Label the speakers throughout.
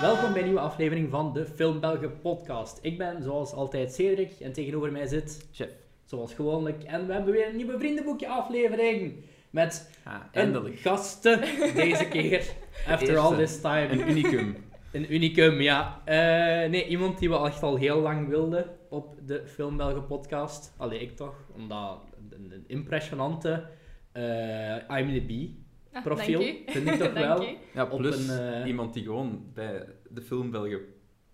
Speaker 1: Welkom bij een nieuwe aflevering van de Filmbelgen podcast. Ik ben zoals altijd Cedric en tegenover mij zit,
Speaker 2: Chef.
Speaker 1: zoals gewoonlijk, en we hebben weer een nieuwe vriendenboekje aflevering met
Speaker 2: Ah,
Speaker 1: een
Speaker 2: eindelijk.
Speaker 1: gasten deze keer. After all
Speaker 2: eerste.
Speaker 1: this time.
Speaker 2: Een unicum.
Speaker 1: Een unicum, ja. Eh, nee, iemand die we echt al heel lang wilden op de Filmbelgen podcast. Allee, ik toch, omdat een, een impressionante eh
Speaker 3: Ah,
Speaker 1: IMDb-profiel,
Speaker 3: dank je.
Speaker 1: vind ik toch
Speaker 3: Dank
Speaker 1: wel.
Speaker 3: je.
Speaker 2: Ja,
Speaker 1: Op
Speaker 2: plus
Speaker 1: een, eh,
Speaker 2: iemand die gewoon bij de filmbelgen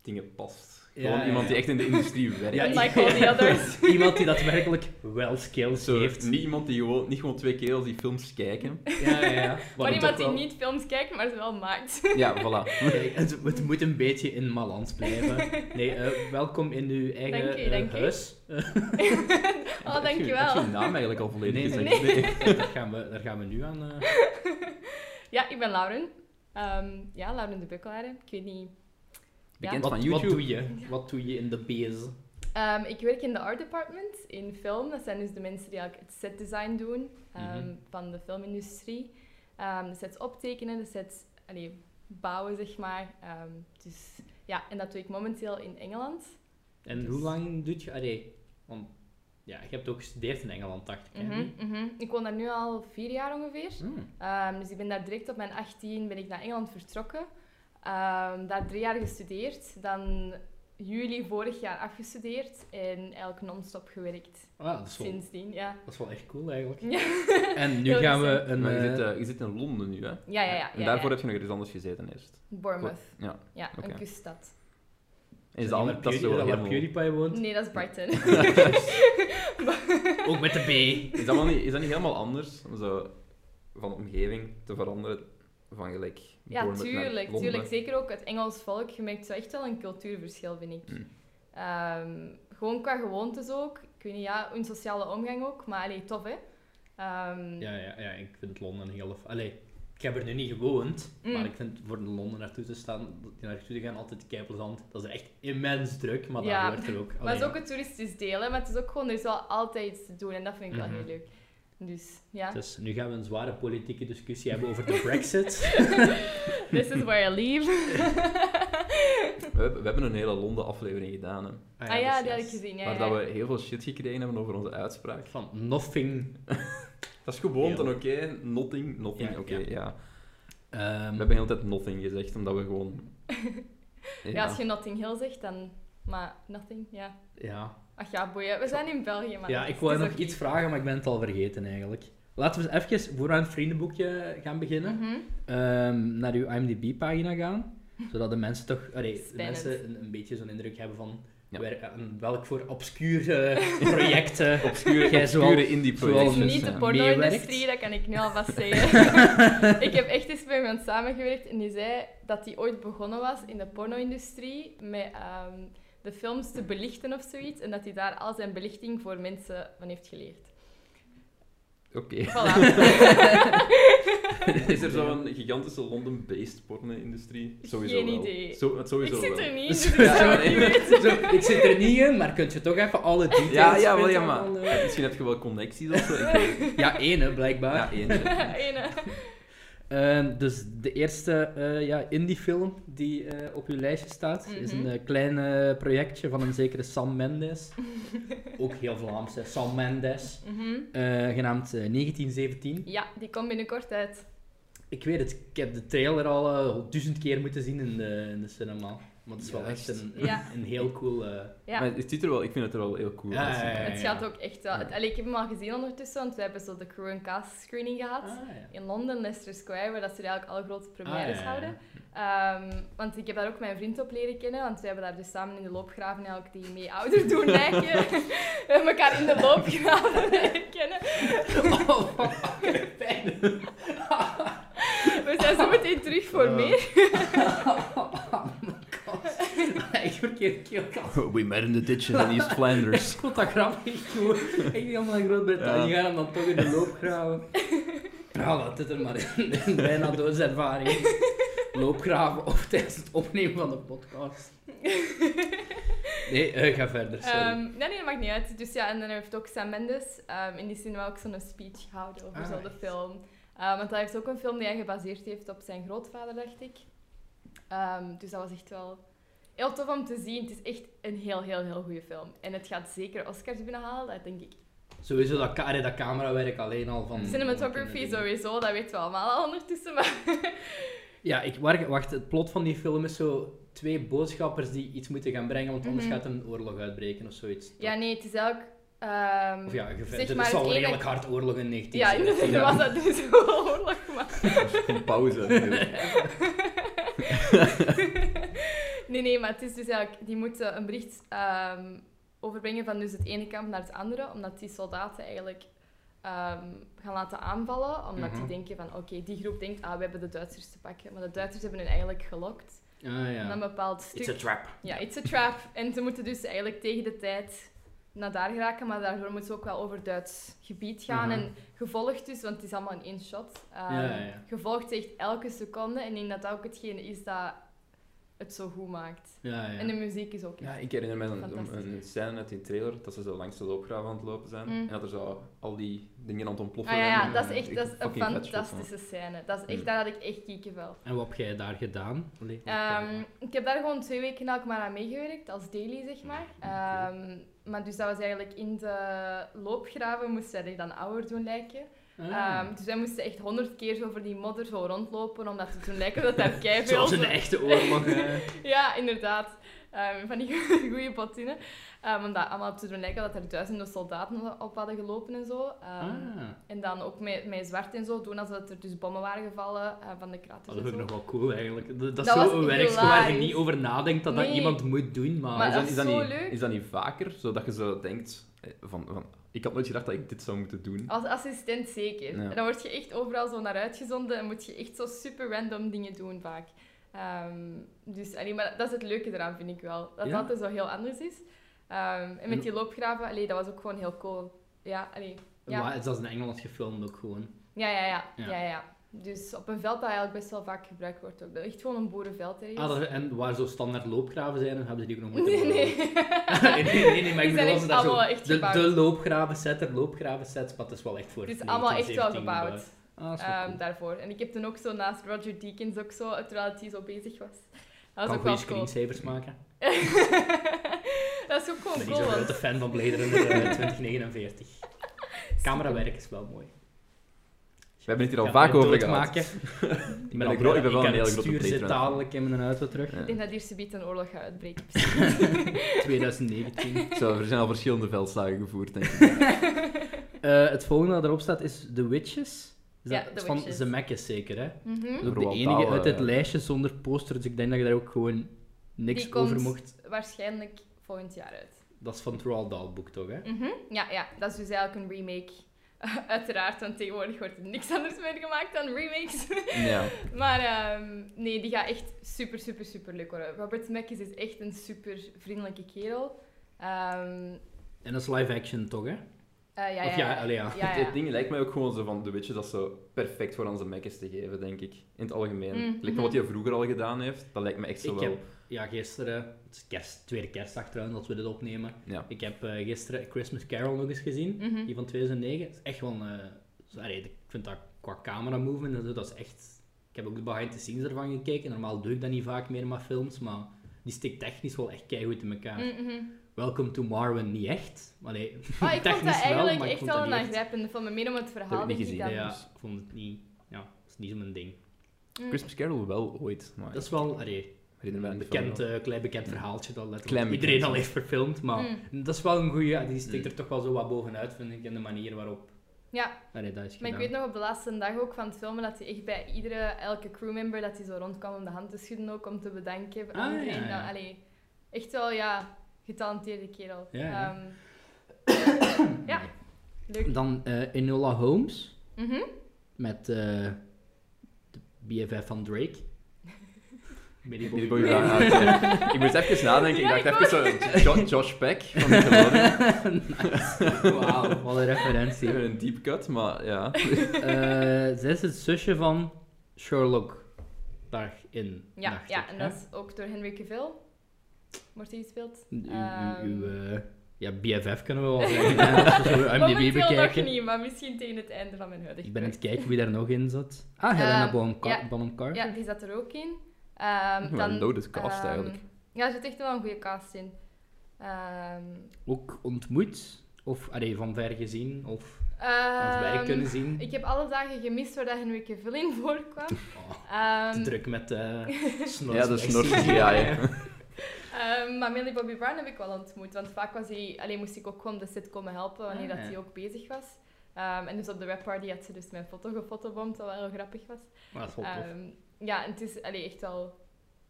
Speaker 2: dingen past.
Speaker 1: Ja,
Speaker 2: gewoon
Speaker 1: ja,
Speaker 2: iemand
Speaker 1: ja.
Speaker 2: die echt in de industrie werkt.
Speaker 1: Ja,
Speaker 3: Unlike all the others.
Speaker 1: Iemand die daadwerkelijk wel skills
Speaker 2: Zo,
Speaker 1: heeft.
Speaker 2: niet iemand die gewoon, niet gewoon twee kerels die films kijken.
Speaker 1: Ja, ja, ja.
Speaker 3: Maar
Speaker 1: Waarom
Speaker 3: iemand
Speaker 1: toch
Speaker 3: die
Speaker 1: wel?
Speaker 3: niet films kijkt, maar ze wel maakt.
Speaker 2: Ja, voilà.
Speaker 1: Kijk, het, het moet een beetje in balans blijven. Nee, eh, welkom in uw eigen
Speaker 3: Dank je,
Speaker 1: eh,
Speaker 3: dank je.
Speaker 1: huis.
Speaker 3: Oh,
Speaker 2: Heb je
Speaker 3: dankjewel.
Speaker 2: je naam eigenlijk al
Speaker 1: Nee,
Speaker 2: volledig
Speaker 1: nee,
Speaker 2: gezegd?
Speaker 1: nee. nee. Daar, gaan we, daar gaan we nu aan. eh.
Speaker 3: Ja, ik ben Lauren. Ehm, ja, Lauren de Bukkelaar. Ik weet niet.
Speaker 2: Bekend
Speaker 1: Wat,
Speaker 2: van
Speaker 1: wat
Speaker 2: YouTube.
Speaker 1: doe je? Wat doe je in de bees?
Speaker 3: Ehm, ik werk in de art department in film. Dat zijn dus de mensen die eigenlijk het setdesign doen ehm,
Speaker 1: Mhm.
Speaker 3: van de filmindustrie. Ehm, de sets optekenen, de sets allee, bouwen, zeg maar. Ehm, dus ja, en dat doe ik momenteel in Engeland.
Speaker 1: En
Speaker 3: Dus-
Speaker 1: hoe lang doet je. Allee, want ja, je hebt ook gestudeerd in Engeland, dacht ik. hè,
Speaker 3: Mhm,
Speaker 1: niet?
Speaker 3: mhm. Ik woon daar nu al vier jaar ongeveer.
Speaker 1: Hmm.
Speaker 3: Ehm, dus ik ben daar direct op mijn 18 ben ik naar Engeland vertrokken. Ehm, daar drie jaar gestudeerd. Dan juli vorig jaar afgestudeerd. En eigenlijk non-stop gewerkt
Speaker 1: Ah, dat, is wel,
Speaker 3: sindsdien. Ja.
Speaker 1: dat is wel echt cool eigenlijk.
Speaker 3: Ja.
Speaker 1: En nu
Speaker 3: Heel
Speaker 1: gaan we
Speaker 3: recent.
Speaker 1: een.
Speaker 2: Maar je,
Speaker 1: eh,
Speaker 2: zit, eh, je zit in Londen nu, hè?
Speaker 3: Ja, ja, ja.
Speaker 2: En
Speaker 3: ja,
Speaker 2: daarvoor
Speaker 3: ja.
Speaker 2: heb je nog ergens anders gezeten eerst.
Speaker 3: Bournemouth.
Speaker 2: Ja,
Speaker 3: Ja,
Speaker 2: oké.
Speaker 3: een kuststad.
Speaker 2: En is
Speaker 1: is
Speaker 2: dat,
Speaker 1: dat
Speaker 2: al-
Speaker 1: waar
Speaker 2: dat is
Speaker 1: Pewdie-
Speaker 2: zo
Speaker 1: dat waar
Speaker 2: helemaal...
Speaker 1: PewDiePie woont?
Speaker 3: Nee, dat is Brighton.
Speaker 1: Ook met de B.
Speaker 2: Is dat, wel niet, is dat niet helemaal anders? Om zo van omgeving te veranderen van gelijk
Speaker 3: ja,
Speaker 2: Bournemouth naar
Speaker 3: tuurlijk,
Speaker 2: Londen?
Speaker 3: tuurlijk. Zeker ook het Engels volk. Je merkt zo echt wel een cultuurverschil, vind ik.
Speaker 2: Mm.
Speaker 3: Ehm, gewoon qua gewoontes ook. Ik weet niet, ja, hun sociale omgang ook. Maar allee, tof, hè? Ehm,
Speaker 1: Ja, ja, ja, ik vind Londen heel... f- Allee, ik heb er nu niet gewoond,
Speaker 3: Mm.
Speaker 1: maar ik vind voor een Londen naartoe te staan, naartoe te gaan, altijd keipelzand. Dat is echt immens druk, maar
Speaker 3: Ja.
Speaker 1: daar wordt er ook...
Speaker 3: Maar
Speaker 1: allee,
Speaker 3: het is ook het toeristisch deel, hè, maar het is ook gewoon, er is wel altijd iets te doen en dat vind ik
Speaker 1: Mhm.
Speaker 3: wel heel leuk. Dus ja,
Speaker 1: Dus nu gaan we een zware politieke discussie hebben over de brexit.
Speaker 3: this is where I live.
Speaker 2: We, hebben- we hebben een hele Londen aflevering gedaan, hè,
Speaker 3: Ah ja,
Speaker 1: dus dat
Speaker 3: die had ik gezien, ja.
Speaker 2: waar
Speaker 3: ja.
Speaker 2: dat we heel veel shit gekregen hebben over onze uitspraak.
Speaker 1: Van nothing.
Speaker 2: Dat is gewoon
Speaker 1: Heel.
Speaker 2: dan oké, nothing, nothing,
Speaker 1: Ja,
Speaker 2: oké,
Speaker 1: ja.
Speaker 2: ja.
Speaker 1: Ehm,
Speaker 2: We hebben heel de tijd nothing gezegd, omdat we gewoon... Ja,
Speaker 3: Ja, als je Notting Hill zegt, dan... Maar nothing, ja.
Speaker 1: ja.
Speaker 3: Ach ja, boeien. We zijn in België, maar...
Speaker 1: ja,
Speaker 3: dat
Speaker 1: ik
Speaker 3: is-
Speaker 1: wou
Speaker 3: het is
Speaker 1: nog
Speaker 3: oké.
Speaker 1: iets vragen, maar ik ben het al vergeten eigenlijk. Laten we eens even voor aan het vriendenboekje gaan beginnen.
Speaker 3: Mhm.
Speaker 1: ehm, naar uw IMDb-pagina gaan, zodat de mensen toch allee, de
Speaker 3: Spannend.
Speaker 1: mensen een, een beetje zo'n indruk hebben van
Speaker 2: Ja.
Speaker 1: waar- aan welk voor obscure projecten.
Speaker 2: obscure,
Speaker 1: Jij zoal-
Speaker 2: obscure indie
Speaker 1: zoal
Speaker 2: projects.
Speaker 1: mensen
Speaker 3: Niet de
Speaker 1: ja.
Speaker 3: porno-industrie, dat kan ik nu alvast zeggen. ik heb echt eens met iemand samengewerkt en die zei dat die ooit begonnen was in de porno-industrie met ehm, de films te belichten of zoiets. En dat hij daar al zijn belichting voor mensen van heeft geleerd.
Speaker 2: Oké.
Speaker 3: Voilà.
Speaker 2: Is er zo'n gigantische London-based porno-industrie? Sowieso
Speaker 3: Geen
Speaker 2: wel.
Speaker 3: idee.
Speaker 2: Zo, het sowieso
Speaker 3: ik zit
Speaker 2: wel.
Speaker 3: er niet, dus ik
Speaker 1: Ja,
Speaker 3: zou
Speaker 1: nee.
Speaker 3: het niet weten.
Speaker 1: Zo, ik zit er niet in, maar kunt je toch even alle details...
Speaker 2: Ja, ja, wel,
Speaker 1: kunt je
Speaker 2: ja, maar...
Speaker 1: wel, eh,
Speaker 2: Misschien heb je wel connecties of zo. Ik weet het.
Speaker 1: Ja, één, hè, blijkbaar.
Speaker 2: Ja, eentje.
Speaker 3: Ene.
Speaker 1: Ehm, dus de eerste eh ja, indie-film die eh, op uw lijstje staat, is een
Speaker 3: Mhm.
Speaker 1: eh, klein eh, projectje van een zekere Sam Mendes. Ook heel Vlaams, hè, Sam Mendes.
Speaker 3: Mhm.
Speaker 1: Eh, genaamd eh, 1917.
Speaker 3: Ja, die komt binnenkort uit.
Speaker 1: Ik weet het, ik heb de trailer al eh, duizend keer moeten zien in de, in de cinema. Maar het is wel echt
Speaker 2: Juist.
Speaker 1: een,
Speaker 3: Ja.
Speaker 1: een heel cool. eh,
Speaker 3: Ja.
Speaker 2: Maar het ziet er wel... Ik vind het er wel heel cool
Speaker 1: Ja,
Speaker 2: uit.
Speaker 1: ja, ja.
Speaker 3: het gaat ook echt wel.
Speaker 2: Ja.
Speaker 3: Allee, ik heb hem al gezien ondertussen, want we hebben zo de crew and cast screening gehad.
Speaker 1: Ah, ja.
Speaker 3: in Londen, Leicester Square, waar dat ze eigenlijk alle grote premières
Speaker 1: Ah, ja, ja, ja.
Speaker 3: houden. Ehm, want ik heb daar ook mijn vriend op leren kennen, want we hebben daar dus samen in de loopgraven eigenlijk die mee ouder doen lijken. we hebben elkaar in de loopgraven leren kennen.
Speaker 1: Oh, pijn.
Speaker 3: We zijn zo meteen terug voor
Speaker 2: Eh.
Speaker 3: meer.
Speaker 1: Oh my god. Echt verkeerd keelkast.
Speaker 2: We met in the ditch in East Flanders.
Speaker 1: Ik vond dat grap niet goed. Ik denk helemaal naar Groot-Brittannië
Speaker 2: Ja.
Speaker 1: gaan hem dan toch in de loop graven. Nou, laat dit er maar in. Bijna doodservaring. Loopgraven of tijdens het opnemen van de podcast. Nee, eh, ga verder. Sorry.
Speaker 3: Ehm, nee, nee, dat maakt niet uit. Dus ja, en dan heeft ook Sam Mendes ehm, in die zin wel ook zo'n speech gehouden over
Speaker 1: Ah,
Speaker 3: zo'n Ehm,
Speaker 1: echt?
Speaker 3: film. Eh, want hij heeft ook een film die hij gebaseerd heeft op zijn grootvader, dacht ik. Ehm, dus dat was echt wel heel tof om te zien. Het is echt een heel, heel, heel goede film. En het gaat zeker Oscars binnenhalen, dat denk ik.
Speaker 1: Sowieso dat, ka- allee, dat camerawerk alleen al
Speaker 3: Mm.
Speaker 1: van... van
Speaker 3: Cinematography
Speaker 1: dingen.
Speaker 3: sowieso, dat weten we allemaal al ondertussen. Maar
Speaker 1: Ja, ik, waar- wacht, het plot van die film is zo twee boodschappers die iets moeten gaan brengen, want anders
Speaker 3: Mhm.
Speaker 1: gaat een oorlog uitbreken of zoiets. toch?
Speaker 3: ja, nee, het is ook... ehm,
Speaker 1: Of ja, ge-
Speaker 3: Zeg
Speaker 1: er
Speaker 3: maar,
Speaker 1: is al
Speaker 3: het ene-
Speaker 1: redelijk hard oorlog in 19.
Speaker 3: ja, inderdaad,
Speaker 1: Ja.
Speaker 3: was dat dus wel oorlog, maar...
Speaker 2: Een pauze.
Speaker 3: nee, nee, maar het is dus eigenlijk... Die moeten een bericht ehm, overbrengen van dus het ene kamp naar het andere. Omdat die soldaten eigenlijk ehm, gaan laten aanvallen. Omdat
Speaker 1: Mhm.
Speaker 3: die denken van, oké, die groep denkt, ah, we hebben de Duitsers te pakken. Maar de Duitsers hebben hen eigenlijk gelokt.
Speaker 1: Ah,
Speaker 3: Naar
Speaker 1: ja.
Speaker 3: een bepaald
Speaker 1: It's a
Speaker 3: stuk.
Speaker 1: trap.
Speaker 3: Ja, it's a trap. En ze moeten dus eigenlijk tegen de tijd naar daar geraken. Maar daarvoor moeten ze ook wel over Duits gebied gaan.
Speaker 1: Mhm.
Speaker 3: En gevolgd dus, want het is allemaal in één shot. ehm,
Speaker 1: Ja, ja, ja.
Speaker 3: Gevolgd echt elke seconde. En ik denk dat dat ook hetgene is dat het zo goed maakt.
Speaker 1: Ja, ja.
Speaker 3: En de muziek is ook
Speaker 2: Ja,
Speaker 3: echt.
Speaker 2: ik herinner me een,
Speaker 3: Fantastisch.
Speaker 2: een scène uit die trailer dat ze zo langs de loopgraven aan het lopen zijn
Speaker 3: Mm.
Speaker 2: en dat er zo al die dingen aan het ontploffen
Speaker 3: Ah, ja,
Speaker 2: zijn.
Speaker 3: ja,
Speaker 2: en
Speaker 3: dat is
Speaker 2: ik
Speaker 3: echt dat is een
Speaker 2: fucking vet shot vond.
Speaker 3: fantastische scène. Dat is echt,
Speaker 2: Mm.
Speaker 3: daar had ik echt kiekenvel.
Speaker 1: En wat heb jij daar gedaan? Allee, wat-
Speaker 3: Ehm ik heb daar gewoon twee weken elke maar aan meegewerkt, als daily zeg maar. Ehm, maar dus dat was eigenlijk in de loopgraven, moest zij zich dan ouder doen lijken.
Speaker 1: Ah.
Speaker 3: Ehm, dus wij moesten echt honderd keer zo over die modder zo rondlopen, omdat ze toen lijken dat daar keiveel...
Speaker 1: Zoals een
Speaker 3: zo-
Speaker 1: echte oorlog. eh.
Speaker 3: Ja, inderdaad. Ehm, van die goede bottinen. Ehm, om dat allemaal te doen lijken dat er duizenden soldaten op hadden gelopen en zo. Ehm,
Speaker 1: Ah,
Speaker 3: En dan ook met, met zwart en zo doen, alsof dat er dus bommen waren gevallen eh, van de
Speaker 1: dat
Speaker 3: kraters
Speaker 1: is ook
Speaker 3: en zo.
Speaker 1: nog wel cool eigenlijk. Dat, dat is
Speaker 3: Dat was
Speaker 1: zo'n werkstuk waar je
Speaker 3: hilarisch.
Speaker 1: niet over nadenkt dat dat
Speaker 3: Nee.
Speaker 1: iemand moet doen, maar...
Speaker 3: Maar
Speaker 2: Is dat, is,
Speaker 3: dat is
Speaker 2: dat
Speaker 3: zo
Speaker 2: niet,
Speaker 3: leuk.
Speaker 2: is dat niet vaker, zodat je zo denkt eh, van, van... Ik had nooit gedacht dat ik dit zou moeten doen.
Speaker 3: Als assistent zeker.
Speaker 2: Ja.
Speaker 3: En dan word je echt overal zo naar uitgezonden en moet je echt zo super random dingen doen vaak. Ehm, dus allee, maar dat is het leuke eraan, vind ik wel. Dat
Speaker 1: Ja?
Speaker 3: dat altijd zo heel anders is. Ehm, en
Speaker 1: En-
Speaker 3: met die loopgraven, allee, dat was ook gewoon heel cool. Ja, allee. Ja.
Speaker 1: Maar dat is in Engeland gefilmd ook gewoon.
Speaker 3: Ja, ja, ja,
Speaker 1: Ja.
Speaker 3: ja. ja, Dus op een veld dat eigenlijk best wel vaak gebruikt wordt ook. Dat is echt gewoon een boerenveld ergens.
Speaker 1: Ah, dat- en waar zo standaard loopgraven zijn, dan hebben ze die ook nog moeten
Speaker 3: Nee,
Speaker 1: bouwen.
Speaker 3: nee.
Speaker 1: nee, nee, nee, maar ik
Speaker 3: Die zijn
Speaker 1: bedoel,
Speaker 3: echt
Speaker 1: ze daar zo,
Speaker 3: allemaal echt
Speaker 1: de,
Speaker 3: gebouwd.
Speaker 1: de loopgravensets, er loopgravensets, maar het is wel echt voor
Speaker 3: Het is allemaal echt wel
Speaker 1: 1917
Speaker 3: gebouwd
Speaker 1: Ah, dat is wel
Speaker 3: ehm,
Speaker 1: cool.
Speaker 3: daarvoor. En ik heb toen ook zo naast Roger Deakins ook zo, terwijl hij zo bezig was. Dat was
Speaker 1: Kan
Speaker 3: ook wel
Speaker 1: goede
Speaker 3: cool. Oh,
Speaker 1: screensavers maken.
Speaker 3: dat is ook
Speaker 1: Ik
Speaker 3: gewoon
Speaker 1: ben niet zo'n
Speaker 3: cool. want-
Speaker 1: grote fan van Blade Runner eh, 2049. Camerawerk is wel mooi.
Speaker 2: We hebben het hier al
Speaker 1: Ja,
Speaker 2: vaak
Speaker 1: weer
Speaker 2: over
Speaker 1: doodmaken.
Speaker 2: gehad.
Speaker 1: Ik
Speaker 2: ben een gro- ik ben wel
Speaker 1: aan
Speaker 2: een hele
Speaker 1: het
Speaker 2: grote
Speaker 1: stuur
Speaker 2: Blade
Speaker 1: zit
Speaker 2: Runner fan.
Speaker 1: dadelijk in mijn auto terug.
Speaker 2: Ja.
Speaker 3: Ik denk dat hier subiet een oorlog gaat uitbreken.
Speaker 1: 2019.
Speaker 2: Zo, er zijn al verschillende veldslagen gevoerd, denk ik.
Speaker 1: Eh, het volgende dat erop staat is The Witches. Is
Speaker 3: Ja,
Speaker 1: dat
Speaker 3: The
Speaker 1: is van
Speaker 3: Witches.
Speaker 1: Zemeckis zeker, hè?
Speaker 3: Mhm.
Speaker 1: Dat is ook de
Speaker 2: Roald
Speaker 1: enige
Speaker 2: Dahl,
Speaker 1: uit het
Speaker 2: eh.
Speaker 1: lijstje zonder poster, dus ik denk dat je daar ook gewoon niks
Speaker 3: Die komt-
Speaker 1: over mocht.
Speaker 3: Waarschijnlijk volgend jaar uit.
Speaker 1: Dat is van het Roald Dahl boek, toch, hè?
Speaker 3: Mhm. Ja, ja, dat is dus eigenlijk een remake. Uiteraard, want tegenwoordig wordt er niks anders meer gemaakt dan remakes.
Speaker 2: Ja.
Speaker 3: Maar ehm, nee, die gaat echt super, super, super leuk worden. Robert Zemeckis is echt een super vriendelijke kerel. Ehm,
Speaker 1: En dat is live action, toch, hè?
Speaker 3: eh, ja,
Speaker 1: Of ja, allee, ja.
Speaker 3: ja,
Speaker 2: Het,
Speaker 3: ja.
Speaker 2: het ding lijkt mij ook gewoon zo van de Witcher dat zo perfect voor onze mekkers te geven, denk ik. In het algemeen.
Speaker 3: Mm,
Speaker 2: Lijkt me
Speaker 3: mhm.
Speaker 2: wat hij vroeger al gedaan heeft, dat lijkt me echt zo
Speaker 1: Ik
Speaker 2: wel...
Speaker 1: heb- Ja, gisteren, het is kerst, tweede kerstdag trouwens, dat we dit opnemen.
Speaker 2: Ja.
Speaker 1: Ik heb eh, gisteren Christmas Carol nog eens gezien,
Speaker 3: Mhm.
Speaker 1: die van 2009. Het is echt wel een... eh, zo- allee, ik vind dat qua camera movement en zo, dat is echt... Ik heb ook de behind the scenes ervan gekeken. Normaal doe ik dat niet vaak meer met films, maar die stikt technisch wel echt keigoed in elkaar.
Speaker 3: Mm, mhm.
Speaker 1: Welcome to Marwen niet echt. Maar nee,
Speaker 3: Ah, ik vond
Speaker 1: Technisch
Speaker 3: dat
Speaker 1: wel,
Speaker 3: eigenlijk
Speaker 1: maar ik
Speaker 3: echt
Speaker 1: vond
Speaker 3: wel
Speaker 1: dat
Speaker 3: een
Speaker 1: niet echt.
Speaker 3: aangrijpende film. En Meer om het verhaal,
Speaker 2: niet
Speaker 3: denk ik
Speaker 2: gezien,
Speaker 3: dan.
Speaker 1: ja, dus ik vond het niet... Ja, het is niet zo mijn ding.
Speaker 3: Mm.
Speaker 2: Christmas Carol wel ooit, maar
Speaker 1: Dat is wel... allee,
Speaker 2: ik herinner me
Speaker 1: Een
Speaker 2: aan die
Speaker 1: bekend,
Speaker 2: film
Speaker 1: eh, klein bekend verhaaltje dat letterlijk
Speaker 2: Klein bekend,
Speaker 1: iedereen al
Speaker 2: ja.
Speaker 1: heeft verfilmd. Maar
Speaker 3: Mm.
Speaker 1: dat is wel een goede. Die steekt
Speaker 2: Mm.
Speaker 1: er toch wel zo wat bovenuit, vind ik, in de manier waarop.
Speaker 3: Ja.
Speaker 1: Allee, dat is
Speaker 3: Maar ik
Speaker 1: gedaan.
Speaker 3: weet nog op de laatste dag ook van het filmen dat hij echt bij iedere, elke crewmember dat hij zo rondkwam om de hand te schudden ook, om te bedanken.
Speaker 1: Ah,
Speaker 3: En
Speaker 1: ja,
Speaker 3: dan-
Speaker 1: ja.
Speaker 3: allee, echt wel, ja, getalenteerde kerel.
Speaker 1: Ja, ja.
Speaker 3: Ehm, ja, leuk.
Speaker 1: Dan eh Enola Holmes
Speaker 3: Mhm.
Speaker 1: met eh, de BFF van Drake. Billy
Speaker 2: Die
Speaker 1: Bobby
Speaker 2: Bobby Brown.
Speaker 1: Brown.
Speaker 2: Ah, oké. Ik moest even nadenken, ik
Speaker 3: Ja,
Speaker 2: dacht
Speaker 3: ik
Speaker 2: even zo... Jo- Josh Peck van Nickelodeon.
Speaker 1: Wauw, wat een referentie.
Speaker 2: Even een deep cut, maar ja.
Speaker 1: Eh, zij is het zusje van Sherlock daarin.
Speaker 3: Ja,
Speaker 1: dacht
Speaker 3: ja
Speaker 1: ik,
Speaker 3: en
Speaker 1: hè?
Speaker 3: dat is ook door Henry Cavill. Wordt hij gespeeld?
Speaker 1: Uw- uw-
Speaker 3: Ehm.
Speaker 1: uw, eh, Oh, ja, BFF kunnen we wel zeggen. hè, Als we zo IMDb
Speaker 3: Momenteel
Speaker 1: bekijken.
Speaker 3: nog niet, maar misschien tegen het einde van mijn huidige
Speaker 1: Ik ben aan het kijken wie daar nog in zat. Ah, Helena
Speaker 3: Ehm,
Speaker 1: Bonham, Car-
Speaker 3: ja.
Speaker 1: Bonham Carter.
Speaker 3: Ja, die zat er ook in.
Speaker 1: Hm,
Speaker 3: Ehm,
Speaker 2: Wel
Speaker 3: dan,
Speaker 2: een loaded cast
Speaker 3: ehm,
Speaker 2: eigenlijk.
Speaker 3: Ja, er zit echt wel een goede cast in. Ehm,
Speaker 1: Ook ontmoet? Of allee, van ver gezien? Of als wij
Speaker 3: ehm,
Speaker 1: kunnen zien?
Speaker 3: Ik heb alle dagen gemist waar dat Henrike Vulling voorkwam.
Speaker 1: Oh, te
Speaker 3: Ehm,
Speaker 1: druk met eh snor.
Speaker 2: Ja, de snor CGI.
Speaker 3: ehm, maar Millie Bobby Brown heb ik wel ontmoet. Want vaak was hij, alleen moest ik ook gewoon de set komen helpen wanneer
Speaker 1: Ah,
Speaker 3: dat
Speaker 1: ja.
Speaker 3: hij ook bezig was. Ehm, en dus op de webparty had ze dus mijn foto gefotobomd, wat wel heel grappig was.
Speaker 1: Maar dat is wel tof.
Speaker 3: Ehm, ja, en het is allee, echt wel...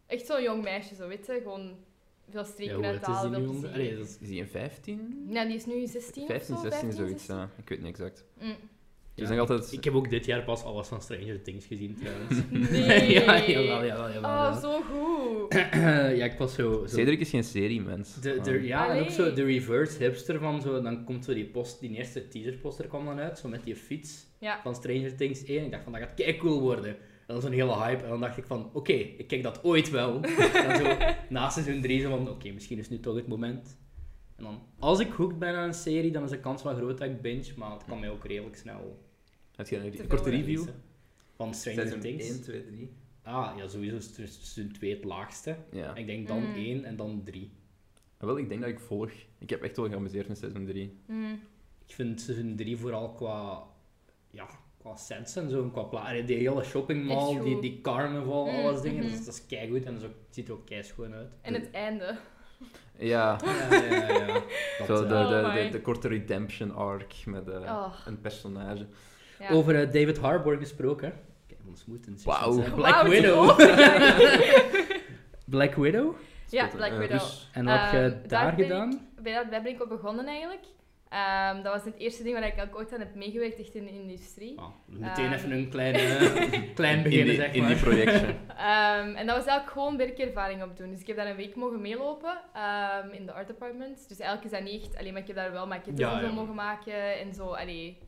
Speaker 3: Echt zo'n jong meisje, zo weet je. Gewoon veel
Speaker 1: Ja,
Speaker 3: streken
Speaker 1: hoe oud is die
Speaker 3: uithalen,
Speaker 1: nu?
Speaker 3: veel
Speaker 1: onder-
Speaker 3: plezier.
Speaker 1: Allee, dat is-
Speaker 2: Is die een 15?
Speaker 3: Ja, die is nu 16
Speaker 2: 15,
Speaker 3: of zo,
Speaker 2: 16, zoiets.
Speaker 3: 16.
Speaker 2: ja. Ik weet niet exact.
Speaker 3: Mm.
Speaker 2: Dus
Speaker 1: Ja,
Speaker 2: nog altijd...
Speaker 1: Ik heb ook dit jaar pas alles van Stranger Things gezien, trouwens.
Speaker 3: Nee.
Speaker 1: ja, jawel, jawel, jawel. jawel.
Speaker 3: Oh, zo goed.
Speaker 1: ja, ik was zo... zo
Speaker 2: Cedric is geen seriemens.
Speaker 1: de,
Speaker 2: Ah.
Speaker 1: de- ja, en ook zo
Speaker 3: Allee.
Speaker 1: de reverse hipster van zo... Dan komt zo die post, die eerste teaserposter kwam dan uit, zo met die fiets
Speaker 3: Ja.
Speaker 1: van Stranger Things 1. Ik dacht van, dat gaat kei cool worden. En dat was een hele hype. En dan dacht ik van, oké, ik kijk dat ooit wel. en zo na seizoen 3 zo van, oké, misschien is nu toch het moment. En dan, als ik hooked ben aan een serie, dan is de kans wel groot dat ik binge, maar het kan mij ook redelijk snel...
Speaker 2: Heb je een,
Speaker 3: Te
Speaker 2: een korte
Speaker 3: veel
Speaker 2: review?
Speaker 1: Van Stranger Things.
Speaker 2: 2, 3.
Speaker 1: Ah, ja, sowieso is het seizoen 2 het laagste.
Speaker 2: Ja.
Speaker 1: Ik denk dan
Speaker 3: Mm.
Speaker 1: 1 en dan 3.
Speaker 2: Wel, ik denk dat ik volg. Ik heb echt wel geamuseerd met seizoen 3.
Speaker 3: Mm.
Speaker 1: Ik vind seizoen 3 vooral qua... Ja, qua sets en zo. en Qua pla- Allee, die hele shoppingmall,
Speaker 3: Echt
Speaker 1: die,
Speaker 3: goed.
Speaker 1: die carnaval,
Speaker 3: Mm,
Speaker 1: alles dingen.
Speaker 3: mhm.
Speaker 1: Dat is, dat is keigoed en dat is ook, ziet er ook kei schoon uit.
Speaker 3: En het einde.
Speaker 2: Ja,
Speaker 1: Ja, ja, ja. ja. Dat,
Speaker 2: zo de,
Speaker 1: eh,
Speaker 3: Oh
Speaker 2: de, de,
Speaker 3: my.
Speaker 2: de korte redemption arc met eh,
Speaker 3: Oh.
Speaker 2: een personage.
Speaker 3: Ja.
Speaker 1: Over eh, David Harbour gesproken. Kijk, ons moet een
Speaker 2: Wauw.
Speaker 1: succes zijn.
Speaker 3: Wauw,
Speaker 1: Black
Speaker 3: het is
Speaker 1: Widow. Black Widow.
Speaker 3: Ja,
Speaker 2: Tot,
Speaker 3: Black
Speaker 2: eh,
Speaker 3: Widow.
Speaker 2: Rus.
Speaker 1: En wat heb je daar,
Speaker 3: Ehm, daar ben ik-
Speaker 1: gedaan?
Speaker 3: Bij dat daar ben ik op begonnen eigenlijk. Ehm, dat was het eerste ding waar ik ook ooit aan heb meegewerkt, echt in de industrie.
Speaker 1: Ah, meteen
Speaker 3: Ehm.
Speaker 1: even een klein, eh, klein
Speaker 2: In
Speaker 1: beginnen,
Speaker 2: die-
Speaker 1: zeg
Speaker 2: In
Speaker 1: maar.
Speaker 2: die projection.
Speaker 3: Ehm, en dat was eigenlijk gewoon werkervaring opdoen. Dus ik heb daar een week mogen meelopen ehm, in de art department. Dus eigenlijk is dat niet echt... Allee, maar ik heb daar wel maquettes
Speaker 1: Ja,
Speaker 3: en zo
Speaker 1: ja.
Speaker 3: mogen maken en zo. Allee,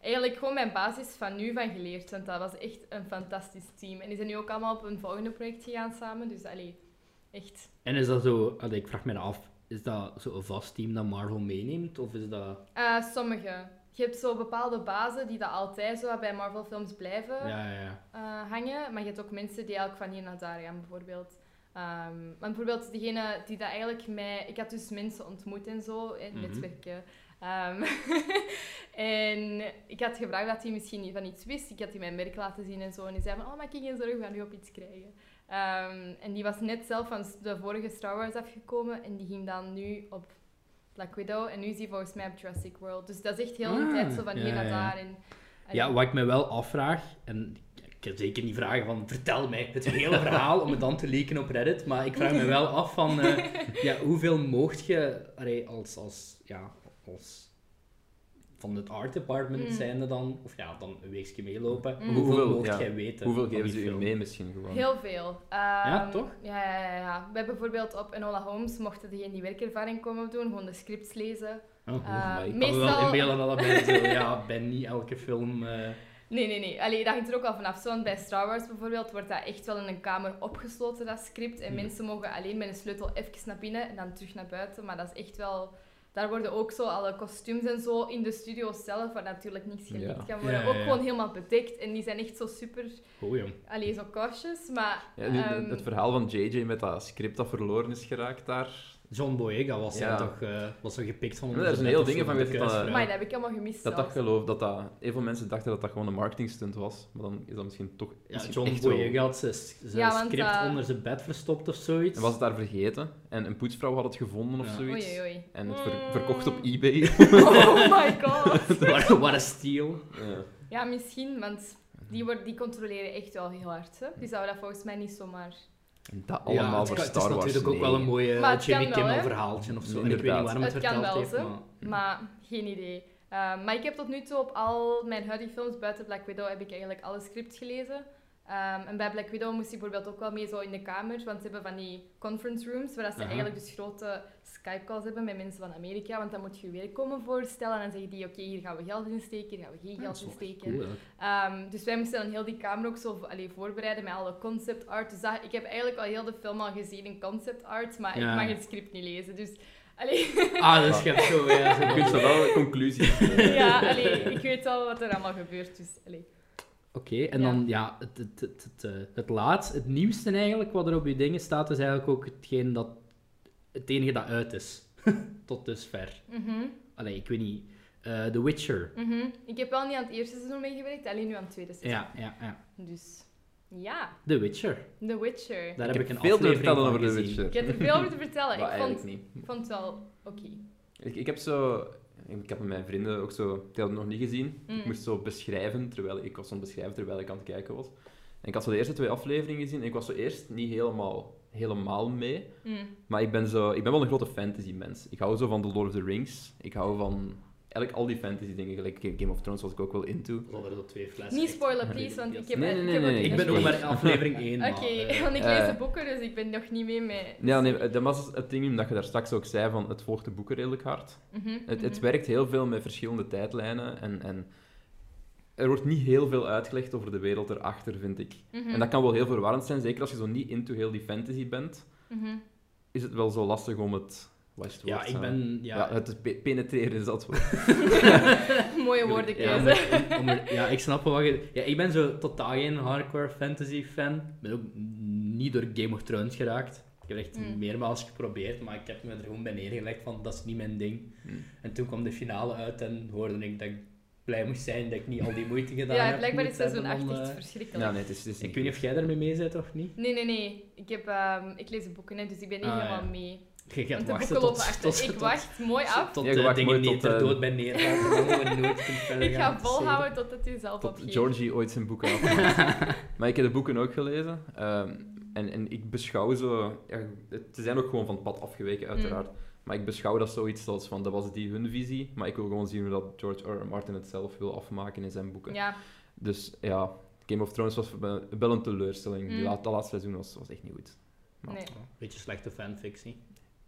Speaker 3: eigenlijk gewoon mijn basis van nu van geleerd. Want dat was echt een fantastisch team. En die zijn nu ook allemaal op een volgende project gegaan samen. Dus allee, echt...
Speaker 1: En is dat zo, allee, ik vraag me af, is dat zo een vast team dat Marvel meeneemt? Of is dat.
Speaker 3: Eh, sommige. Je hebt zo bepaalde bazen die dat altijd zo bij Marvel films blijven.
Speaker 1: Ja, ja, ja.
Speaker 3: eh, hangen. Maar je hebt ook mensen die eigenlijk van hier naar daar gaan, bijvoorbeeld. Ehm maar bijvoorbeeld degene die dat eigenlijk mij... Ik had dus mensen ontmoet en zo, in
Speaker 1: Mhm.
Speaker 3: netwerken. Ehm, en ik had gevraagd dat hij misschien niet van iets wist. Ik had die mijn werk laten zien en zo. En die zei van, oh, maak je geen zorgen, we gaan nu op iets krijgen. Ehm, en die was net zelf van de vorige Star Wars afgekomen. En die ging dan nu op Black Widow. En nu is hij volgens mij op Jurassic World. Dus dat is echt heel de
Speaker 1: Ah,
Speaker 3: tijd zo van hier
Speaker 1: ja,
Speaker 3: naar
Speaker 1: ja.
Speaker 3: daar. En,
Speaker 1: Ja, wat ik me wel afvraag, en ik heb zeker niet vragen van vertel mij het hele verhaal om het dan te leaken op Reddit, maar ik vraag me wel af van eh, ja, hoeveel moogt je allee, als, als, ja, als van het art department
Speaker 3: Mm.
Speaker 1: zijnde dan, of ja, dan een weekje meelopen,
Speaker 3: Mm.
Speaker 1: hoeveel,
Speaker 2: Hoeveel,
Speaker 1: moogt
Speaker 2: ja.
Speaker 1: jij weten?
Speaker 2: Hoeveel
Speaker 1: van die
Speaker 2: geven ze u
Speaker 1: film?
Speaker 2: mee misschien gewoon?
Speaker 3: Heel veel. Ehm,
Speaker 1: toch?
Speaker 3: Ja, ja, ja, ja. Bij bijvoorbeeld op Enola Holmes mochten degenen die werkervaring komen opdoen, gewoon de scripts lezen.
Speaker 1: Oh,
Speaker 3: Eh,
Speaker 1: maar ik kan me wel
Speaker 3: meestal-
Speaker 1: inbeelden dat dat bij, zo, ja, bij niet elke film... eh,
Speaker 3: Nee, nee, nee. Allee, dat hangt er ook al vanaf. Zo, want bij Star Wars bijvoorbeeld wordt dat echt wel in een kamer opgesloten, dat script. En
Speaker 1: Mhm.
Speaker 3: mensen mogen alleen met een sleutel even naar binnen en dan terug naar buiten. Maar dat is echt wel... Daar worden ook zo alle kostuums en zo in de studio zelf, waar natuurlijk niks
Speaker 2: Ja.
Speaker 3: gelikt kan worden,
Speaker 1: Ja, ja,
Speaker 3: ook
Speaker 1: ja.
Speaker 3: gewoon helemaal bedekt. En die zijn echt zo super...
Speaker 1: Oh jong.
Speaker 3: Allee, zo cautious, maar...
Speaker 2: Ja, die-
Speaker 3: ehm,
Speaker 2: het verhaal van JJ met dat script dat verloren is geraakt daar.
Speaker 1: John Boyega was
Speaker 2: Ja.
Speaker 1: hij toch eh, was er gepikt van
Speaker 2: Ja,
Speaker 1: onder
Speaker 2: daar
Speaker 1: zijn
Speaker 2: zijn heel
Speaker 1: net of zo,
Speaker 2: dingen
Speaker 1: eh,
Speaker 2: van eh,
Speaker 1: de
Speaker 2: weten van,
Speaker 1: kuisvrouw.
Speaker 3: maar dat heb ik helemaal gemist
Speaker 2: Dat
Speaker 3: zelfs.
Speaker 2: dacht geloof dat dat... Heel veel mensen dachten dat dat gewoon een marketing stunt was. Maar dan is dat misschien toch...
Speaker 1: ja,
Speaker 2: misschien
Speaker 1: John
Speaker 2: echt wel-
Speaker 1: Boyega had zijn, zijn
Speaker 3: Ja, want,
Speaker 1: script
Speaker 3: eh,
Speaker 1: onder zijn bed verstopt of zoiets.
Speaker 2: En was het daar vergeten. En een poetsvrouw had het gevonden of
Speaker 1: Ja.
Speaker 2: zoiets.
Speaker 3: Oei, oei, oei.
Speaker 2: En het ver- verkocht op
Speaker 3: Mm.
Speaker 2: eBay.
Speaker 3: Oh my god.
Speaker 1: What- What a steal.
Speaker 2: ja.
Speaker 3: Ja, misschien, want die, worden, die controleren echt wel heel hard. Hè? Die zouden dat volgens mij niet zomaar...
Speaker 2: En dat
Speaker 1: Ja,
Speaker 2: allemaal
Speaker 1: het
Speaker 2: voor
Speaker 1: kan-
Speaker 2: Star
Speaker 1: Het
Speaker 2: Wars.
Speaker 1: is natuurlijk ook
Speaker 2: nee.
Speaker 1: wel een mooi
Speaker 3: Maar
Speaker 1: eh,
Speaker 3: het kan
Speaker 1: Jimmy
Speaker 3: wel,
Speaker 1: Kimmel
Speaker 3: hè?
Speaker 1: verhaaltje of zo. En ik weet
Speaker 2: Inderdaad.
Speaker 1: niet waarom het,
Speaker 3: Het kan
Speaker 1: verteld
Speaker 3: wel,
Speaker 1: heeft,
Speaker 3: zo.
Speaker 1: maar...
Speaker 2: Hm.
Speaker 3: Maar geen idee. Ehm, maar ik heb tot nu toe op al mijn huidige films buiten Black Widow heb ik eigenlijk alle scripts gelezen. Ehm, en bij Black Widow moest ik bijvoorbeeld ook wel mee zo in de kamer, want ze hebben van die conference rooms, waar dat ze
Speaker 1: Aha.
Speaker 3: eigenlijk dus grote Skype calls hebben met mensen van Amerika, want dan moet je je werk komen voorstellen en dan zeggen die, oké, hier gaan we geld insteken, hier gaan we geen
Speaker 1: Ja, dat
Speaker 3: geld
Speaker 1: is wel Ah, echt
Speaker 3: insteken.
Speaker 1: cool, hè.
Speaker 3: Ehm, dus wij moesten dan heel die kamer ook zo allee, voorbereiden met alle concept art. Dus dat- ik heb eigenlijk al heel de film al gezien in concept art, maar
Speaker 1: Ja.
Speaker 3: ik mag het script niet lezen. Dus allee,
Speaker 1: Ah, dus je hebt zo... Ja,
Speaker 2: Je kunt
Speaker 1: zo
Speaker 2: zo wel conclusies. eh,
Speaker 3: ja, allee, ik weet wel wat er allemaal gebeurt. Dus allee.
Speaker 1: Oké, en dan ja, het, het, het, het, eh, het laatste, het nieuwste eigenlijk, wat er op je dingen staat, is eigenlijk ook hetgeen dat, het enige dat uit is. Tot dusver.
Speaker 3: Mhm,
Speaker 1: Allee, ik weet niet. Eh, The Witcher.
Speaker 3: mhm. Ik heb wel niet aan het eerste seizoen meegewerkt, alleen nu aan het tweede seizoen.
Speaker 1: Ja, ja, ja.
Speaker 3: Dus ja,
Speaker 1: The Witcher.
Speaker 3: The Witcher.
Speaker 1: Daar heb, ik een
Speaker 2: veel te
Speaker 1: aflevering
Speaker 2: vertellen
Speaker 1: van
Speaker 2: over The
Speaker 1: gezien.
Speaker 2: Witcher.
Speaker 3: Ik heb er veel over te vertellen.
Speaker 2: Maar
Speaker 3: Ik vond,
Speaker 2: eigenlijk niet.
Speaker 3: vond het wel oké.
Speaker 2: Ik, ik heb zo... Ik heb met mijn vrienden ook zo... Die hadden het nog niet gezien. Ik
Speaker 3: Mm.
Speaker 2: moest zo beschrijven, terwijl ik was zo'n beschrijven terwijl ik aan het kijken was. En ik had zo de eerste twee afleveringen gezien en ik was zo eerst niet helemaal, helemaal mee.
Speaker 3: Mm.
Speaker 2: Maar ik ben, zo, ik ben wel een grote fantasy-mens. Ik hou zo van The Lord of the Rings. Ik hou van eigenlijk al die fantasy-dingen. Gelijk Game of Thrones was ik ook wel into.
Speaker 1: Oh, We hadden er zo twee flessen.
Speaker 3: Niet spoilen, please, want ik heb
Speaker 2: Nee, nee,
Speaker 3: ik
Speaker 2: nee,
Speaker 3: heb het
Speaker 2: nee,
Speaker 1: Ik
Speaker 3: niet
Speaker 1: ben ook
Speaker 3: gezien.
Speaker 1: maar in aflevering 1.
Speaker 3: Oké, want ik lees
Speaker 2: Eh.
Speaker 3: de boeken, dus ik ben nog niet mee met...
Speaker 2: Ja, nee, dat was het ding omdat je daar straks ook zei van het volgt de boeken redelijk hard.
Speaker 3: Mhm,
Speaker 2: Het, het
Speaker 3: mhm.
Speaker 2: werkt heel veel met verschillende tijdlijnen en, en er wordt niet heel veel uitgelegd over de wereld erachter, vind ik.
Speaker 3: Mhm,
Speaker 2: En dat kan wel heel verwarrend zijn, zeker als je zo niet into heel die fantasy bent,
Speaker 3: mhm.
Speaker 2: is het wel zo lastig om het... Wat is het
Speaker 1: Ja,
Speaker 2: woord,
Speaker 1: ik
Speaker 2: eh?
Speaker 1: ben...
Speaker 2: Ja,
Speaker 1: Ja,
Speaker 2: het pe- penetreren is dat woord.
Speaker 3: Mooie
Speaker 1: Ja,
Speaker 3: woordenkeuze.
Speaker 1: maar- om- om er- ja, ik snap wel wat je... Ja, ik ben zo totaal geen hardcore fantasy fan. Ik ben ook niet door Game of Thrones geraakt. Ik heb echt
Speaker 3: Mm.
Speaker 1: meermaals geprobeerd, maar ik heb me er gewoon bij neergelegd van dat is niet mijn ding.
Speaker 2: Mm.
Speaker 1: En toen kwam de finale uit en hoorde ik dat ik blij moest zijn dat ik niet al die moeite gedaan heb.
Speaker 3: Ja, blijkbaar is
Speaker 1: moeten
Speaker 3: seizoen 8
Speaker 1: hebben om,
Speaker 3: echt
Speaker 1: eh,
Speaker 3: verschrikkelijk.
Speaker 2: Ja, nee, het is, het is
Speaker 1: Ik weet niet of jij ermee mee bent of niet.
Speaker 3: Nee, nee, nee. Ik, heb, ehm, ik lees de boeken, hè, dus ik ben niet
Speaker 1: Ah,
Speaker 3: helemaal
Speaker 1: ja.
Speaker 3: mee.
Speaker 1: Je gaat
Speaker 3: Want de
Speaker 1: wachten
Speaker 3: boeken lopen
Speaker 1: tot,
Speaker 3: achter.
Speaker 1: tot,
Speaker 3: ik
Speaker 1: tot,
Speaker 3: wacht mooi af.
Speaker 1: tot
Speaker 2: Ja,
Speaker 1: de
Speaker 2: je wacht
Speaker 1: dingen
Speaker 2: mooi
Speaker 1: niet
Speaker 2: tot,
Speaker 1: er
Speaker 2: eh,
Speaker 1: dood bij neervallen. en dan gewoon nooit kunt verder
Speaker 3: Ik
Speaker 1: gaan.
Speaker 3: ga volhouden totdat hij zelf
Speaker 2: tot
Speaker 3: opgeeft.
Speaker 2: Georgie ooit zijn boek afmaakt. maar ik heb de boeken ook gelezen. ehm, en, en ik beschouw zo... Ja, het- ze zijn ook gewoon van het pad afgeweken,
Speaker 3: Mm.
Speaker 2: uiteraard. Maar ik beschouw dat zoiets als van, dat was die hun visie. Maar ik wil gewoon zien hoe dat George R. R. Martin het zelf wil afmaken in zijn boeken.
Speaker 3: Ja,
Speaker 2: Dus ja, Game of Thrones was voor mij wel een teleurstelling. Die
Speaker 3: Mm.
Speaker 2: laat, dat laatste seizoen was, was echt niet goed. Nou.
Speaker 3: nee.
Speaker 1: Beetje slechte fanfictie.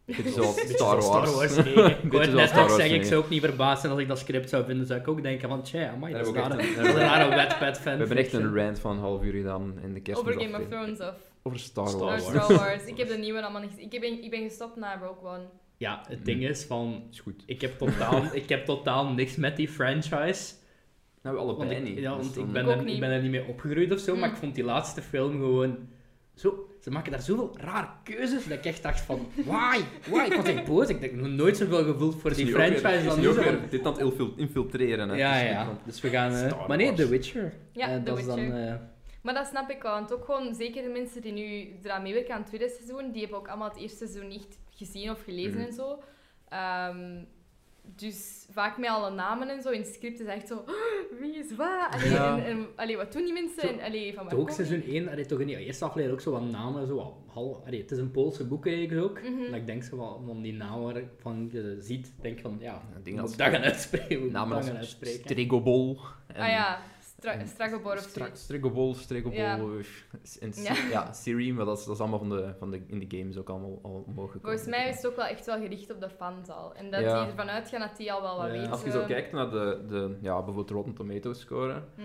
Speaker 2: Ik vind het zoals
Speaker 1: Beetje
Speaker 2: Star
Speaker 1: zoals Star
Speaker 2: Wars.
Speaker 1: Wars kijken. Ik
Speaker 2: Beetje
Speaker 1: hoorde
Speaker 2: zoals
Speaker 1: net
Speaker 2: Star
Speaker 1: ook
Speaker 2: Wars
Speaker 1: zeggen, ik
Speaker 2: kijken.
Speaker 1: zou ook niet verbaasd zijn als ik dat script zou vinden. Zou ik ook denken van, tja, amai,
Speaker 2: Daar
Speaker 1: dat is
Speaker 2: hebben we
Speaker 1: een
Speaker 2: ook echt
Speaker 1: rare-
Speaker 2: een-
Speaker 1: dat is een rare Wattpad
Speaker 2: We
Speaker 1: fan.
Speaker 2: hebben echt een rant van een half uur gedaan in de kerst.
Speaker 3: Over Game of Thrones of
Speaker 2: Over Star
Speaker 1: Star
Speaker 3: of
Speaker 2: Wars.
Speaker 1: Wars.
Speaker 3: Star Wars. Ik heb de nieuwe allemaal niet gezien. Ik ben, ik ben gestopt na Rogue One.
Speaker 1: Ja, het ding
Speaker 2: Mm.
Speaker 1: is van...
Speaker 2: Is goed.
Speaker 1: Ik heb, totaal, ik heb totaal niks met die franchise.
Speaker 2: Nou, allebei
Speaker 1: Want ik,
Speaker 2: niet.
Speaker 1: ja,
Speaker 2: Dus
Speaker 1: want
Speaker 2: dan-
Speaker 1: ik, ben
Speaker 3: Ik ook
Speaker 1: er, ik
Speaker 3: niet.
Speaker 1: ben er niet mee opgegroeid of zo, maar
Speaker 3: Mm.
Speaker 1: ik vond die laatste film gewoon zo. Ze maken daar zoveel raar keuzes dat ik echt dacht van, why? Why? Ik was echt boos. Ik heb nog nooit zoveel gevoeld voor
Speaker 2: Is
Speaker 1: die
Speaker 2: nu ook weer-
Speaker 1: franchise
Speaker 2: is
Speaker 1: dan
Speaker 2: nu
Speaker 1: nu.
Speaker 2: ook
Speaker 1: zo van-
Speaker 2: weer dit aan het infil- infiltreren. Hè.
Speaker 1: Ja,
Speaker 2: Dus ik
Speaker 1: ja.
Speaker 2: van-
Speaker 1: Dus we gaan... eh,
Speaker 2: Star
Speaker 1: maar nee,
Speaker 2: Wars.
Speaker 1: The Witcher.
Speaker 3: Ja,
Speaker 1: Eh,
Speaker 3: The
Speaker 1: dat is
Speaker 3: Witcher.
Speaker 1: Dan, eh,
Speaker 3: Maar dat snap ik wel, want ook gewoon zeker de mensen die nu eraan meewerken aan het tweede seizoen, die hebben ook allemaal het eerste seizoen niet gezien of gelezen
Speaker 2: Mhm.
Speaker 3: en zo. Ehm, dus vaak met alle namen en zo in het script is echt zo, "Oh, wie is waar? Allee,
Speaker 2: Ja.
Speaker 3: en, en- allee, wat doen die mensen?
Speaker 1: Zo,
Speaker 3: En, allee, van waar
Speaker 1: toch ook
Speaker 3: komen
Speaker 1: seizoen
Speaker 3: die?
Speaker 1: 1, allee, toch in die eerste aflevering ook zo wat namen, zo wat hal- allee, het is een Poolse boek eigenlijk ook.
Speaker 3: Mhm.
Speaker 1: Dat ik denk zo wat, van die namen van je ziet, denk van, ja,
Speaker 2: Ja,
Speaker 1: ik
Speaker 2: dingen
Speaker 1: moet
Speaker 2: als
Speaker 1: dat gaan uitspreken. moet
Speaker 2: namen
Speaker 1: dat gaan
Speaker 2: als
Speaker 1: uitspreken.
Speaker 2: Strigobol. en-
Speaker 3: Ah ja, stra
Speaker 2: en
Speaker 3: Stragobor of zo.
Speaker 2: Stra- Strigobol, Strigobol.
Speaker 3: Ja.
Speaker 2: eh, En, Si-
Speaker 3: Ja.
Speaker 2: ja. Siri, maar dat is, dat is allemaal van de, van de, in de games ook allemaal al omhoog gekomen.
Speaker 3: Volgens mij is het ook wel echt wel gericht op de fans al. En dat
Speaker 2: Ja.
Speaker 3: die ervan uitgaan dat die al wel wat
Speaker 1: Ja.
Speaker 3: weten.
Speaker 2: Als je zo kijkt naar de, de ja, bijvoorbeeld Rotten Tomatoes score,
Speaker 3: Hmm.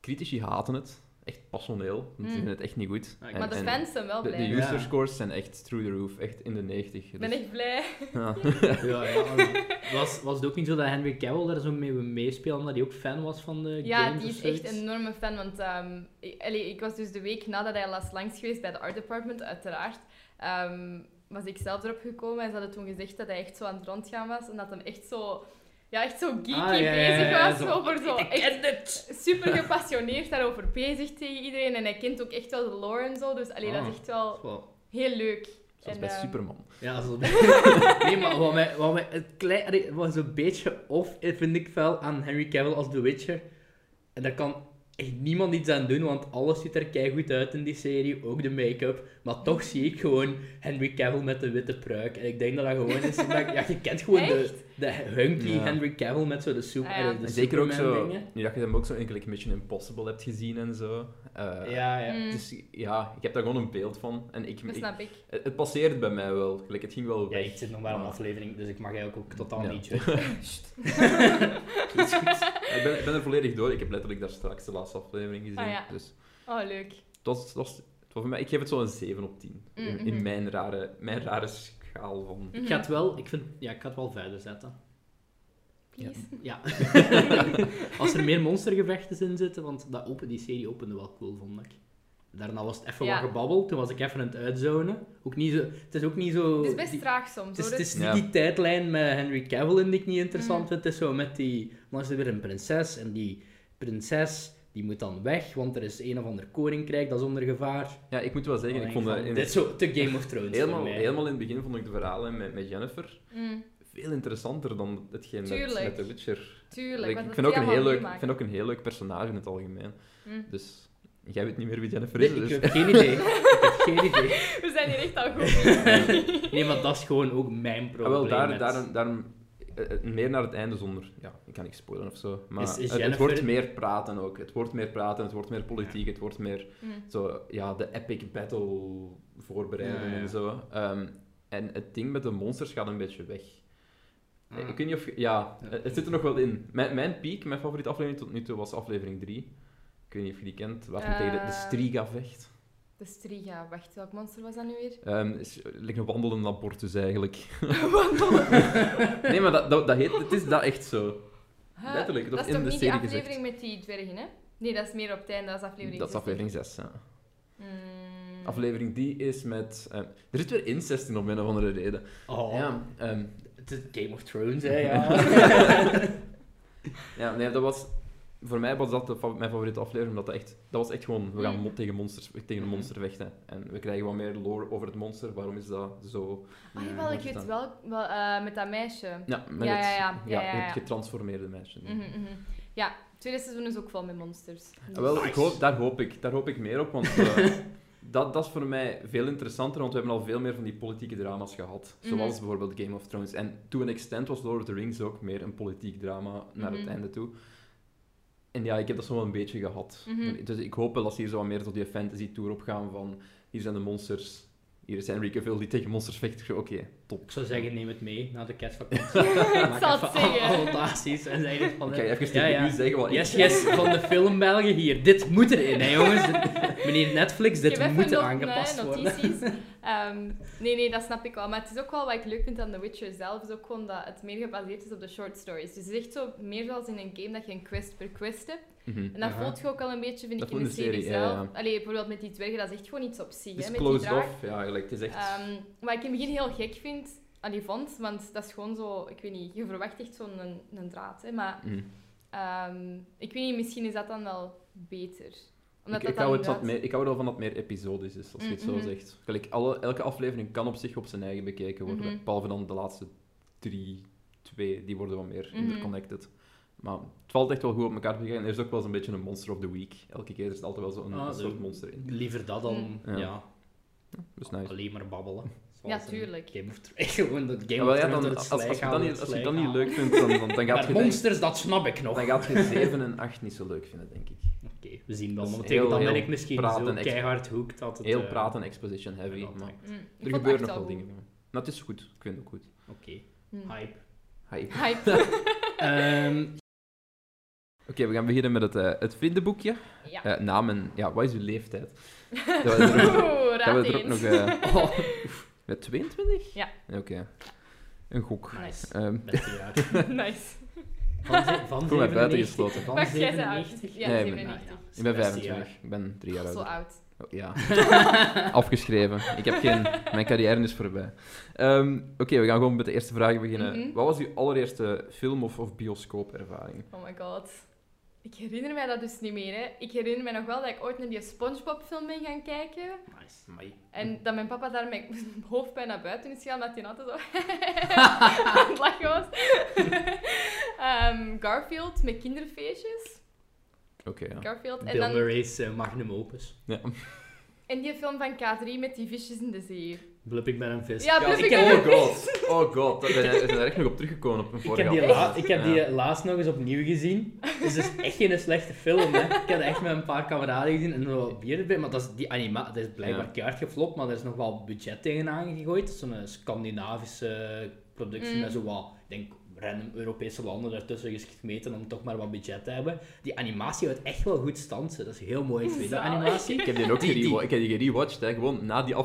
Speaker 2: critici haten het. Echt passioneel. Ze
Speaker 3: Mm.
Speaker 2: vinden het echt niet goed.
Speaker 1: Maar
Speaker 3: Maar de
Speaker 2: en
Speaker 3: fans zijn wel
Speaker 2: de,
Speaker 3: blij.
Speaker 2: de
Speaker 1: Ja.
Speaker 2: user scores zijn echt through the roof. Echt in de 90.
Speaker 3: Ik ben
Speaker 2: Dus-
Speaker 3: echt blij.
Speaker 2: ja.
Speaker 1: Ja, ja. maar Was, was het ook niet zo dat Henry Cavill daar zo mee meespelen, omdat hij ook fan was van de
Speaker 3: Ja,
Speaker 1: games
Speaker 3: die
Speaker 1: of
Speaker 3: is echt
Speaker 1: zoiets?
Speaker 3: een enorme fan. Want ehm, ik, allee, ik was dus de week nadat hij last langs geweest bij de art department, uiteraard, ehm, was ik zelf erop gekomen. En ze hadden toen gezegd dat hij echt zo aan het rondgaan was. En dat hem echt zo, ja, echt zo geeky
Speaker 1: Ah, ja, ja, ja,
Speaker 3: bezig
Speaker 1: ja,
Speaker 3: was.
Speaker 1: zo,
Speaker 3: over zo
Speaker 1: ik
Speaker 3: echt super gepassioneerd daarover bezig tegen iedereen. En hij kent ook echt wel de lore en zo. Dus allee, dat
Speaker 2: Ah.
Speaker 3: is echt wel
Speaker 1: Zo.
Speaker 3: heel leuk.
Speaker 2: Zoals
Speaker 3: En,
Speaker 2: bij
Speaker 3: ehm,
Speaker 2: Superman.
Speaker 1: Ja, zo. nee, maar wat mij, wat mij het klein, allee, wat zo'n beetje of vind ik wel aan Henry Cavill als The Witcher. En daar kan echt niemand iets aan doen, want alles ziet er keigoed uit in die serie, ook de make-up. Maar toch zie ik gewoon Henry Cavill met de witte pruik. En ik denk dat dat gewoon is, omdat, ja, je kent gewoon de, de hunky
Speaker 2: Ja.
Speaker 1: Henry Cavill met zo de, super,
Speaker 3: Ah, ja.
Speaker 1: eh, de
Speaker 2: En zeker ook zo,
Speaker 1: Superman-dingen.
Speaker 2: nu dat je hem ook zo in gelijk Mission Impossible hebt gezien en zo. eh,
Speaker 1: Ja, ja.
Speaker 3: Mm,
Speaker 2: Dus ja, ik heb daar gewoon een beeld van. En ik,
Speaker 3: dat
Speaker 2: ik-
Speaker 3: snap ik.
Speaker 2: het, het passeerde bij mij wel. Gelijk, het ging wel
Speaker 1: Ja,
Speaker 2: weg.
Speaker 1: ik zit nog wel een aflevering, dus ik mag eigenlijk ook totaal
Speaker 2: Ja.
Speaker 1: niet judgen.
Speaker 2: Goed, goed. ik, ben, ik ben er volledig door. Ik heb letterlijk daar straks de laatste aflevering gezien.
Speaker 3: Ah, ja.
Speaker 2: Dus
Speaker 3: Oh, leuk.
Speaker 2: Het was, het was, het was voor mij, ik geef het zo een 7 op 10. In,
Speaker 3: Mm,
Speaker 2: in
Speaker 3: mhm.
Speaker 2: mijn, rare, mijn rare schaal van...
Speaker 1: Ik ga het wel, ik vind, ja, ik ga het wel verder zetten.
Speaker 3: please.
Speaker 1: Ja. Als er meer monstergevechten in zitten, want dat open, die serie opende wel cool, vond ik. Daarna was het even
Speaker 3: Ja.
Speaker 1: wat gebabbel, toen was ik even aan het uitzonen. Ook niet zo, het is ook niet zo...
Speaker 3: Het is best
Speaker 1: die-
Speaker 3: traag soms.
Speaker 1: het is,
Speaker 3: hoor.
Speaker 1: het is
Speaker 2: Ja.
Speaker 1: niet die tijdlijn met Henry Cavill in die ik niet interessant
Speaker 3: Mm.
Speaker 1: vind. Het is zo met die... Dan is er weer een prinses en die prinses die moet dan weg, want er is een of ander koninkrijk dat is onder gevaar.
Speaker 2: Ja, ik moet wel zeggen,
Speaker 1: Dan
Speaker 2: ik
Speaker 1: denk
Speaker 2: vond
Speaker 1: van,
Speaker 2: dat in-
Speaker 1: Oh, Dit is zo te Game of Thrones
Speaker 2: helemaal,
Speaker 1: voor mij.
Speaker 2: helemaal in het begin vond ik de verhalen met, met Jennifer
Speaker 3: Mm,
Speaker 2: veel interessanter dan hetgeen met,
Speaker 3: Tuurlijk.
Speaker 2: met The Witcher.
Speaker 3: tuurlijk.
Speaker 2: ik,
Speaker 3: want dat
Speaker 2: vind ook
Speaker 3: die
Speaker 2: een heel
Speaker 3: allemaal
Speaker 2: leuk, ik
Speaker 3: meemaken.
Speaker 2: vind ook een heel leuk personage in het algemeen.
Speaker 3: Mm.
Speaker 2: Dus jij weet niet meer wie Jennifer
Speaker 1: Nee,
Speaker 2: is.
Speaker 1: ik
Speaker 2: dus-
Speaker 1: heb geen idee. ik heb geen idee.
Speaker 3: We zijn hier echt al goed.
Speaker 1: Nee, maar dat is gewoon ook mijn
Speaker 2: Ah,
Speaker 1: probleem.
Speaker 2: wel, daar,
Speaker 1: met-
Speaker 2: daarom, daarom eh, eh, meer naar het einde zonder... Ja, ik kan niks spoilen of zo. Maar
Speaker 1: Is- is
Speaker 2: het- het,
Speaker 1: Jennifer-
Speaker 2: wordt meer praten ook. Het wordt meer praten, het wordt meer politiek, het wordt meer
Speaker 3: Mm.
Speaker 2: zo, ja, de epic battle voorbereiden
Speaker 1: Ja, ja.
Speaker 2: en zo. Ehm, en het ding met de monsters gaat een beetje weg. Eh,
Speaker 1: Ah.
Speaker 2: Ik weet niet of... je- Ja, eh,
Speaker 1: Ja.
Speaker 2: het zit er nog wel in. Mijn, mijn piek, mijn favoriete aflevering tot nu toe, was aflevering 3. Ik weet niet of je die kent, waar hij tegen de, de
Speaker 3: Eh.
Speaker 2: Striga vecht.
Speaker 3: De Striga, wacht, welk monster was dat nu weer?
Speaker 2: Ehm is, lijkt een wandelend abortus dus eigenlijk.
Speaker 3: Wandelen.
Speaker 2: Nee, maar dat, dat, dat heet, het is dat echt zo.
Speaker 3: Huh,
Speaker 2: Letterlijk, dat
Speaker 3: dat
Speaker 2: in
Speaker 3: is toch
Speaker 2: de
Speaker 3: niet
Speaker 2: serie
Speaker 3: die aflevering met die dwergen, hè? Nee, dat is meer op het einde, dat is aflevering
Speaker 2: Dat is
Speaker 3: 16.
Speaker 2: aflevering 6, ja.
Speaker 3: Mm.
Speaker 2: Aflevering die is met... ehm, er zit weer incest in om een of andere reden.
Speaker 1: Oh,
Speaker 2: Ja, ehm,
Speaker 1: het is Game of Thrones, hè, ja.
Speaker 2: ja, nee, dat was... Voor mij was dat de fa- mijn favoriete aflevering, omdat dat echt... Dat was echt gewoon, we gaan
Speaker 3: Mm.
Speaker 2: mo- tegen, monsters, tegen een monster vechten. En we krijgen wat meer lore over het monster. Waarom is dat zo...
Speaker 3: Ah,
Speaker 1: Ja,
Speaker 3: jawel, ik
Speaker 2: wat is
Speaker 3: weet
Speaker 2: dat?
Speaker 3: wel, wel eh, met dat meisje.
Speaker 2: Ja, met
Speaker 3: Ja,
Speaker 2: het,
Speaker 3: ja, ja. Ja, ja, ja.
Speaker 2: het getransformeerde meisje.
Speaker 3: Mhm, mhm. Ja, het tweede seizoen is ook vol met monsters. Dus-
Speaker 2: Ah, Wel, ik
Speaker 1: Nice.
Speaker 2: hoop, daar, hoop ik, daar hoop ik meer op, want eh, dat, dat is voor mij veel interessanter, want we hebben al veel meer van die politieke drama's gehad.
Speaker 3: Mhm.
Speaker 2: Zoals bijvoorbeeld Game of Thrones. En to an extent was Lord of the Rings ook meer een politiek drama naar het
Speaker 3: Mhm.
Speaker 2: einde toe. En ja, ik heb dat zo wel een beetje gehad.
Speaker 3: Mhm.
Speaker 2: Dus ik hoop wel dat ze hier zo wat meer tot die fantasy tour op gaan van hier zijn de monsters, hier is Henry Cavill die tegen monsters vecht. Ik zo, Oké, top.
Speaker 1: Ik zou zeggen, neem het mee naar de kerstvakantie.
Speaker 3: ik zal het
Speaker 1: Maak even
Speaker 3: zeggen.
Speaker 1: annotaties en zeg het van...
Speaker 2: Oké, even tegen
Speaker 1: ja, ja.
Speaker 2: u zeggen wat
Speaker 1: Yes,
Speaker 2: ik...
Speaker 1: yes, van de film België hier. Dit moet erin, hè, jongens. Dit- Meneer Netflix,
Speaker 3: Ik
Speaker 1: dit
Speaker 3: heb
Speaker 1: moet
Speaker 3: even no-
Speaker 1: aangepast
Speaker 3: nee,
Speaker 1: worden.
Speaker 3: notities. Ehm, nee, nee, dat snap ik wel. Maar het is ook wel wat ik leuk vind aan The Witcher zelf, is ook gewoon dat het meer gebaseerd is op de short stories. Dus het is echt zo meer zoals in een game dat je een quest per quest hebt.
Speaker 2: Mhm.
Speaker 3: En dat
Speaker 1: Aha.
Speaker 3: voelt je ook al een beetje, vind
Speaker 2: Dat
Speaker 3: ik, in de
Speaker 2: voelt in de
Speaker 3: serie,
Speaker 2: serie, ja,
Speaker 3: zelf.
Speaker 2: ja.
Speaker 3: Allee, bijvoorbeeld met die dwergen, dat is echt gewoon iets op zich,
Speaker 2: Het is
Speaker 3: hè, met die
Speaker 2: closed
Speaker 3: draak.
Speaker 2: off, ja, eigenlijk. Het is echt...
Speaker 3: Ehm, wat ik in het begin heel gek vind, allee, vond, want dat is gewoon zo, ik weet niet, je verwacht echt zo'n een, een draad, hè, maar
Speaker 2: Mhm.
Speaker 3: ehm, ik weet niet, misschien is dat dan wel beter.
Speaker 2: Ik, ik,
Speaker 3: dan
Speaker 2: hou het wat
Speaker 3: inderdaad-
Speaker 2: meer, ik hou er wel van dat het meer episodisch is, als je het zo
Speaker 3: Mhm.
Speaker 2: zegt. Gelijk, alle, elke aflevering kan op zich op zijn eigen bekeken worden.
Speaker 3: Mhm.
Speaker 2: Behalve dan de laatste drie, twee, die worden wat meer
Speaker 3: Mhm.
Speaker 2: interconnected. Maar het valt echt wel goed op elkaar te kijken. Er is ook wel eens een beetje een monster of the week. Elke keer zit altijd wel zo'n
Speaker 1: Ah,
Speaker 2: een
Speaker 1: zo.
Speaker 2: soort monster in.
Speaker 1: Liever dat dan, ja.
Speaker 2: Ja. Dus nice.
Speaker 1: alleen maar babbelen.
Speaker 3: Ja,
Speaker 1: Zoals in
Speaker 3: tuurlijk.
Speaker 1: Game of Thrones. Gewoon dat Game
Speaker 2: Ah, wel,
Speaker 1: of
Speaker 2: ja,
Speaker 1: Thrones
Speaker 2: dan,
Speaker 1: door
Speaker 2: als,
Speaker 1: het
Speaker 2: als, als
Speaker 1: slijk
Speaker 2: je
Speaker 1: halen,
Speaker 2: dat
Speaker 1: door het
Speaker 2: niet, als je
Speaker 1: slijk
Speaker 2: dat niet
Speaker 1: halen.
Speaker 2: leuk vindt, dan, dan, dan gaat
Speaker 1: Maar
Speaker 2: je denk-
Speaker 1: monsters, dat snap ik nog.
Speaker 2: dan gaat je 7 en 8 niet zo leuk vinden, denk ik.
Speaker 1: Oké, we zien wel.
Speaker 2: Dus
Speaker 1: Want
Speaker 2: heel-
Speaker 1: tegen dan ben
Speaker 2: heel
Speaker 1: ik misschien
Speaker 2: praten
Speaker 1: zo
Speaker 2: en exp-
Speaker 1: keihard hooked dat het...
Speaker 2: Heel
Speaker 1: eh,
Speaker 2: praten en exposition heavy.
Speaker 1: dat
Speaker 2: maar
Speaker 1: hangt.
Speaker 3: Mm, ik
Speaker 2: er
Speaker 3: vond het
Speaker 2: gebeuren
Speaker 3: echt
Speaker 2: nog wel
Speaker 3: goed.
Speaker 2: dingen. Maar het is goed. Ik vind het ook goed.
Speaker 1: Oké,
Speaker 3: Mm.
Speaker 1: hype.
Speaker 2: Hype.
Speaker 3: Hype.
Speaker 1: Ehm,
Speaker 2: Oké, we gaan beginnen met het, eh, het vriendenboekje.
Speaker 3: Ja.
Speaker 2: Eh, naam en ja, wat is uw leeftijd?
Speaker 3: Oeh,
Speaker 2: Dat we er ook, dat
Speaker 3: raad
Speaker 2: we er ook
Speaker 3: eens.
Speaker 2: nog. eh, oh, oef, met 22?
Speaker 3: Ja.
Speaker 2: Oké, een gok.
Speaker 1: nice.
Speaker 2: Ehm,
Speaker 1: Beste jaar.
Speaker 3: Nice.
Speaker 1: Van, ze- van
Speaker 2: Kom maar, buiten
Speaker 1: 97,
Speaker 2: gesloten.
Speaker 1: Van
Speaker 3: Wacht, jij bent oud.
Speaker 1: 97.
Speaker 3: Ja,
Speaker 2: Nee,
Speaker 3: 97.
Speaker 2: ik ben
Speaker 1: Beste jaar.
Speaker 2: 25, ik ben drie jaar
Speaker 3: Zo
Speaker 2: ouder.
Speaker 3: oud.
Speaker 2: Oh, ja, afgeschreven. Ik heb geen, mijn carrière is voorbij. Ehm, Oké, we gaan gewoon met de eerste vraag beginnen.
Speaker 3: Mhm.
Speaker 2: Wat was uw allereerste film- of, of bioscoopervaring?
Speaker 3: Oh my god. Ik herinner mij dat dus niet meer. Hè. Ik herinner mij nog wel dat ik ooit naar die Spongebob-film ben gaan kijken.
Speaker 1: Nice.
Speaker 2: Amai.
Speaker 3: En dat mijn papa daar met hoofdpijn naar buiten is gegaan, omdat hij altijd zo aan het lachen was. Ehm, Garfield met kinderfeestjes.
Speaker 2: Oké, ja.
Speaker 3: Garfield. En,
Speaker 1: Bill
Speaker 3: dan,
Speaker 1: Murray's eh, magnum opus.
Speaker 2: ja.
Speaker 3: en die film van K3 met die visjes in de zee.
Speaker 1: Blup ik ben een vis.
Speaker 3: Ja, Bluff,
Speaker 1: ik
Speaker 3: ik
Speaker 1: heb
Speaker 3: ben
Speaker 2: Oh
Speaker 1: ook-
Speaker 3: een
Speaker 2: god, oh god, daar zijn we zijn er echt nog op teruggekomen op een
Speaker 1: Ik
Speaker 2: vorige
Speaker 1: heb, die
Speaker 2: aflevering.
Speaker 1: la- ik heb die
Speaker 2: Ja.
Speaker 1: eh, laatst nog eens opnieuw gezien. Dus dat is echt geen slechte film. Hè. Ik heb dat echt met een paar kameraden gezien en er wel bier erbij. Maar dat is, die anima dat is blijkbaar
Speaker 2: Ja.
Speaker 1: keihard geflopt, maar er is nog wel budget tegenaan gegooid. Dat is zo'n eh, Scandinavische productie
Speaker 3: Mm.
Speaker 1: met zo wat, ik denk, random Europese landen daartussen gesmeten om toch maar wat budget te hebben. Die animatie houdt echt wel goed stand. Dat is heel mooi gedaan, die
Speaker 3: Zalig.
Speaker 1: animatie.
Speaker 2: Ik heb die ook
Speaker 1: Die- die-
Speaker 2: gerewa- ik heb die gerewatched, hè, gewoon na die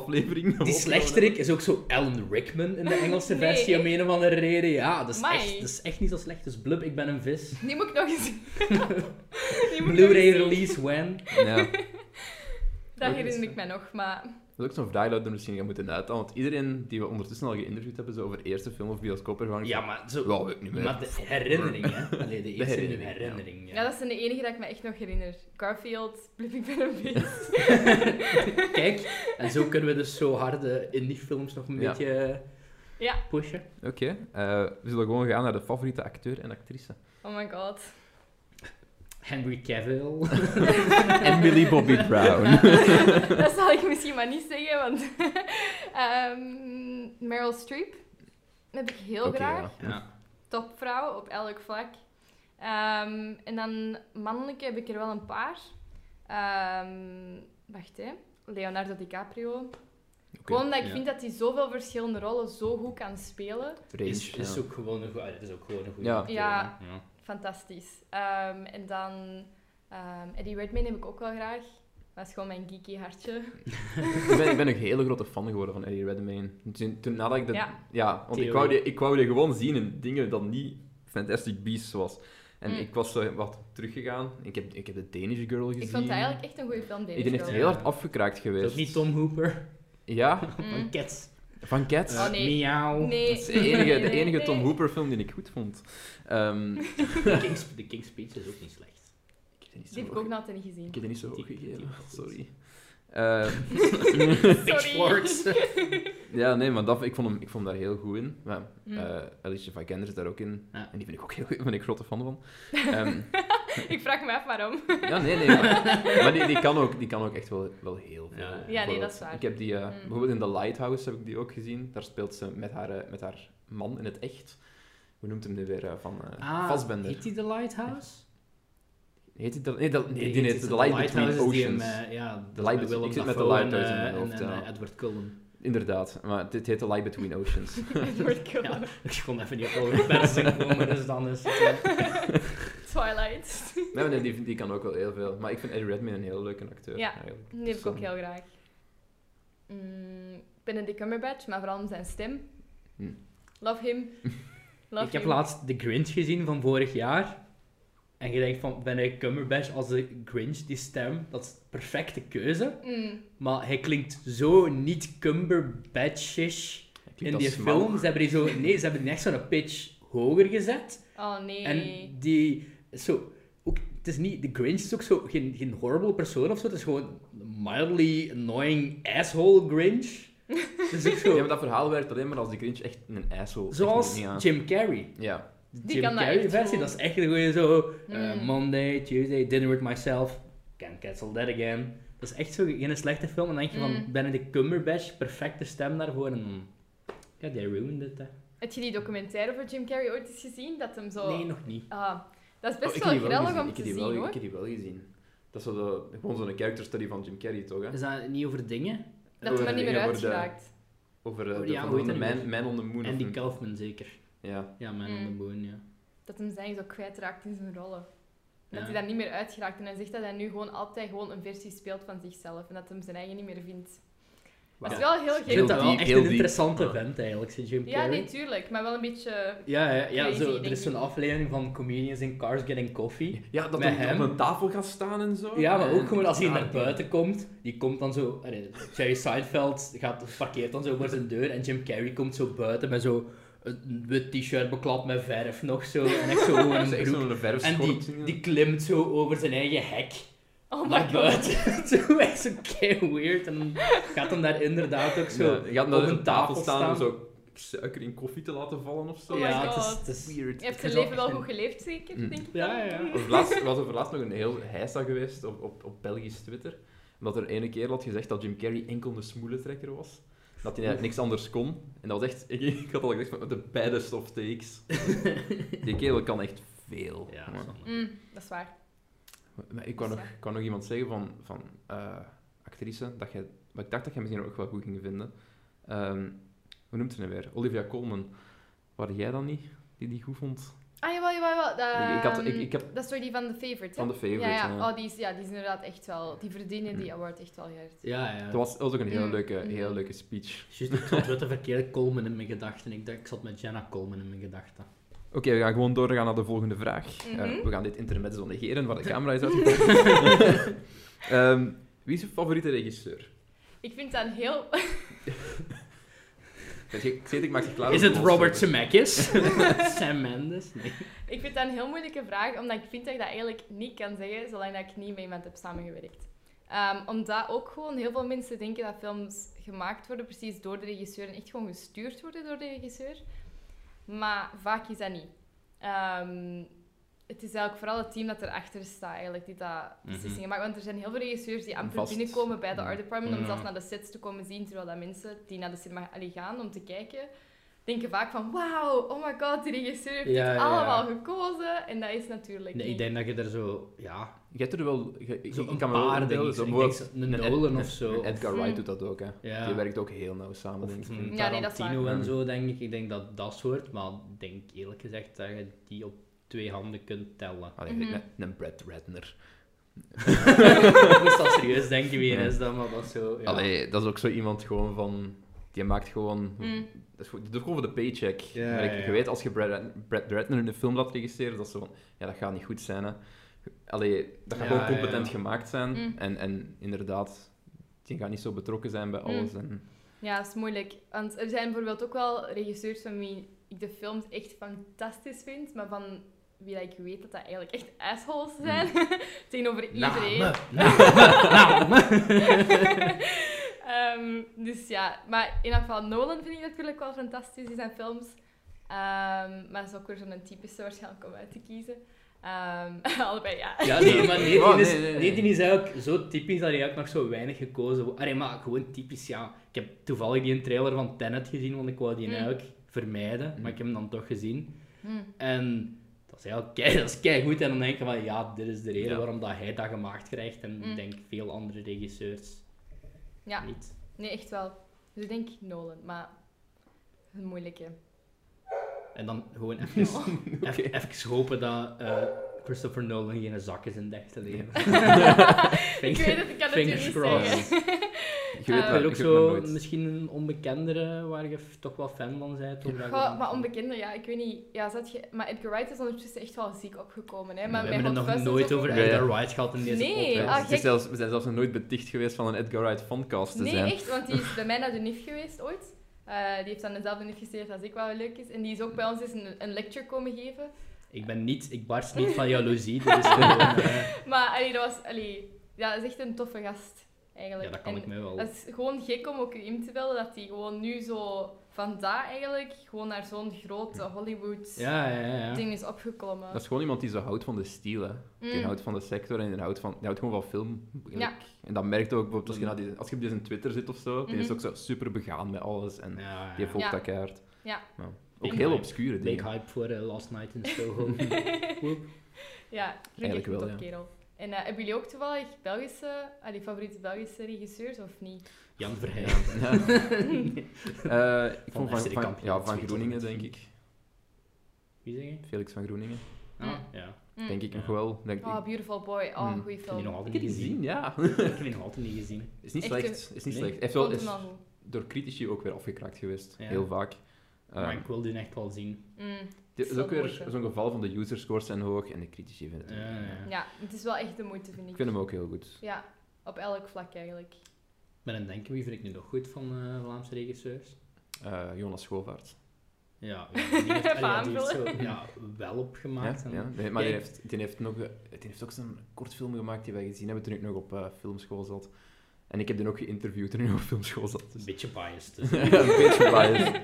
Speaker 2: aflevering.
Speaker 1: Die slechterik is ook zo Alan Rickman in de Engelse
Speaker 3: Nee,
Speaker 1: versie om
Speaker 3: echt?
Speaker 1: een of andere reden. Ja, dat is,
Speaker 3: Amai.
Speaker 1: echt, dat is echt niet zo slecht. Dus blub, ik ben een vis.
Speaker 3: Die moet ik nog eens... Die moet ik nog
Speaker 1: Blu-ray
Speaker 3: eens zien.
Speaker 1: release when?
Speaker 2: Ja, dat
Speaker 3: Dat
Speaker 2: Ook
Speaker 3: herinner
Speaker 1: eens,
Speaker 3: ik mij nog, maar...
Speaker 2: is ook zo'n vraag dat we misschien gaan moeten uithalen. Want iedereen die we ondertussen al geïnterviewd hebben zo over eerste film of bioscoop ervaring.
Speaker 1: Ja, maar zo...
Speaker 2: Wel, weet ik niet meer.
Speaker 1: Maar de herinnering, hè? Allee, de eerste
Speaker 2: herinnering,
Speaker 1: herinnering. herinnering
Speaker 3: Ja.
Speaker 1: ja.
Speaker 3: dat zijn de enige dat ik me echt nog herinner. Garfield, Blip, ik ben een vis.
Speaker 1: Kijk, en zo kunnen we dus zo harde indie-films nog een
Speaker 2: Ja.
Speaker 1: beetje
Speaker 3: Ja.
Speaker 1: pushen.
Speaker 2: Oké, eh, we zullen gewoon gaan naar de favoriete acteur en actrice.
Speaker 3: Oh my god.
Speaker 1: Henry Cavill.
Speaker 2: en Millie Bobby Brown.
Speaker 3: dat zal ik misschien maar niet zeggen, want Ehm, Meryl Streep heb ik heel
Speaker 2: Oké,
Speaker 3: graag.
Speaker 2: ja.
Speaker 1: Ja.
Speaker 3: Topvrouw op elk vlak. Ehm, en dan mannelijke heb ik er wel een paar. Ehm, wacht hè. Leonardo DiCaprio. Gewoon dat ik
Speaker 1: ja.
Speaker 3: vind dat hij zoveel verschillende rollen zo goed kan spelen.
Speaker 2: Range,
Speaker 1: Is, is,
Speaker 2: ja.
Speaker 1: ook gewoon een goe- ah, het is ook gewoon een goede
Speaker 2: Ja.
Speaker 1: acteur,
Speaker 3: Ja.
Speaker 1: hè. ja.
Speaker 3: Fantastisch. Ehm, en dan ehm, Eddie Redmayne heb ik ook wel graag. Dat is gewoon mijn geeky hartje.
Speaker 2: ik, ben, ik ben een hele grote fan geworden van Eddie Redmayne. Toen, toen nadat ik dat...
Speaker 3: Ja.
Speaker 2: Ja, want ik
Speaker 1: Theo.
Speaker 2: wou, die, ik wou die gewoon zien in dingen dat niet Fantastic Beasts was. En
Speaker 3: Mm.
Speaker 2: ik was zo wat teruggegaan. Ik heb, ik heb de Danish Girl gezien.
Speaker 3: Ik vond het eigenlijk echt een goede film, Danish
Speaker 2: Ik ben echt
Speaker 3: Girl.
Speaker 1: wel.
Speaker 2: heel hard afgekraakt
Speaker 1: Is
Speaker 2: geweest.
Speaker 1: dat niet Tom Hooper?
Speaker 2: Ja, Eh,
Speaker 3: Mm.
Speaker 1: Van Cats. Eh,
Speaker 2: van Cats.
Speaker 3: Oh, nee.
Speaker 1: Miauw.
Speaker 3: Nee.
Speaker 2: Dat is de enige, de
Speaker 3: Nee,
Speaker 2: enige
Speaker 3: nee.
Speaker 2: Tom Hooper film die ik goed vond. Ehm, ik
Speaker 1: De King's, de King's Speech is ook niet slecht.
Speaker 2: heb die niet
Speaker 3: Die
Speaker 2: zo
Speaker 3: heb ik ook
Speaker 2: hoog-
Speaker 3: nog altijd niet
Speaker 2: ik
Speaker 3: gezien.
Speaker 2: heb die niet zo hoog
Speaker 1: Die- die- die-
Speaker 2: gegeven,
Speaker 1: die-
Speaker 2: sorry. Ehm,
Speaker 1: Pitchforks.
Speaker 2: ja, nee, maar dat, ik, vond hem, ik vond hem daar heel goed in. Maar,
Speaker 3: Mm.
Speaker 2: eh, Alicia Vikander is daar ook in.
Speaker 1: Ja.
Speaker 2: En die ben ik ook heel ben ik grote fan van. Ehm,
Speaker 3: ik vraag me af waarom.
Speaker 2: ja, nee, nee. Maar, maar die, die, kan ook, die kan ook echt wel, wel heel veel.
Speaker 1: Ja, ja.
Speaker 3: Ja, nee, dat
Speaker 2: Bijvoorbeeld,
Speaker 3: is waar.
Speaker 2: Ik heb die, eh,
Speaker 3: Mm.
Speaker 2: bijvoorbeeld in The Lighthouse heb ik die ook gezien. Daar speelt ze met haar, eh, met haar man in het echt. Hoe noemt hem nu weer? eh, van eh Fassbender.
Speaker 1: Ah, heet die The Lighthouse?
Speaker 2: Heet die dat? Nee, dat, nee, die
Speaker 1: heet het
Speaker 2: heet The Light Between
Speaker 1: Lighthouse is die hem,
Speaker 2: Oceans.
Speaker 1: eh, ja,
Speaker 2: The Light Between- ik zit met The Lighthouse in
Speaker 1: en,
Speaker 2: mijn
Speaker 1: eh, en,
Speaker 2: hoofd,
Speaker 1: eh,
Speaker 2: ja.
Speaker 1: Edward Cullen.
Speaker 2: Inderdaad, maar dit heet The Light Between Oceans.
Speaker 3: Edward
Speaker 1: Ja,
Speaker 3: Cullen.
Speaker 1: ik kon even niet op over persing komen, dus dan is het... eh,
Speaker 3: Twilight.
Speaker 2: nee, maar nee, die, die kan ook wel heel veel. Maar ik vind Eddie Redmayne een heel leuke acteur.
Speaker 3: Ja,
Speaker 2: eigenlijk.
Speaker 3: Die heb ik
Speaker 2: Dus,
Speaker 3: ook
Speaker 2: eh,
Speaker 3: heel graag. Mm, Benedict Cumberbatch, maar vooral om zijn stem.
Speaker 2: Hm.
Speaker 3: Love him. Love
Speaker 1: ik heb
Speaker 3: him.
Speaker 1: laatst de Grinch gezien van vorig jaar. En je denkt van, ben ik Cumberbatch als de Grinch, die stem, dat is de perfecte keuze.
Speaker 3: Mm,
Speaker 1: Maar hij klinkt zo niet Cumberbatchish
Speaker 2: hij klinkt
Speaker 1: in
Speaker 2: als
Speaker 1: die
Speaker 2: smal.
Speaker 1: film. Ze hebben die zo, nee, ze hebben die echt zo'n pitch hoger gezet.
Speaker 3: Oh nee.
Speaker 1: En die, zo, ook, het is niet, de Grinch is ook zo, geen, geen horrible persoon of zo. Het is gewoon een mildly annoying asshole Grinch. Het is ook
Speaker 2: Ja,
Speaker 1: zo,
Speaker 2: maar dat verhaal werkt alleen maar als die Grinch echt een asshole is.
Speaker 1: zoals
Speaker 2: Echt niet aan-
Speaker 1: Jim Carrey.
Speaker 2: Ja,
Speaker 1: De
Speaker 3: Die
Speaker 1: Jim
Speaker 3: kan dat
Speaker 1: Carrey
Speaker 3: echt
Speaker 1: versie,
Speaker 3: gewoon.
Speaker 1: dat is echt een goeie zo. eh,
Speaker 3: Mm.
Speaker 1: Monday, Tuesday, dinner with myself. Can cancel that again. Dat is echt zo geen slechte film. En dan denk je
Speaker 3: Mm.
Speaker 1: van Benedict Cumberbatch, perfecte stem daarvoor. En dan- ja, they ruined it. Hè.
Speaker 3: Heb je die documentaire over Jim Carrey ooit eens gezien? Dat hem zo...
Speaker 1: Nee, nog niet.
Speaker 3: Ah, dat is best
Speaker 2: Oh, ik heb
Speaker 3: wel
Speaker 2: die wel
Speaker 3: grellig
Speaker 2: gezien.
Speaker 3: om
Speaker 2: Ik
Speaker 3: te
Speaker 2: heb die
Speaker 3: zien
Speaker 2: wel-
Speaker 3: hoor.
Speaker 2: Ik heb die wel gezien. Dat is zo de- gewoon zo'n character study van Jim Carrey, toch? Hè?
Speaker 1: Is dat niet over dingen?
Speaker 3: Dat hij
Speaker 2: Over
Speaker 3: er niet
Speaker 2: de-
Speaker 3: meer
Speaker 2: over
Speaker 3: uit
Speaker 2: de-
Speaker 3: geraakt.
Speaker 2: Over eh,
Speaker 1: Oh,
Speaker 2: de,
Speaker 1: ja,
Speaker 2: van
Speaker 1: hoe heet
Speaker 2: de
Speaker 1: dat nu
Speaker 2: man, man on the Moon. of
Speaker 1: Andy
Speaker 2: een-
Speaker 1: Kaufman zeker.
Speaker 2: Ja.
Speaker 1: Ja, Man on the
Speaker 3: Mm.
Speaker 1: Moon, ja.
Speaker 3: Dat hem zijn zo kwijtraakt in zijn rollen. Dat
Speaker 1: Ja.
Speaker 3: hij daar niet meer uitgeraakt. En hij zegt dat hij nu gewoon altijd gewoon een versie speelt van zichzelf. En dat hem zijn eigen niet meer vindt. Dat is
Speaker 2: Wauw.
Speaker 3: wel heel
Speaker 1: Ik vind
Speaker 3: gek.
Speaker 2: Heel
Speaker 1: dat wel
Speaker 2: diep,
Speaker 1: echt
Speaker 2: heel
Speaker 1: een
Speaker 2: diep.
Speaker 1: interessante
Speaker 2: Ja.
Speaker 1: vent eigenlijk, zo Jim
Speaker 3: Ja,
Speaker 1: Carrey.
Speaker 3: nee, tuurlijk. Maar wel een beetje...
Speaker 1: ja, ja, ja
Speaker 3: Crazy,
Speaker 1: zo, er
Speaker 3: denk
Speaker 1: is zo'n
Speaker 3: ik.
Speaker 1: aflevering van Comedians in Cars Getting Coffee.
Speaker 2: Ja, dat
Speaker 1: Met
Speaker 2: hij
Speaker 1: hem.
Speaker 2: op een tafel gaat staan en zo.
Speaker 1: Ja, maar
Speaker 2: En-
Speaker 1: ook gewoon als hij
Speaker 2: Ja,
Speaker 1: naar buiten komt, die komt dan zo. allee, Jerry Seinfeld gaat, parkeert dan zo voor zijn deur en Jim Carrey komt zo buiten met zo een wit t-shirt beklad met verf nog zo. En echt zo gewoon
Speaker 2: Dat is
Speaker 1: een
Speaker 2: echt
Speaker 1: broek.
Speaker 2: zo'n
Speaker 1: En
Speaker 2: verfschort.
Speaker 1: die, die klimt zo over zijn eigen hek
Speaker 3: Oh my
Speaker 1: naar
Speaker 3: god.
Speaker 1: buiten. zo echt zo kei weird. En dan gaat hem daar inderdaad ook zo.
Speaker 2: Ja, je gaat
Speaker 1: op
Speaker 2: naar
Speaker 1: een
Speaker 2: een tafel
Speaker 1: tafel
Speaker 2: staan
Speaker 1: staan.
Speaker 2: om zo suiker in koffie te laten vallen of zo.
Speaker 3: Oh my
Speaker 1: ja,
Speaker 3: god.
Speaker 1: het is, het is
Speaker 2: Weird.
Speaker 3: Je hebt
Speaker 1: Ik
Speaker 3: zijn
Speaker 1: vind
Speaker 3: leven
Speaker 1: dat
Speaker 3: wel
Speaker 1: echt
Speaker 3: goed geleefd, zeker,
Speaker 2: Mm.
Speaker 3: denk ik
Speaker 1: Ja,
Speaker 3: dan.
Speaker 1: ja, ja.
Speaker 2: Er laatst- was over laatst nog een heel heisa geweest op, op, op Belgisch Twitter. Omdat er ene keer had gezegd dat Jim Carrey enkel een smoelentrekker was. Dat hij eigenlijk niks anders kon. En dat was echt... Ik, ik had al gezegd van, de baddest of takes. Die kerel kan echt veel.
Speaker 1: Ja,
Speaker 2: Maar-
Speaker 1: zonde.
Speaker 3: Mm, dat is waar.
Speaker 2: maar ik wou nog, ik wou nog iemand zeggen van, van eh, actrice, dat jij, wat ik dacht dat jij misschien ook wel goed ging vinden. Ehm, hoe noemt ze hem weer? Olivia nou Colman. Waar jij dan niet, die die goed vond?
Speaker 3: Ah, jawel, jawel, jawel.
Speaker 2: Ik- ik had- ik-
Speaker 3: Ehm,
Speaker 2: ik heb-
Speaker 3: Dat is toch die van The Favorite, hè?
Speaker 2: Van The Favorite,
Speaker 3: Ja,
Speaker 2: ja. Mm.
Speaker 3: Oh, die is, ja, die is inderdaad echt wel... Die verdienen die award echt wel hard.
Speaker 1: Ja, ja.
Speaker 2: Het was, het was ook een hele
Speaker 3: Mm.
Speaker 2: leuke,
Speaker 3: Mm.
Speaker 2: hele leuke speech.
Speaker 1: Juist, ik zat weer te verkeerde Coleman in mijn gedachten. Ik dacht, ik zat met Jenna Coleman in mijn gedachten.
Speaker 2: Oké, we gaan gewoon doorgaan naar de volgende vraag.
Speaker 3: Mhm.
Speaker 2: Eh, we gaan dit intermezzo negeren, waar de camera is uitgekomen. Ehm, wie is je favoriete regisseur?
Speaker 3: Ik vind dat een heel...
Speaker 2: Ik weet- Ik zit, ik maak je klaar.
Speaker 1: Is
Speaker 2: voor
Speaker 1: het
Speaker 2: de
Speaker 1: Robert
Speaker 2: opzomer.
Speaker 1: Zemeckis? Sam Mendes? Nee.
Speaker 3: Ik vind dat een heel moeilijke vraag, omdat ik vind dat ik dat eigenlijk niet kan zeggen, zolang dat ik niet met iemand heb samengewerkt. Ehm, omdat ook gewoon heel veel mensen denken dat films gemaakt worden precies door de regisseur en echt gewoon gestuurd worden door de regisseur. Maar vaak is dat niet. Ehm, het is eigenlijk vooral het team dat erachter staat eigenlijk, die dat beslissingen
Speaker 1: Mhm.
Speaker 3: maakt. Want er zijn heel veel regisseurs die amper
Speaker 2: Vast.
Speaker 3: binnenkomen bij de art department om
Speaker 1: Ja.
Speaker 3: zelfs naar de sets te komen zien, terwijl dat mensen die naar de cinema allee, gaan om te kijken, denken vaak van wauw, oh my god, die regisseur heeft
Speaker 1: Ja, ja,
Speaker 3: dit
Speaker 1: ja.
Speaker 3: allemaal gekozen. En dat is natuurlijk
Speaker 1: nee.
Speaker 3: niet.
Speaker 1: Ik denk dat je er zo... Ja,
Speaker 2: Je hebt er wel... Je, je-
Speaker 1: zo
Speaker 2: je
Speaker 1: een
Speaker 2: kan me wel
Speaker 1: paar
Speaker 2: indelen,
Speaker 1: dingen.
Speaker 2: zo
Speaker 1: Ik denk
Speaker 2: bijvoorbeeld-
Speaker 1: zo- een
Speaker 2: een Ed-
Speaker 1: Nolan
Speaker 2: een-
Speaker 1: of zo.
Speaker 2: een Edgar Wright
Speaker 3: Mm.
Speaker 2: doet dat ook, hè.
Speaker 1: Ja.
Speaker 2: Die werkt ook heel nauw samen, denk
Speaker 1: Of
Speaker 2: ik.
Speaker 1: een
Speaker 3: Ja, nee, dat is
Speaker 1: Tarantino
Speaker 2: waar.
Speaker 1: en
Speaker 2: Mm.
Speaker 1: zo, denk ik. Ik denk dat dat soort, maar ik denk eerlijk gezegd dat je die op twee handen kunt tellen.
Speaker 2: Allee,
Speaker 3: Mhm.
Speaker 2: een- Een Brad Ratner.
Speaker 1: Ik moest dat serieus denken wie er
Speaker 2: Nee.
Speaker 1: is dan, maar dat is zo... Ja.
Speaker 2: Allee, dat is ook zo iemand gewoon van... Die maakt gewoon...
Speaker 3: Mm.
Speaker 2: Dat is goed, die doet gewoon voor de paycheck.
Speaker 1: Ja,
Speaker 2: Maar ik-
Speaker 1: ja, ja.
Speaker 2: Je weet, als je Brad, Rat- Brad Ratner in een film laat regisseren, dat is zo van... Ja, dat gaat niet goed zijn, hè. Allee, dat gaat
Speaker 1: Ja,
Speaker 2: gewoon competent
Speaker 1: ja, ja.
Speaker 2: gemaakt zijn.
Speaker 3: Mm.
Speaker 2: En, en inderdaad, die gaat niet zo betrokken zijn bij
Speaker 3: Mm.
Speaker 2: alles. En,
Speaker 3: Ja, dat is moeilijk. Want er zijn bijvoorbeeld ook wel regisseurs van wie ik de films echt fantastisch vind, maar van wie dat ik weet dat dat eigenlijk echt assholes zijn
Speaker 2: Mm.
Speaker 3: tegenover iedereen.
Speaker 1: Mm. Namen, namen, namen.
Speaker 3: Ehm, dus ja, maar in ieder geval Nolan vind ik natuurlijk wel fantastisch in zijn films. Ehm, maar dat is ook weer zo'n typische waarschijnlijk om uit te kiezen. Ehm, allebei ja.
Speaker 1: Ja, nee, maar nee,
Speaker 2: Oh,
Speaker 1: die is,
Speaker 2: nee, nee, nee.
Speaker 1: nee, die is eigenlijk zo typisch dat hij ook nog zo weinig gekozen wordt. Allee, maar gewoon typisch, ja. Ik heb toevallig die trailer van Tenet gezien, want ik wou die
Speaker 3: Mm.
Speaker 1: eigenlijk vermijden. Maar ik heb hem dan toch gezien.
Speaker 3: Hm.
Speaker 1: En dat is eigenlijk kei, dat is kei goed. En dan denk je van, ja, dit is de reden
Speaker 2: Ja.
Speaker 1: waarom dat hij dat gemaakt krijgt. En
Speaker 3: Mm.
Speaker 1: ik denk veel andere regisseurs
Speaker 3: Ja,
Speaker 1: niet.
Speaker 3: nee, echt wel. Dus ik denk Nolan, maar een moeilijke.
Speaker 1: En dan gewoon even,
Speaker 3: Oh.
Speaker 2: Oké.
Speaker 1: even, even hopen dat eh, Christopher Nolan geen zak is in het echte leven.
Speaker 3: Ik weet het, ik kan het u
Speaker 1: Fingers
Speaker 3: niet
Speaker 1: crossed.
Speaker 3: zeggen.
Speaker 2: je weet
Speaker 3: Eh,
Speaker 1: Ik
Speaker 2: maar,
Speaker 1: wil
Speaker 2: je
Speaker 1: ook
Speaker 2: weet maar
Speaker 1: zo
Speaker 2: nooit.
Speaker 1: misschien een onbekendere waar je f- toch wel fan van bent. Of dat je
Speaker 3: Goh,
Speaker 1: dan-
Speaker 3: maar onbekende, ja, ik weet niet. Ja, zat je... Maar Edgar Wright is ondertussen echt wel ziek opgekomen, hè. Maar
Speaker 1: we
Speaker 3: bij
Speaker 1: hebben het nog
Speaker 3: Hot Fuzz is
Speaker 1: nooit
Speaker 3: ook
Speaker 1: over
Speaker 3: niet-
Speaker 2: Ja, ja.
Speaker 1: Edgar Wright gehad in deze
Speaker 3: Nee,
Speaker 1: podcast. dus
Speaker 3: ah,
Speaker 2: Het is
Speaker 3: gek.
Speaker 2: zelfs, we zijn zelfs nog nooit beticht geweest van een Edgar Wright fancast te
Speaker 1: dus,
Speaker 3: Nee,
Speaker 2: zijn.
Speaker 3: echt, want die is bij mij naar de NIF geweest ooit. Eh, die heeft aan dezelfde NIF gestudeerd als ik, wat wel leuk is. En die is ook bij ons eens een, een lecture komen geven.
Speaker 1: Ik ben niet, ik barst niet van jaloezie. Dus gewoon, eh,
Speaker 3: Maar allee, dat was... Allee, ja, dat is echt een toffe gast, eigenlijk.
Speaker 1: ja, dat kan
Speaker 3: En
Speaker 1: ik mij wel.
Speaker 2: Oh.
Speaker 3: dat is gewoon gek om ook in te beelden, dat hij gewoon nu zo... Van daar eigenlijk, gewoon naar zo'n grote Hollywood...
Speaker 1: Ja, ja, ja. ja.
Speaker 3: Ding is opgeklommen.
Speaker 2: Dat is gewoon iemand die zo houdt van de stijl, hè. Die
Speaker 3: Mm.
Speaker 2: houdt van de sector en die houdt, van, die houdt gewoon van film.
Speaker 3: Ja.
Speaker 2: En dat merkt ook bijvoorbeeld als je, naar die, als je op deze Twitter zit of zo. Die is
Speaker 3: Mhm.
Speaker 2: ook zo super begaan met alles en
Speaker 1: ja,
Speaker 2: die
Speaker 1: ja.
Speaker 2: volgt
Speaker 3: Ja.
Speaker 2: dat keihard.
Speaker 3: Ja.
Speaker 2: Ook
Speaker 1: Big
Speaker 2: heel
Speaker 1: hype.
Speaker 2: obscure
Speaker 1: Big
Speaker 2: dingen.
Speaker 1: hype voor eh, Last Night in Soho. Woep.
Speaker 3: Ja,
Speaker 2: Eigenlijk
Speaker 3: gelukkig
Speaker 2: wel,
Speaker 3: wel,
Speaker 2: ja.
Speaker 3: kerel. En eh, hebben jullie ook toevallig Belgische, ah, die favoriete Belgische regisseurs of niet?
Speaker 1: Jan Verheij.
Speaker 2: Ja. Eh, ik
Speaker 1: Van
Speaker 2: vond van,
Speaker 1: FC de
Speaker 2: van,
Speaker 1: kampioen,
Speaker 2: ja,
Speaker 1: dat
Speaker 2: van
Speaker 1: weet
Speaker 2: Groeningen,
Speaker 1: ik.
Speaker 2: denk ik.
Speaker 1: Wie zeg je?
Speaker 2: Felix van Groeningen.
Speaker 1: Ah, ja.
Speaker 3: Mm.
Speaker 2: Denk ik
Speaker 1: Ja.
Speaker 2: nog wel. Denk,
Speaker 3: Oh,
Speaker 2: ik,
Speaker 3: Beautiful Boy. Oh,
Speaker 2: Mm.
Speaker 3: goede
Speaker 1: Ik heb die nog
Speaker 3: film.
Speaker 1: altijd
Speaker 2: ik heb
Speaker 1: niet
Speaker 2: die
Speaker 1: gezien.
Speaker 2: gezien, ja.
Speaker 1: Ik heb die nog altijd niet gezien.
Speaker 2: Is niet
Speaker 3: Echt,
Speaker 2: slecht. Is niet
Speaker 1: eh, nee.
Speaker 2: slecht. Heeft wel,
Speaker 3: Vond hem
Speaker 2: is
Speaker 3: wel goed.
Speaker 2: door critici ook weer afgekraakt geweest.
Speaker 1: Ja.
Speaker 2: Heel vaak.
Speaker 1: Maar
Speaker 2: Ehm,
Speaker 1: ik wil die echt wel zien.
Speaker 3: Mm.
Speaker 2: Het is ook
Speaker 3: Veel
Speaker 2: weer
Speaker 3: moeite.
Speaker 2: zo'n geval van de userscores zijn hoog en de critici vinden
Speaker 1: Ja,
Speaker 2: het ook.
Speaker 1: ja, ja.
Speaker 3: Ja, het is wel echt de moeite, vind ik.
Speaker 2: Ik vind hem ook heel goed.
Speaker 3: Ja, op elk vlak eigenlijk.
Speaker 1: Ik ben aan het denken, wie vind ik nu nog goed van eh, Vlaamse regisseurs?
Speaker 2: Eh, Jonas Schoolvaart.
Speaker 1: Ja, ja, die heeft, allee, ja, die heeft zo,
Speaker 3: Aanvullen.
Speaker 1: ja, wel
Speaker 2: Ja,
Speaker 1: opgemaakt. en-
Speaker 2: ja. Nee, maar
Speaker 1: Ja,
Speaker 2: die
Speaker 1: ik-
Speaker 2: heeft, die, heeft nog, eh, die heeft ook zo'n kort film gemaakt die wij gezien hebben toen ik nog op eh, filmschool zat. En ik heb die ook geïnterviewd toen ik nog op filmschool zat.
Speaker 1: Een
Speaker 2: Dus.
Speaker 1: beetje biased. Dus.
Speaker 2: een beetje biased.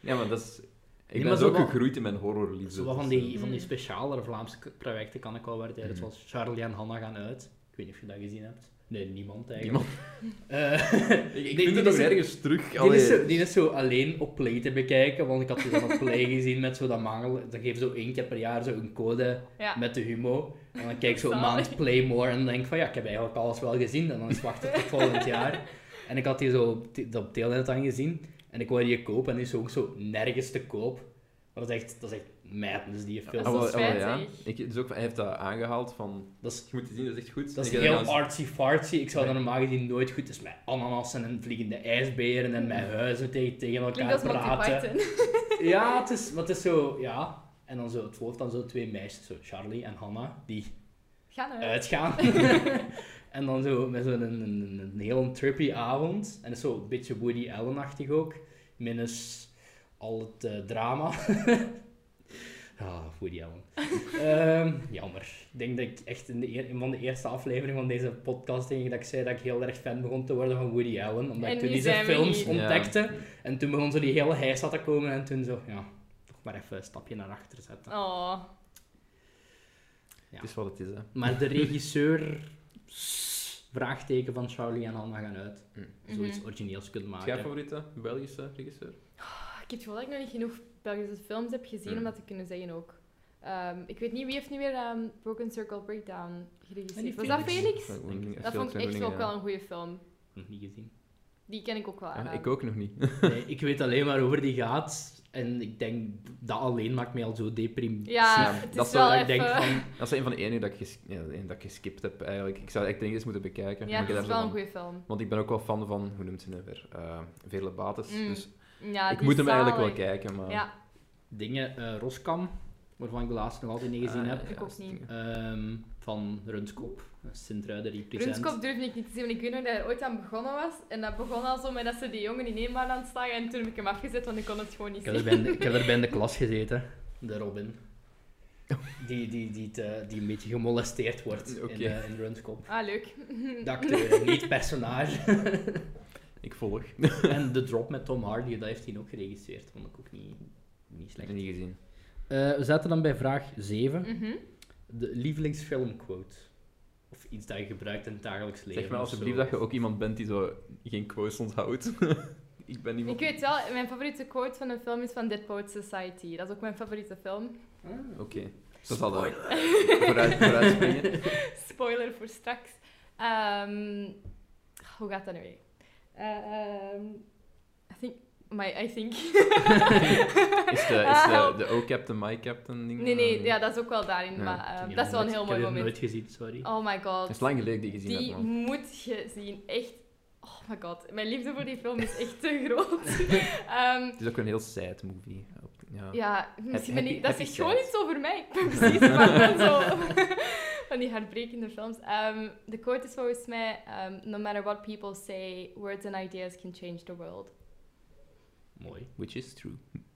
Speaker 2: Ja, maar dat is... Ik
Speaker 1: Nee,
Speaker 2: ben
Speaker 1: maar
Speaker 2: zo
Speaker 1: zo
Speaker 2: ook
Speaker 1: wel-
Speaker 2: gegroeid in mijn horrorliefde.
Speaker 1: Zo wat van
Speaker 2: dus, eh,
Speaker 1: die, van die
Speaker 3: Mm.
Speaker 1: specialere Vlaamse k- projecten kan ik wel waarderen,
Speaker 2: Mhm.
Speaker 1: zoals Charlie en Hanna gaan uit. Ik weet niet of je dat gezien hebt. Nee, niemand eigenlijk.
Speaker 2: Niemand.
Speaker 1: Eh,
Speaker 2: Ik, ik
Speaker 1: die-
Speaker 2: vind
Speaker 1: die
Speaker 2: het nog
Speaker 1: is-
Speaker 2: ergens terug.
Speaker 1: die,
Speaker 2: allee.
Speaker 1: is zo, die is zo alleen op Play te bekijken, want ik had die dan op Play gezien met zo dat mangel. Dan geven zo één keer per jaar zo een code
Speaker 3: Ja.
Speaker 1: met de humo. En dan kijk ik zo een
Speaker 3: Zalig.
Speaker 1: maand Playmore en dan denk ik van ja, ik heb eigenlijk alles wel gezien. En dan is wachten tot volgend jaar. En ik had die zo op, t- op Telenet dan gezien. En ik wou die kopen en die is ook zo nergens te koop. Maar Maar dat is echt, dat is echt madness, die film.
Speaker 3: Dat is
Speaker 2: Ah, wel- ah, wel, ja.
Speaker 3: spijtig.
Speaker 2: Ik, dus ook, hij heeft dat aangehaald van...
Speaker 1: Dat is,
Speaker 2: Je moet het zien, dat is echt goed.
Speaker 1: dat is
Speaker 2: Ik heb
Speaker 1: heel
Speaker 2: dat nou eens-
Speaker 1: artsy-fartsy. Ik zou dat
Speaker 2: Nee.
Speaker 1: normaal gezien nooit goed... Dus met ananassen en vliegende ijsberen en met huizen tegen, tegen
Speaker 3: Klinkt
Speaker 1: elkaar
Speaker 3: als Monty
Speaker 1: praten.
Speaker 3: Python.
Speaker 1: Ja, het is, maar het is zo, ja. En dan zo, het volgt dan zo twee meisjes, zo Charlie en Hannah, die
Speaker 3: Ga nou.
Speaker 2: Eh.
Speaker 1: uitgaan. en dan zo met zo'n een, een, een heel trippy avond. En het is zo een beetje Woody Allen-achtig ook. Minus al het eh, drama. ah, Woody Allen. Ehm, jammer. Ik denk dat ik echt in, de eer- in van de eerste aflevering van deze podcast denk ik dat ik zei dat ik heel erg fan begon te worden van Woody Allen. Omdat
Speaker 3: En
Speaker 1: ik toen
Speaker 3: nu
Speaker 1: die zijn
Speaker 3: zijn we
Speaker 1: films
Speaker 3: hier.
Speaker 2: Ja.
Speaker 1: ontdekte. En toen begon zo die hele heisa te komen. En toen zo, ja, toch maar even een stapje naar achter zetten.
Speaker 3: Oh,
Speaker 1: Ja.
Speaker 2: Het is wat het is, hè.
Speaker 1: Maar de regisseur, vraagteken van Charlie en Hanna gaan uit.
Speaker 2: Hm.
Speaker 1: Zoiets
Speaker 3: Mhm.
Speaker 1: origineels kunt
Speaker 2: Is jij
Speaker 1: maken.
Speaker 2: favoriete Belgische regisseur?
Speaker 3: ik heb het gevoel dat ik nog niet genoeg Belgische films heb gezien
Speaker 2: Hmm.
Speaker 3: om dat te kunnen zeggen ook. Ehm, ik weet niet, wie heeft nu weer ehm, Broken Circle Breakdown
Speaker 1: En die
Speaker 3: geregisseerd? Was dat
Speaker 1: Felix.
Speaker 3: Felix?
Speaker 1: denk
Speaker 2: Zijn
Speaker 1: ik.
Speaker 2: Groeningen-
Speaker 3: Dat
Speaker 2: veel
Speaker 3: vond ik
Speaker 2: zijn
Speaker 3: echt ook
Speaker 2: Groeningen,
Speaker 3: wel
Speaker 2: ja.
Speaker 3: een goede film.
Speaker 1: Nog niet gezien.
Speaker 3: Die ken ik ook wel
Speaker 2: Ah,
Speaker 3: aan.
Speaker 2: Ik ook nog niet.
Speaker 1: Nee, ik weet alleen maar over die gaat. En ik denk, dat alleen maakt mij al zo deprimief.
Speaker 3: Ja,
Speaker 2: Ja,
Speaker 3: het is
Speaker 2: dat zou
Speaker 3: wel
Speaker 1: ik
Speaker 3: even...
Speaker 1: denk van,
Speaker 2: Dat is een van de enige dat ik, ges- ja, de enige dat ik geskipt heb, eigenlijk. Ik zou het echt denk ik eens moeten bekijken.
Speaker 3: ja,
Speaker 2: maar ik heb
Speaker 3: het is
Speaker 2: daar zo
Speaker 3: wel een
Speaker 2: van-
Speaker 3: goede film.
Speaker 2: Want ik ben ook wel fan van, hoe noemt ze hem weer? Eh Vele Bates.
Speaker 3: Mm,
Speaker 2: dus
Speaker 3: Ja,
Speaker 2: ik
Speaker 3: die
Speaker 2: moet hem
Speaker 3: is
Speaker 2: eigenlijk wel
Speaker 3: zalig.
Speaker 2: kijken, maar...
Speaker 3: Ja,
Speaker 1: dingen, eh, Roskam, waarvan ik de laatste nog altijd niet gezien
Speaker 2: Ah,
Speaker 1: heb.
Speaker 2: ja,
Speaker 3: Ik ook
Speaker 2: dat
Speaker 3: niet.
Speaker 2: ding.
Speaker 1: Ehm, van Runskop, Sint-Ruiden represent.
Speaker 3: Runskop durfde ik niet te zien, want ik weet nog dat hij ooit aan begonnen was. En dat begon al zo met dat ze die jongen in één baan aan het slagen. En toen heb ik hem afgezet, want ik kon het gewoon niet
Speaker 1: Ik heb, er
Speaker 3: zien.
Speaker 1: bij in de, ik heb er bij in de klas gezeten, de Robin. Die, die, die, te- die een beetje gemolesteerd wordt
Speaker 2: Oké.
Speaker 1: in, eh, in Runskop.
Speaker 3: Ah, leuk.
Speaker 1: De acteur, niet het personage.
Speaker 2: Ik volg.
Speaker 1: en de drop met Tom Hardy, dat heeft hij ook geregisseerd. Vond ik ook niet, niet slecht.
Speaker 2: niet gezien.
Speaker 1: Eh, we zaten dan bij vraag 7.
Speaker 3: Mhm.
Speaker 1: De lievelingsfilmquote. Of iets dat je gebruikt in het dagelijks leven.
Speaker 2: Zeg maar
Speaker 1: of zo.
Speaker 2: alsjeblieft dat je ook iemand bent die zo geen quotes onthoudt. ik ben
Speaker 3: Ik
Speaker 2: iemand...
Speaker 3: weet wel, mijn favoriete quote van een film is van Dead Poets Society. Dat is ook mijn favoriete film.
Speaker 1: Ah,
Speaker 2: Oké. Dat zal dat vooruit, vooruit springen.
Speaker 3: Spoiler voor straks. Ehm, hoe gaat dat nu weer? Ehm, I think... My, I think... Ah,
Speaker 2: Is de, is de, de O-captain, my captain ding?
Speaker 3: Nee, nee,
Speaker 2: Ah,
Speaker 3: ja, dat is ook wel daarin.
Speaker 2: Ja.
Speaker 3: Maar ehm,
Speaker 1: ik heb
Speaker 3: dat is wel een
Speaker 1: die
Speaker 3: heel
Speaker 1: nooit-
Speaker 3: mooi
Speaker 1: Ik
Speaker 3: moment.
Speaker 1: heb die nooit gezien, sorry.
Speaker 3: Oh my
Speaker 2: Het
Speaker 3: god.
Speaker 2: is lang geleden dat ik die gezien
Speaker 3: Die
Speaker 2: heb, man.
Speaker 3: moet je zien. Echt. Oh my god. Mijn liefde voor die film is echt te groot. Ehm,
Speaker 2: Het is ook een heel sad movie. Op- Ja.
Speaker 3: ja, misschien ben
Speaker 2: happy-
Speaker 3: ik... Dat
Speaker 2: happy
Speaker 3: zegt gewoon
Speaker 2: sad.
Speaker 3: iets over mij. Ik ben precies van, zo, van die heartbrekende films. Ehm, de quote is volgens mij... ehm, no matter what people say, words and ideas can change the world.
Speaker 1: Mooi,
Speaker 2: Which is true.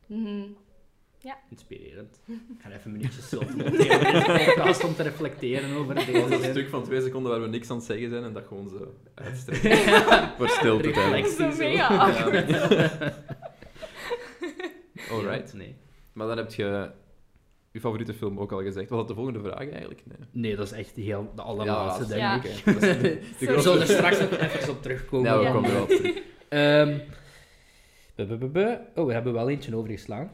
Speaker 3: Mhm.
Speaker 1: inspirerend. Ik ga even een minuutje stilte nemen in deze podcast om te reflecteren over
Speaker 2: Dat is
Speaker 1: deze
Speaker 2: een
Speaker 1: zin.
Speaker 2: stuk van twee seconden waar we niks aan het zeggen zijn en dat gewoon zo uitstrekken.
Speaker 1: Ja.
Speaker 2: Voor stilte
Speaker 1: Reflectie
Speaker 2: tijdens.
Speaker 3: Zo
Speaker 1: zo.
Speaker 3: mega
Speaker 1: Ja.
Speaker 3: awkward.
Speaker 2: Alright.
Speaker 1: Nee.
Speaker 2: Maar dan heb je je favoriete film ook al gezegd. Was dat de volgende vraag eigenlijk? Nee.
Speaker 1: nee, dat is echt heel, de allerlaatste,
Speaker 2: laatste.
Speaker 1: denk ik.
Speaker 3: Ja.
Speaker 2: Oké. Dat is de- de
Speaker 3: Sorry.
Speaker 1: We zullen er
Speaker 2: grootste-
Speaker 1: straks nog even op terugkomen.
Speaker 2: Ja, Nou, we komen
Speaker 3: Ja.
Speaker 2: er wel op terug.
Speaker 1: Ehm, bu- bu- bu- bu. Oh, we hebben wel eentje overgeslaan.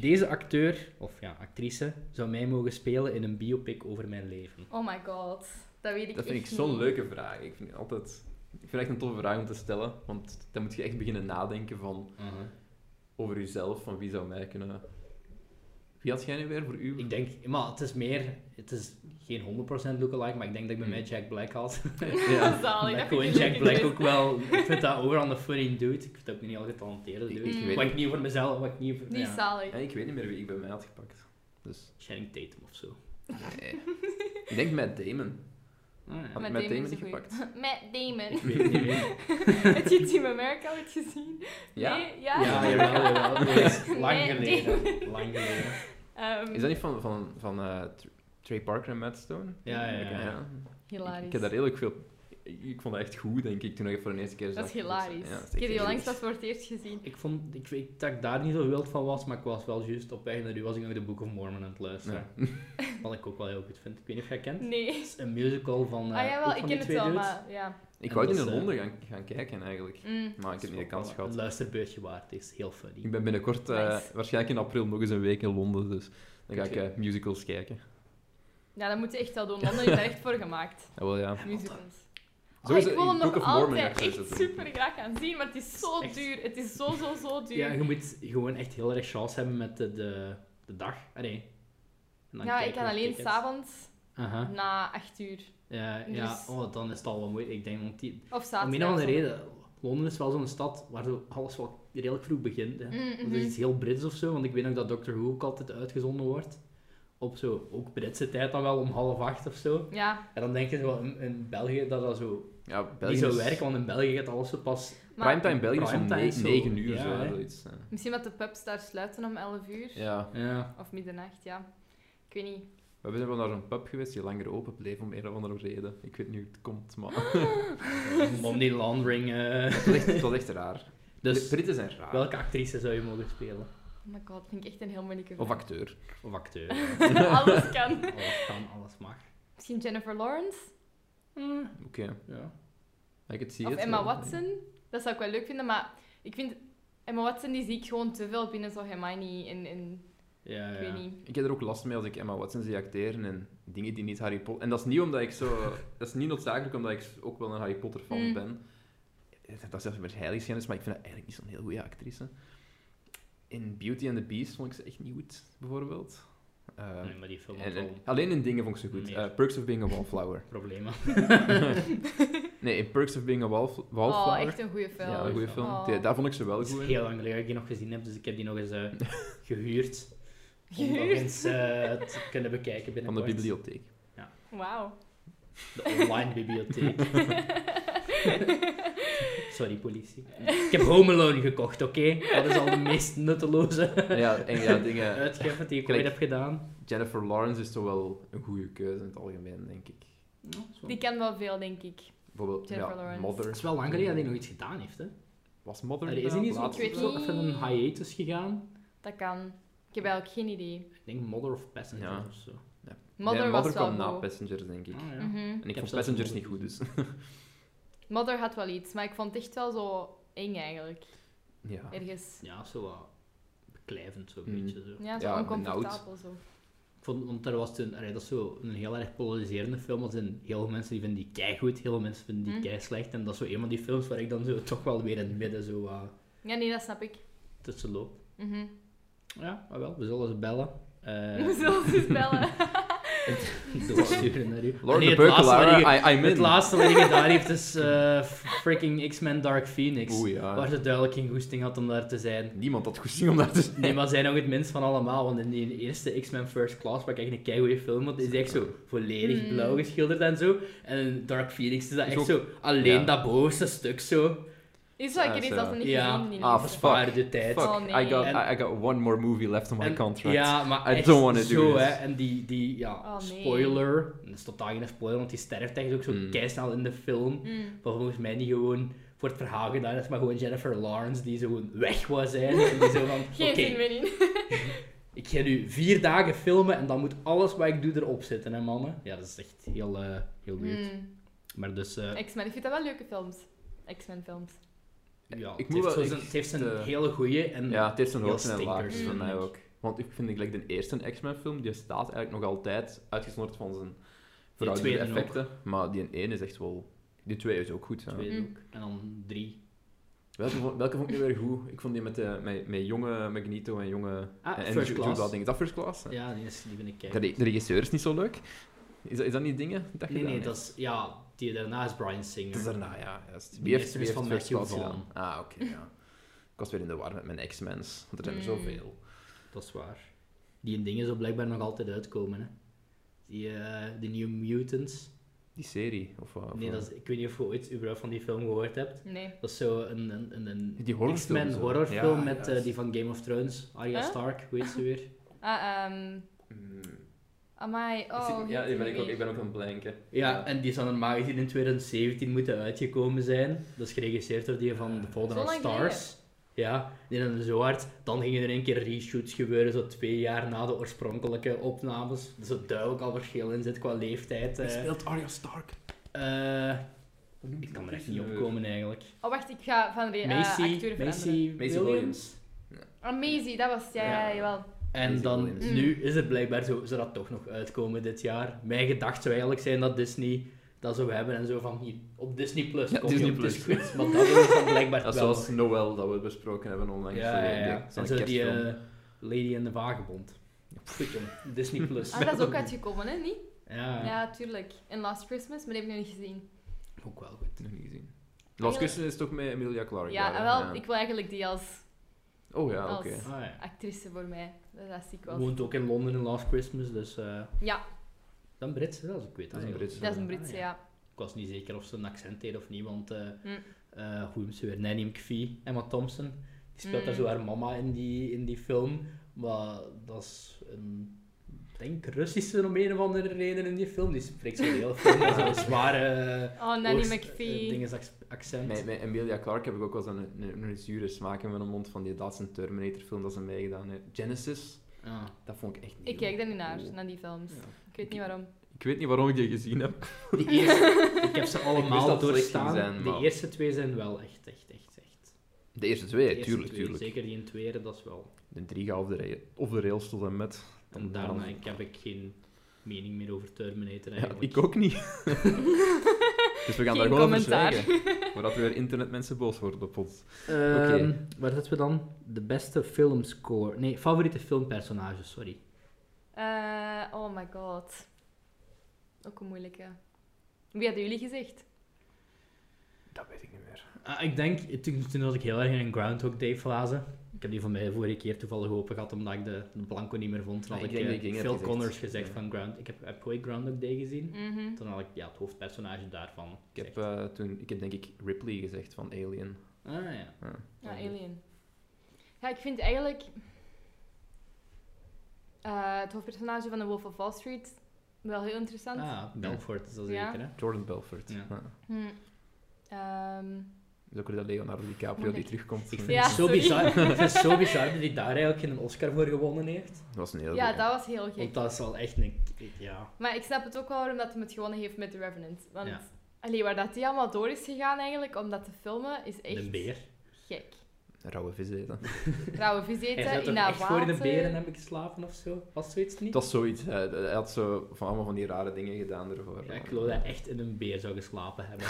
Speaker 1: Deze acteur, of ja, actrice, zou mij mogen spelen in een biopic over mijn leven.
Speaker 3: Oh my god. Dat weet ik
Speaker 2: Dat vind ik
Speaker 3: echt
Speaker 2: zo'n
Speaker 3: niet.
Speaker 2: leuke vraag. Ik vind, het altijd, ik vind het echt een toffe vraag om te stellen. Want dan moet je echt beginnen nadenken van, over jezelf. Van wie zou mij kunnen... Wie had jij nu weer voor u?
Speaker 1: Ik denk, maar het is meer, het is geen 100% lookalike, maar ik denk dat ik bij mij
Speaker 2: Hmm.
Speaker 1: Jack Black had.
Speaker 2: Ja.
Speaker 3: Zalig, dat
Speaker 1: ik
Speaker 3: vind
Speaker 1: gewoon
Speaker 3: ik
Speaker 1: Jack
Speaker 3: leuk.
Speaker 1: Black ook wel. Ik vind dat overal een funny dude. Ik vind dat ook niet al getalenteerd
Speaker 2: Ik-
Speaker 1: dude.
Speaker 2: ik
Speaker 3: Mm.
Speaker 2: weet
Speaker 1: Wat
Speaker 2: niet.
Speaker 1: ik niet voor mezelf, wat ik niet voor...
Speaker 3: Die is zalig.
Speaker 2: Ja, Eh, ik weet niet meer wie ik bij mij had gepakt. Dus...
Speaker 1: Channing Tatum of zo.
Speaker 2: Nee. ik denk Matt Damon.
Speaker 1: Ah,
Speaker 2: Had
Speaker 1: ja.
Speaker 2: ik Matt
Speaker 3: Matt Damon
Speaker 2: Damon niet
Speaker 3: is een goeie.
Speaker 2: gepakt?
Speaker 3: Matt Damon.
Speaker 1: Ik weet het niet meer.
Speaker 3: Heb je Team America ooit gezien?
Speaker 2: Ja?
Speaker 3: Nee? Ja?
Speaker 1: Ja, jawel, jawel. Nee, dat is lang
Speaker 3: Nee,
Speaker 1: geleden. Lang geleden.
Speaker 3: Ehm,
Speaker 2: Is dat niet van, van, van eh, Tr- Trey Parker en Matt Stone?
Speaker 1: Ja, ja, ja.
Speaker 2: Oké, Ik,
Speaker 3: Hilarisch.
Speaker 2: ik heb daar redelijk veel... Ik, ik vond dat echt goed, denk ik, toen ik het voor de eerste keer zag.
Speaker 3: Dat is
Speaker 2: Dus,
Speaker 3: hilarisch.
Speaker 2: ja, dat is echt
Speaker 3: ik heb die
Speaker 2: hilarisch.
Speaker 3: langs pas voor het eerst gezien.
Speaker 1: Ik vond, ik weet dat ik daar niet zo wild van was, maar ik was wel juist op weg naar u was ik nog de Book of Mormon aan het luisteren.
Speaker 2: Ja.
Speaker 1: Wat ik ook wel heel goed vind. Ik weet niet of jij het kent.
Speaker 3: Nee.
Speaker 1: Het is een musical van, eh
Speaker 3: ah
Speaker 1: ook
Speaker 3: jawel,
Speaker 1: van
Speaker 3: ik
Speaker 1: die
Speaker 3: ken het
Speaker 1: twee
Speaker 3: wel,
Speaker 1: dudes.
Speaker 3: maar ja.
Speaker 2: Ik
Speaker 1: En
Speaker 2: wou
Speaker 1: dat
Speaker 2: het in
Speaker 1: is,
Speaker 2: de
Speaker 1: eh,
Speaker 2: Londen gaan, gaan kijken, eigenlijk.
Speaker 3: Mm.
Speaker 2: Maar ik heb
Speaker 1: Dat
Speaker 2: niet
Speaker 1: is
Speaker 2: de
Speaker 1: ook
Speaker 2: kans
Speaker 1: wel
Speaker 2: gehad.
Speaker 1: Een luisterbeurtje waard, is heel funny.
Speaker 2: Ik ben binnenkort, eh,
Speaker 3: Nice.
Speaker 2: waarschijnlijk in april, nog eens een week in Londen. Dus dan ga ik
Speaker 1: Oké.
Speaker 2: eh, musicals kijken.
Speaker 3: ja, dat moet je echt wel doen. Londen is daar echt voor gemaakt.
Speaker 2: Ja, Ah, wel, ja.
Speaker 3: Musicals.
Speaker 2: Zo
Speaker 3: Oh,
Speaker 2: is
Speaker 3: ik
Speaker 2: het
Speaker 3: wil
Speaker 2: in
Speaker 3: hem nog
Speaker 2: Book of Mormon
Speaker 3: altijd
Speaker 2: ergens
Speaker 3: echt
Speaker 2: dat doen.
Speaker 3: super graag gaan zien, maar het is zo
Speaker 1: Echt.
Speaker 3: duur. Het is zo, zo, zo duur.
Speaker 1: Ja, je moet gewoon echt heel erg chance hebben met de, de de dag. Allee. En dan
Speaker 3: Ja,
Speaker 1: kijken
Speaker 3: ik kan
Speaker 1: naar
Speaker 3: alleen
Speaker 1: tickets.
Speaker 3: s'avonds
Speaker 1: Aha.
Speaker 3: na 8 uur.
Speaker 1: Ja, ja.
Speaker 3: Dus-
Speaker 1: Oh, dan is het al wel moeilijk. Ik denk, want die...
Speaker 3: Of
Speaker 1: om
Speaker 3: zaterdag.
Speaker 1: een of andere reden, Londen is wel zo'n stad waar zo alles wel redelijk vroeg begint. Hè.
Speaker 3: Mm,
Speaker 1: Of er is
Speaker 3: mhm.
Speaker 1: iets heel Brits of zo, want ik weet nog dat Doctor Who ook altijd uitgezonden wordt. Op zo, ook Britse tijd dan wel, om half acht of zo.
Speaker 3: Ja,
Speaker 1: En dan denk je zo, in, in België dat dat zo
Speaker 2: Ja,
Speaker 1: niet
Speaker 2: België
Speaker 1: zou
Speaker 2: is-
Speaker 1: werken, want in België gaat alles zo pas...
Speaker 3: maar
Speaker 2: Primetime België is om
Speaker 1: Primetime is zo-
Speaker 2: 9 uur,
Speaker 1: ja,
Speaker 2: zo,
Speaker 1: hè.
Speaker 2: zoiets. eh.
Speaker 3: misschien dat de pubs daar sluiten om 11 uur.
Speaker 2: Ja.
Speaker 1: Ja.
Speaker 3: Of middernacht, ja. Ik weet niet.
Speaker 2: We zijn wel naar een pub geweest die langer open bleef om een of andere reden. Ik weet niet hoe het komt, maar
Speaker 1: Money laundering. eh.
Speaker 2: het was echt, het was echt raar. Dus,
Speaker 1: Dus
Speaker 2: Britten zijn raar.
Speaker 1: welke actrice zou je mogen spelen?
Speaker 3: Oh my god, dat vind ik echt een heel moeilijke
Speaker 2: Of
Speaker 3: vraag.
Speaker 2: acteur.
Speaker 1: Of acteur.
Speaker 3: Alles kan.
Speaker 1: Alles kan, alles mag.
Speaker 3: Misschien Jennifer Lawrence?
Speaker 2: Oké,
Speaker 1: Ja.
Speaker 2: ik het zie
Speaker 3: Of
Speaker 2: het. eh,
Speaker 3: Emma
Speaker 2: wel.
Speaker 3: Watson? Dat zou ik wel leuk vinden, maar ik vind... Emma Watson die zie ik gewoon te veel binnen zo'n Hermione en... en
Speaker 1: Ja,
Speaker 3: ik
Speaker 1: ja.
Speaker 3: weet niet.
Speaker 2: Ik heb er ook last mee als ik Emma Watson zie acteren en dingen die niet Harry Potter... En dat is niet omdat ik zo... Dat is niet noodzakelijk omdat ik ook wel een Harry Potter fan
Speaker 3: Mm.
Speaker 2: ben. Eh, Dat is zelfs met heiligschennis, maar ik vind dat eigenlijk niet zo'n heel goede actrice. In Beauty and the Beast vond ik ze echt niet goed, bijvoorbeeld. Eh,
Speaker 1: Nee, maar die film
Speaker 2: en-
Speaker 1: had
Speaker 2: en-
Speaker 1: wel
Speaker 2: alleen in dingen vond ik ze goed.
Speaker 1: Meer.
Speaker 2: Eh, Perks of Being a Wallflower.
Speaker 1: problemen.
Speaker 2: nee, in Perks of Being a Wallf-
Speaker 3: Oh,
Speaker 2: Wallflower.
Speaker 3: echt een goede film.
Speaker 2: ja, een goede film.
Speaker 3: Oh.
Speaker 2: Die- daar vond ik ze wel
Speaker 1: Het is
Speaker 2: goed in.
Speaker 1: heel lang geleden dat ik die nog gezien heb, dus ik heb die nog eens eh, gehuurd. Om dat
Speaker 3: Gehuurd?
Speaker 1: eens eh, te kunnen bekijken
Speaker 2: Van
Speaker 1: binnenkort.
Speaker 2: de bibliotheek.
Speaker 3: Wauw.
Speaker 1: De online bibliotheek. Sorry, politie. Ik heb Home Alone gekocht, oké? Dat is al de meest nutteloze
Speaker 2: ja, en ja, dingen...
Speaker 1: uitgave die ik
Speaker 2: Kijk.
Speaker 1: ooit heb gedaan.
Speaker 2: Jennifer Lawrence is toch wel een goede keuze in het algemeen, denk ik.
Speaker 3: Die kan wel veel, denk ik.
Speaker 2: Bijvoorbeeld,
Speaker 3: Jennifer
Speaker 2: ja,
Speaker 3: Lawrence.
Speaker 2: Mother.
Speaker 1: Het is wel lang geleden dat hij nog iets gedaan heeft, hè?
Speaker 2: Was Mother
Speaker 1: Er is hij niet zo,
Speaker 2: inderdaad
Speaker 3: Ik weet
Speaker 1: zo
Speaker 3: niet.
Speaker 1: even een hiatus gegaan?
Speaker 3: Dat kan. Ik heb eigenlijk geen idee.
Speaker 1: Ik denk Mother of Passenger
Speaker 2: Ja.
Speaker 1: of zo.
Speaker 3: Mother,
Speaker 2: nee,
Speaker 3: was
Speaker 2: Mother
Speaker 3: wel
Speaker 2: kwam na
Speaker 3: goed.
Speaker 2: Passengers, denk ik.
Speaker 1: Ah, ja.
Speaker 3: Mhm.
Speaker 2: En
Speaker 1: heb
Speaker 2: ik, vond
Speaker 1: zelfs
Speaker 2: Passengers
Speaker 1: Mother
Speaker 2: niet goed, dus...
Speaker 3: Mother had wel iets, maar ik vond het echt wel zo eng eigenlijk.
Speaker 2: ja.
Speaker 3: Ergens.
Speaker 1: Ja, zo wat beklijvend, zo'n
Speaker 2: Mm.
Speaker 1: beetje. Zo.
Speaker 3: Ja, zo
Speaker 2: Ja,
Speaker 3: oncomfortabel zo.
Speaker 1: Ik vond, want er was toen, allee, dat is zo een heel erg polariserende film. Als in, heel veel mensen die vinden die kei goed, heel veel mensen vinden die
Speaker 3: Hm.
Speaker 1: kei slecht. En dat is zo een van die films waar ik dan zo toch wel weer in het midden zo eh,
Speaker 3: Ja, nee, dat snap ik.
Speaker 1: tussen loop.
Speaker 3: Mhm.
Speaker 1: Ja, maar wel, we zullen ze bellen. Eh
Speaker 3: We zullen ze eens bellen.
Speaker 1: doorsturen naar u.
Speaker 2: Lord
Speaker 1: Nee,
Speaker 2: de
Speaker 1: het laatste wat
Speaker 2: Beukelaar,
Speaker 1: hij-
Speaker 2: I, I'm in.
Speaker 1: Het laatste wat hij gedaan heeft is eh, freaking X-Men Dark Phoenix.
Speaker 2: Oeh, ja.
Speaker 1: Waar ze duidelijk geen goesting had om daar te zijn.
Speaker 2: Niemand had goed zien om daar te zijn.
Speaker 1: Nee, maar zij nog het minst van allemaal, want in die eerste X-Men First Class, waar ik echt een keigoede film vond, is die echt zo volledig
Speaker 3: Mm.
Speaker 1: blauw geschilderd en zo. En in Dark Phoenix is dat
Speaker 2: Is
Speaker 1: echt
Speaker 2: ook-
Speaker 1: zo alleen
Speaker 2: ja.
Speaker 1: dat bovenste stuk zo.
Speaker 3: Is dat
Speaker 2: Ah,
Speaker 3: ik er
Speaker 2: zo.
Speaker 3: iets dat we niet
Speaker 1: Ja.
Speaker 3: gezien in de
Speaker 2: Ah,
Speaker 3: eerste.
Speaker 2: fuck.
Speaker 1: Spaar de tijd.
Speaker 2: Fuck,
Speaker 3: Oh, nee.
Speaker 2: I, got,
Speaker 1: En-
Speaker 2: I, I got one more movie left on my
Speaker 1: En-
Speaker 2: contract.
Speaker 1: Ja, maar
Speaker 2: I
Speaker 1: echt
Speaker 2: don't wanna do
Speaker 1: zo,
Speaker 2: this.
Speaker 1: hè. En die, die ja,
Speaker 3: Oh, nee.
Speaker 1: spoiler, dat is totaal geen spoiler, want die sterft echt ook zo
Speaker 2: Mm.
Speaker 1: keisnel in de film.
Speaker 3: Mm.
Speaker 1: Wat volgens mij niet gewoon voor het verhaal gedaan is, maar gewoon Jennifer Lawrence die zo gewoon weg was zijn. En die zo van, oké,
Speaker 3: Geen zin meer in.
Speaker 1: Ik ga nu vier dagen filmen en dan moet alles wat ik doe erop zitten, hè, mannen. Ja, dat is echt heel, eh, heel weird.
Speaker 3: Mm.
Speaker 1: Maar dus, eh,
Speaker 3: X-Men, ik vind dat wel leuke films. X-Men films.
Speaker 1: ja,
Speaker 2: ik
Speaker 1: het,
Speaker 2: moet
Speaker 1: heeft
Speaker 2: wel-
Speaker 1: zo
Speaker 2: ik-
Speaker 1: zijn, het heeft zijn
Speaker 2: de-
Speaker 1: hele goeie en
Speaker 2: Ja, het heeft zijn
Speaker 1: heel
Speaker 2: hoogte en
Speaker 1: stinkers,
Speaker 2: laagste voor
Speaker 3: vind
Speaker 2: mij
Speaker 1: ik.
Speaker 2: ook. Want ik vind ik, like, de eerste X-Men-film, die staat eigenlijk nog altijd uitgezonderd van zijn verouderde
Speaker 1: tweede ook.
Speaker 2: effecten. Maar die ene is echt wel... Die twee is ook goed. ja.
Speaker 1: twee
Speaker 3: Mm.
Speaker 1: ook. En dan drie.
Speaker 2: Welke, vond- welke vond ik nu weer goed? Ik vond die met, eh met, met jonge Magneto en jonge...
Speaker 1: Ah,
Speaker 2: en, en
Speaker 1: First
Speaker 2: Jude
Speaker 1: Class.
Speaker 2: Law, Ding. Is dat First Class?
Speaker 1: Ja, die, is, die ben ik eh.
Speaker 2: De,
Speaker 1: kijken.
Speaker 2: re- de regisseur is niet zo leuk. Is dat, is dat niet dingen? Dat je
Speaker 1: Nee,
Speaker 2: daar-
Speaker 1: nee, dat is, ja, die daarna is Brian Singer.
Speaker 2: Het is daarna, ja. Juist.
Speaker 1: De
Speaker 2: Wie heeft,
Speaker 1: eerste
Speaker 2: wie
Speaker 1: is van
Speaker 2: heeft First
Speaker 1: Matthew
Speaker 2: Class gedaan?
Speaker 1: Vaughn.
Speaker 2: Ah, oké, ja. Ik was weer in de war met mijn X-Mens, want er zijn er
Speaker 3: Mm.
Speaker 1: Hmm.
Speaker 2: zoveel.
Speaker 1: Dat is waar. Die dingen zo blijkbaar nog altijd uitkomen, hè. Die, eh, de New Mutants.
Speaker 2: Die serie, of wat? of eh,
Speaker 1: Nee,
Speaker 2: wat?
Speaker 1: dat is, ik weet niet of je ooit überhaupt van die film gehoord hebt.
Speaker 3: Nee.
Speaker 1: Dat is zo een, een, een, een
Speaker 2: Die horrorfilm
Speaker 1: X-Men
Speaker 2: zo.
Speaker 1: horrorfilm
Speaker 2: Ja,
Speaker 1: met
Speaker 2: ja.
Speaker 1: eh, die van Game of Thrones. Arya
Speaker 3: Huh?
Speaker 1: Stark, hoe heet ze weer?
Speaker 3: Ah, ehm
Speaker 2: Mm.
Speaker 3: amai.
Speaker 2: Ik zit-
Speaker 3: Oh,
Speaker 2: ja,
Speaker 3: hier
Speaker 2: ik ben, ik, ook,
Speaker 3: weer.
Speaker 2: ik ben ook aan het blanken.
Speaker 1: Ja, en die zou normaal gezien in 2017 moeten uitgekomen zijn. Dat is geregisseerd door die van The Fallen
Speaker 3: Zo lang
Speaker 1: Stars. Ja, die hadden zo hard. Dan gingen er in één keer reshoots gebeuren, zo twee jaar na de oorspronkelijke opnames. Dus er duidelijk al verschil in zit qua leeftijd. eh.
Speaker 2: Arya Stark?
Speaker 1: Eh, ik kan er echt niet op komen eigenlijk.
Speaker 3: Oh, wacht, ik ga van de
Speaker 1: Macy,
Speaker 3: Eh, acteur veranderen.
Speaker 1: Macy,
Speaker 2: Macy
Speaker 1: Williams.
Speaker 2: Williams.
Speaker 3: Ah, Maisie, dat was het. Ja,
Speaker 1: Ja.
Speaker 3: ja, jawel. Ah,
Speaker 1: En
Speaker 2: Macy
Speaker 1: dan,
Speaker 2: Williams.
Speaker 1: nu is het blijkbaar zo, zou dat toch nog uitkomen dit jaar. Mijn gedacht zou eigenlijk zijn dat Disney dat zou hebben en zo van hier, op Disney Plus.
Speaker 2: Ja,
Speaker 1: kom je
Speaker 2: Disney
Speaker 1: op, het is
Speaker 2: Plus.
Speaker 1: goed, maar dat is dan blijkbaar
Speaker 2: Dat is
Speaker 1: wel.
Speaker 2: zoals Noel dat we besproken hebben onlangs. eh,
Speaker 1: ja, ja,
Speaker 2: Die-
Speaker 1: ja.
Speaker 2: zo'n
Speaker 1: En zo die
Speaker 2: kerstfilm.
Speaker 1: eh, Lady en de Vagebond. Fucking Disney Plus.
Speaker 3: Ah, dat is ook uitgekomen, hè? Niet?
Speaker 1: Ja,
Speaker 3: Ja, tuurlijk. En Last Christmas, maar die heb ik nog niet gezien.
Speaker 1: ook wel goed.
Speaker 2: Nog niet gezien. Last Christmas is toch met Emilia Clarke?
Speaker 3: Ja,
Speaker 2: daar, hè?
Speaker 3: en wel, ik wil eigenlijk die als
Speaker 2: Oh ja,
Speaker 3: als-
Speaker 2: oké.
Speaker 1: Ah, ja.
Speaker 3: actrice voor mij. Dat is ziek was.
Speaker 1: Woont ook in Londen in Last Christmas, dus... eh
Speaker 3: Ja,
Speaker 1: dan Brits, hè, als ik weet.
Speaker 2: Dat is een
Speaker 1: eigenlijk.
Speaker 2: Britse.
Speaker 3: dat is een
Speaker 1: Ah,
Speaker 3: Britse, ja.
Speaker 1: Ik was niet zeker of ze een accent deed of niet, want... eh
Speaker 3: Mm.
Speaker 1: eh, hoe noemt ze weer? Nanny McPhee, Emma Thompson. Die speelt daar
Speaker 3: Mm.
Speaker 1: zo haar mama in die, in die film. Maar dat is een... Ik denk Russische om een of andere reden in die film. Die spreekt zo heel veel. Dat is een zware...
Speaker 3: Oh, Nanny
Speaker 1: Oost-
Speaker 3: McPhee.
Speaker 1: eh, dinges ac- accent.
Speaker 2: Met, met Emilia Clarke heb ik ook wel eens een, een, een zure smaak in mijn mond van die laatste Terminator-film dat ze meegedaan heeft. Genesis,
Speaker 1: Ah.
Speaker 2: dat vond ik echt niet
Speaker 3: Ik
Speaker 2: goed.
Speaker 3: kijk daar niet naar,
Speaker 2: Oh.
Speaker 3: naar die films.
Speaker 2: Ja.
Speaker 3: Ik weet niet waarom.
Speaker 2: Ik weet niet waarom ik die gezien heb.
Speaker 1: Die eerste- ik heb ze
Speaker 2: wist
Speaker 1: allemaal
Speaker 2: dat het slecht
Speaker 1: doorstaan.
Speaker 2: ging zijn,
Speaker 1: de
Speaker 2: maar-
Speaker 1: eerste twee zijn wel echt, echt, echt, echt.
Speaker 2: De eerste
Speaker 1: De
Speaker 2: twee,
Speaker 1: eerste
Speaker 2: tuurlijk,
Speaker 1: twee,
Speaker 2: tuurlijk.
Speaker 1: Zeker die in tweede, dat is wel.
Speaker 2: De drie gaat over de, ra- over de rails tot en met.
Speaker 1: En daarna ik, heb ik geen mening meer over Terminator
Speaker 2: Ja,
Speaker 1: eigenlijk.
Speaker 2: ik ook niet. dus we gaan
Speaker 3: Geen
Speaker 2: daar gewoon over
Speaker 3: commentaar.
Speaker 2: zwijgen. Voordat weer internetmensen boos worden op ons.
Speaker 1: Ehm,
Speaker 2: Oké.
Speaker 1: Waar zetten we dan? De beste filmscore. Nee, favoriete filmpersonage, sorry.
Speaker 3: Eh, oh my god. Ook een moeilijke. Wie hadden jullie gezegd?
Speaker 2: Dat weet ik niet meer.
Speaker 1: Ah, ik denk, toen, toen was ik heel erg in een Groundhog Day fase. Ik heb die van mij vorige keer toevallig open gehad, omdat ik de, de blanco niet meer vond. Toen
Speaker 2: Ah,
Speaker 1: had
Speaker 2: ik
Speaker 1: ik,
Speaker 2: denk
Speaker 1: eh,
Speaker 2: dat ik ging
Speaker 1: Phil
Speaker 2: het
Speaker 1: Connors
Speaker 2: gezegd.
Speaker 1: gezegd
Speaker 2: Ja.
Speaker 1: van Ground... Ik heb, heb ooit Groundhog Day gezien.
Speaker 3: Mhm.
Speaker 1: Toen had ik ja, het hoofdpersonage daarvan
Speaker 2: Ik heb,
Speaker 1: gezegd.
Speaker 2: eh, toen, ik heb denk ik Ripley gezegd van Alien.
Speaker 1: Ah ja.
Speaker 2: Ja.
Speaker 3: Ja,
Speaker 1: Ja,
Speaker 3: Alien. Ja, ik vind eigenlijk... eh, het hoofdpersonage van The Wolf of Wall Street wel heel interessant.
Speaker 1: Ah, Belfort is dat
Speaker 3: Ja.
Speaker 1: zeker, hè?
Speaker 2: Jordan Belfort.
Speaker 1: Ja.
Speaker 2: Ja.
Speaker 3: Hm. Ehm,
Speaker 2: Dat is ook weer dat Leonardo DiCaprio die
Speaker 3: Moeilijk.
Speaker 2: terugkomt.
Speaker 1: Ik vind,
Speaker 3: Ja,
Speaker 1: het zo
Speaker 3: sorry.
Speaker 1: bizar, ik vind het zo bizar dat hij daar eigenlijk geen Oscar voor gewonnen heeft.
Speaker 2: Dat was een heel
Speaker 3: ja,
Speaker 2: goeie.
Speaker 3: dat was heel gek.
Speaker 1: Want dat is wel echt een... Ja.
Speaker 3: Maar ik snap het ook wel waarom dat hij het gewonnen heeft met The Revenant. Want
Speaker 1: Ja.
Speaker 3: allee, waar dat die allemaal door is gegaan eigenlijk, om dat te filmen, is echt
Speaker 1: De beer.
Speaker 3: gek.
Speaker 2: Rauwe vis eten.
Speaker 3: Rauwe vis
Speaker 1: Hij zou
Speaker 3: eten in
Speaker 1: toch
Speaker 3: dat
Speaker 1: echt
Speaker 3: water.
Speaker 1: voor de beren hebben geslapen of zo? Was zoiets niet?
Speaker 2: Het was zoiets. Hij, hij had zo van allemaal van die rare dingen gedaan ervoor.
Speaker 1: Ja, ik geloof dat hij echt in een beer zou geslapen hebben.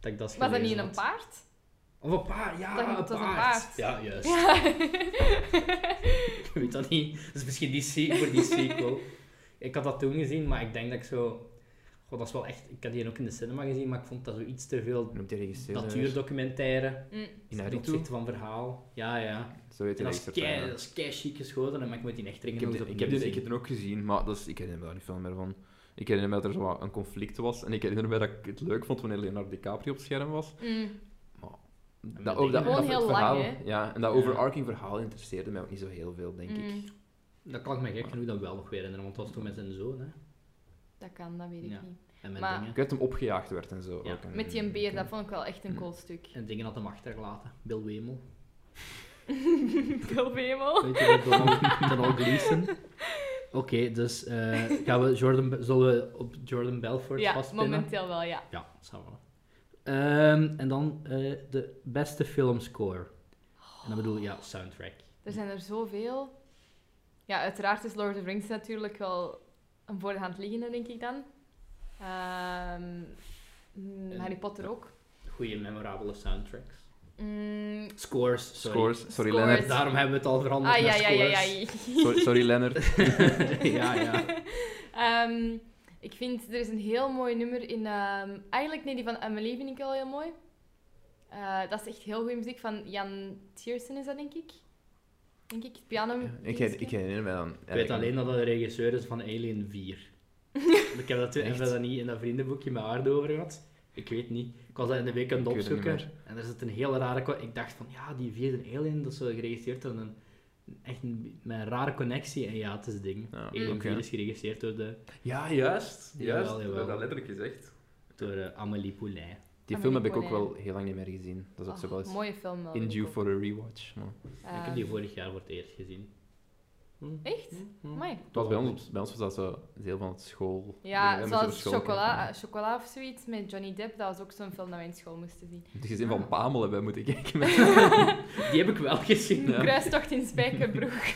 Speaker 1: dat ik dat eens
Speaker 3: Was dat niet in
Speaker 1: gelezen
Speaker 3: een
Speaker 1: had.
Speaker 3: paard?
Speaker 1: Of een paard, ja,
Speaker 3: Dat-
Speaker 1: een,
Speaker 3: dat was een
Speaker 1: paard.
Speaker 3: paard.
Speaker 1: Ja, juist.
Speaker 3: Ja.
Speaker 1: Ik weet dat niet. Dat is misschien die se- voor die sequel. ik had dat toen gezien, maar ik denk dat ik zo... God, dat is wel echt... Ik had die ook in de cinema gezien, maar ik vond dat zo iets te veel
Speaker 2: Noemt hij regisseur?
Speaker 1: natuurdocumentaire.
Speaker 3: Mm.
Speaker 1: Ten
Speaker 2: Inarritu?
Speaker 1: opzichte van verhaal. Ja, ja.
Speaker 2: Zo heet
Speaker 1: En
Speaker 2: hij
Speaker 1: dat is
Speaker 2: regisseur.
Speaker 1: kei-
Speaker 2: ja.
Speaker 1: dat is kei chic geschoten, en maar ik moet die echt
Speaker 2: Ik
Speaker 1: dringend
Speaker 2: heb,
Speaker 1: nog
Speaker 2: die,
Speaker 1: eens
Speaker 2: ik, heb die,
Speaker 1: opnieuw
Speaker 2: ik heb
Speaker 1: zien.
Speaker 2: die ook gezien, maar dat is, ik herinner me daar niet veel meer van. Ik herinner me dat er zo wat een conflict was. En ik herinner me dat ik het leuk vond wanneer Leonardo DiCaprio op scherm was.
Speaker 3: Mm.
Speaker 1: dat ding-
Speaker 2: Dat, dat,
Speaker 1: Gewoon
Speaker 2: dat
Speaker 3: heel lang,
Speaker 2: verhaal,
Speaker 3: hè?
Speaker 2: Ja, en dat
Speaker 1: Ja.
Speaker 2: overarching verhaal interesseerde mij ook niet zo heel veel, denk ik.
Speaker 3: Mm.
Speaker 1: Dat kan ik me gek genoeg dan wel nog weer herinneren, want dat was toen met zijn zoon, hè.
Speaker 3: Dat kan, dat weet ik
Speaker 1: Ja.
Speaker 3: niet.
Speaker 1: En met
Speaker 3: Maar-
Speaker 1: dingen.
Speaker 2: Ik weet dat hem opgejaagd werd en zo.
Speaker 1: Ja.
Speaker 2: ook. En-
Speaker 3: Met die een beer,
Speaker 2: en-
Speaker 3: dat vond ik wel echt een
Speaker 2: Mm.
Speaker 3: cool stuk.
Speaker 1: En dingen had hem achtergelaten. Bill Wemel.
Speaker 3: Veel wemel.
Speaker 1: Weet je wel, Donald, Donald Gleason. Oké, dus eh, gaan we Jordan, Be- zullen we op Jordan Belfort
Speaker 3: Ja,
Speaker 1: vastpinnen?
Speaker 3: momenteel wel, ja.
Speaker 1: Ja, dat zou wel. Ehm, en dan eh, de beste filmscore. En dan bedoel ik, ja, soundtrack.
Speaker 3: Er zijn er zoveel. Ja, uiteraard is Lord of the Rings natuurlijk wel een voor de hand liggende, denk ik dan. Ehm, mm,
Speaker 1: En-
Speaker 3: Harry Potter ook.
Speaker 1: Goeie, memorabele soundtracks.
Speaker 3: Mm,
Speaker 1: Scores, sorry.
Speaker 2: Scores. Sorry,
Speaker 3: Scores.
Speaker 2: Leonard.
Speaker 1: Daarom hebben we het al veranderd
Speaker 3: ah, ja,
Speaker 1: naar
Speaker 3: ja, ja,
Speaker 1: scores.
Speaker 3: ja.
Speaker 2: Sorry, sorry Leonard.
Speaker 1: ja, ja.
Speaker 3: Ehm, ik vind, er is een heel mooi nummer in... ehm, eigenlijk, nee, die van Amelie vind ik wel heel mooi. Eh, dat is echt heel goede muziek van Jan Tiersen, is dat, denk ik? Denk ik, het piano.
Speaker 2: Ja, Ik, her- ik herinner me dan.
Speaker 1: Ik weet alleen dat dat de regisseur is van Alien 4. ik heb dat, toen,
Speaker 2: Echt?
Speaker 1: hebben we dat niet in dat vriendenboekje met Aarde over gehad. Ik weet niet. Ik was dat in de week aan het
Speaker 2: Ik weet het niet
Speaker 1: opzoeken. En er zit een hele rare... co- Ik dacht van, ja, die vierde Alien, dat is zo geregisseerd door een... Echt een, met een rare connectie. En ja, het is het ding.
Speaker 2: Ja,
Speaker 1: Alien
Speaker 2: oké.
Speaker 1: 4 is geregisseerd door, de,
Speaker 2: Ja, juist.
Speaker 1: Jawel,
Speaker 2: Juist.
Speaker 1: jawel.
Speaker 2: We hebben Dat letterlijk gezegd.
Speaker 1: door eh, Amélie Poulain.
Speaker 2: Die
Speaker 3: Ah,
Speaker 2: film
Speaker 3: maar
Speaker 2: heb
Speaker 3: die
Speaker 2: ik ook
Speaker 3: Conan.
Speaker 2: wel heel lang niet meer gezien. Dat is ook zo
Speaker 3: Oh,
Speaker 2: wel eens
Speaker 3: mooie film wel.
Speaker 2: in
Speaker 3: denk ik
Speaker 2: due
Speaker 3: ook.
Speaker 2: for a rewatch. Maar
Speaker 1: Ik heb die
Speaker 3: Ehm,
Speaker 1: vorig jaar voor het eerst gezien. Hm.
Speaker 3: Echt?
Speaker 1: Hm.
Speaker 3: Amai.
Speaker 2: het was bij, ons, bij ons was dat zo deel van het school. dingen,
Speaker 3: Ja,
Speaker 2: hè, moesten we
Speaker 3: zoals
Speaker 2: school
Speaker 3: chocola,
Speaker 2: kijken.
Speaker 3: eh, chocola of zoiets met Johnny Depp. Dat was ook zo'n film dat wij in school moesten zien.
Speaker 2: Het gezin van
Speaker 1: Ah.
Speaker 2: Pamel hebben we moeten kijken. Met...
Speaker 1: Die heb ik wel gezien.
Speaker 2: Ja.
Speaker 3: Kruistocht in Spijkerbroek.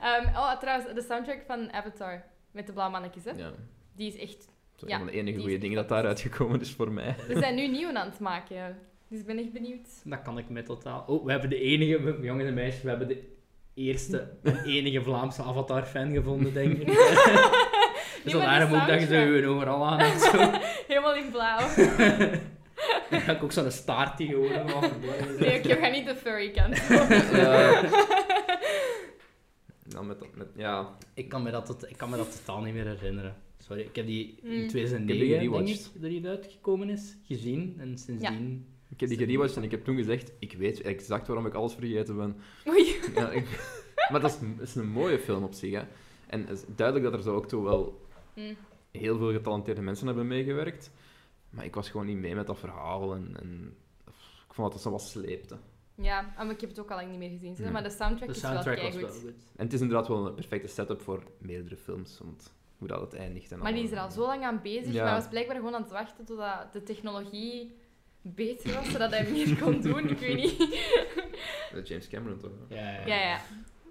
Speaker 3: Ehm, oh, trouwens, de soundtrack van Avatar met de blauwe mannetjes, hè?
Speaker 2: Ja.
Speaker 3: Die is echt...
Speaker 2: Dat is
Speaker 3: Ja,
Speaker 2: een van de enige
Speaker 3: die
Speaker 2: goede
Speaker 3: is
Speaker 2: dingen dat
Speaker 3: echt
Speaker 2: daaruit gekomen is voor mij.
Speaker 3: We zijn nu nieuw aan het maken, dus ik ben echt benieuwd.
Speaker 1: Dat kan ik met totaal. Oh, we hebben de enige, jongens en meisjes, we hebben de eerste en enige Vlaamse Avatar-fan gevonden, denk ik.
Speaker 3: Die
Speaker 1: dus dan
Speaker 3: met
Speaker 1: daarom
Speaker 3: die
Speaker 1: ook dat je zo
Speaker 3: soundtrack.
Speaker 1: je overal aan hebt. Zo.
Speaker 3: Helemaal in blauw.
Speaker 1: Dan ga ik ook zo'n staart die horen.
Speaker 3: Nee, ik ga niet de furry kant.
Speaker 2: Ja. Dan Nou, met dat, met, ja.
Speaker 1: Ik kan me dat, tot- ik kan me dat totaal niet meer herinneren. Sorry, ik heb die
Speaker 3: Mm.
Speaker 1: in 2009,
Speaker 2: Ik heb die
Speaker 1: denk
Speaker 2: gerewatcht.
Speaker 1: ik, dat die uitgekomen is, gezien. En sindsdien...
Speaker 2: Ik heb die gerewatcht en ik heb toen gezegd, ik weet exact waarom ik alles vergeten ben.
Speaker 3: Oei.
Speaker 2: Ja, ik- maar dat is, dat is een mooie film op zich. Hè. En het is duidelijk dat er zo ook toch wel
Speaker 3: Hm.
Speaker 2: heel veel getalenteerde mensen hebben meegewerkt. Maar ik was gewoon niet mee met dat verhaal. En, en ik vond dat dat zo wat sleepte.
Speaker 3: Ja, ah, maar ik heb het ook al lang niet meer gezien. zeg,
Speaker 2: Hm.
Speaker 3: Maar de soundtrack,
Speaker 1: De soundtrack
Speaker 3: is wel
Speaker 1: was wel
Speaker 3: keigoed.
Speaker 1: goed.
Speaker 2: En het is inderdaad wel een perfecte setup voor meerdere films. Want hoe dat het eindigt. En
Speaker 3: Maar die is
Speaker 2: allemaal.
Speaker 3: er al zo lang aan bezig.
Speaker 2: Ja.
Speaker 3: Maar was blijkbaar gewoon aan het wachten totdat de technologie beter was, zodat hij meer kon doen. Ik weet niet.
Speaker 2: Dat is Eh, James Cameron toch? hè?
Speaker 1: Ja, ja.
Speaker 3: Ja,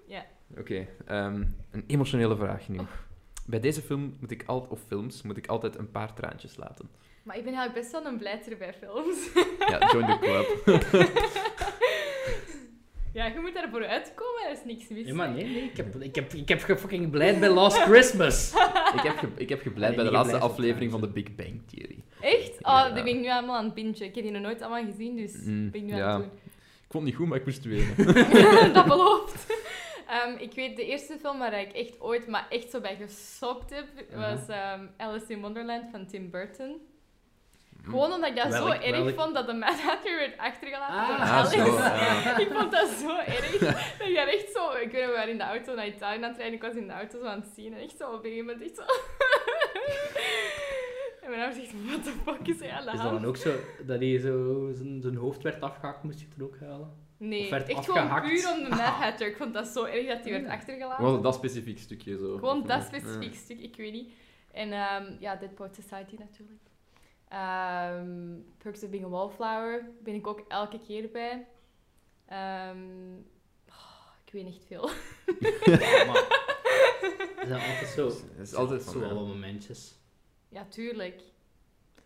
Speaker 3: ja.
Speaker 2: Oké, ehm, een emotionele vraag nu.
Speaker 3: Oh.
Speaker 2: Bij deze film moet ik altijd, of films, moet ik altijd een paar traantjes laten.
Speaker 3: Maar ik ben eigenlijk best wel een blijter bij films.
Speaker 2: Ja, join the club.
Speaker 3: Ja, je moet daarvoor uitkomen, er is niks mis.
Speaker 1: Ja, maar nee, nee, ik heb, ik heb, ik heb ge- fucking blijd bij Last Christmas.
Speaker 3: Ah,
Speaker 2: Ik heb, ge- ik heb geblijd
Speaker 1: Nee,
Speaker 2: bij de
Speaker 1: niet
Speaker 2: laatste
Speaker 1: geblijd op
Speaker 2: aflevering van de
Speaker 1: traantjes.
Speaker 2: Big Bang Theory.
Speaker 3: Echt? Oh,
Speaker 2: Ja.
Speaker 3: die ben ik nu allemaal aan het bingen. Ik heb die nog nooit allemaal gezien, dus
Speaker 2: Mm,
Speaker 3: ben ik nu
Speaker 2: ja.
Speaker 3: aan het
Speaker 2: Ik vond het niet goed, maar ik moest wenen.
Speaker 3: doen. dat belooft. Ehm, ik weet, de eerste film waar ik echt ooit, maar echt zo bij gesopt heb,
Speaker 2: Mhm.
Speaker 3: was ehm, Alice in Wonderland van Tim Burton.
Speaker 2: Mm.
Speaker 3: Gewoon omdat ik dat zo
Speaker 1: Welk-
Speaker 3: erg
Speaker 1: welk-
Speaker 3: vond dat de Mad Hatter werd achtergelaten door
Speaker 1: Ah,
Speaker 2: Ah,
Speaker 3: Alice.
Speaker 2: zo. ja.
Speaker 3: Ik vond dat zo erg. Dat ik daar echt zo... Ik weet nog, we waren in de auto naar Italië aan het rijden. Ik was in de auto zo aan het zien. En echt zo op een gegeven moment echt zo... en mijn ouders zegt, what the fuck is hij aan de
Speaker 1: Is dat
Speaker 3: hand?
Speaker 1: dan ook zo dat hij zo zijn, zijn hoofd werd afgehakt, moest je er ook huilen?
Speaker 3: Nee,
Speaker 1: of werd
Speaker 3: echt
Speaker 1: afgehakt?
Speaker 3: gewoon puur om de Mad Hatter. Ik vond dat zo erg dat hij werd achtergelaten.
Speaker 2: Was het dat specifiek stukje zo?
Speaker 3: Gewoon
Speaker 2: Of
Speaker 3: dat
Speaker 2: niet?
Speaker 3: specifiek stuk, ik weet niet. En ehm ja, Deadport Society natuurlijk. Ehm, Perks of Being a Wallflower ben ik ook elke keer bij. Ehm, oh, ik weet niet veel.
Speaker 1: Ja, maar... Er zijn altijd zo...
Speaker 2: Ja. Het is altijd
Speaker 1: zo
Speaker 2: van,
Speaker 1: wel
Speaker 2: ja.
Speaker 1: wat momentjes.
Speaker 3: Ja, tuurlijk.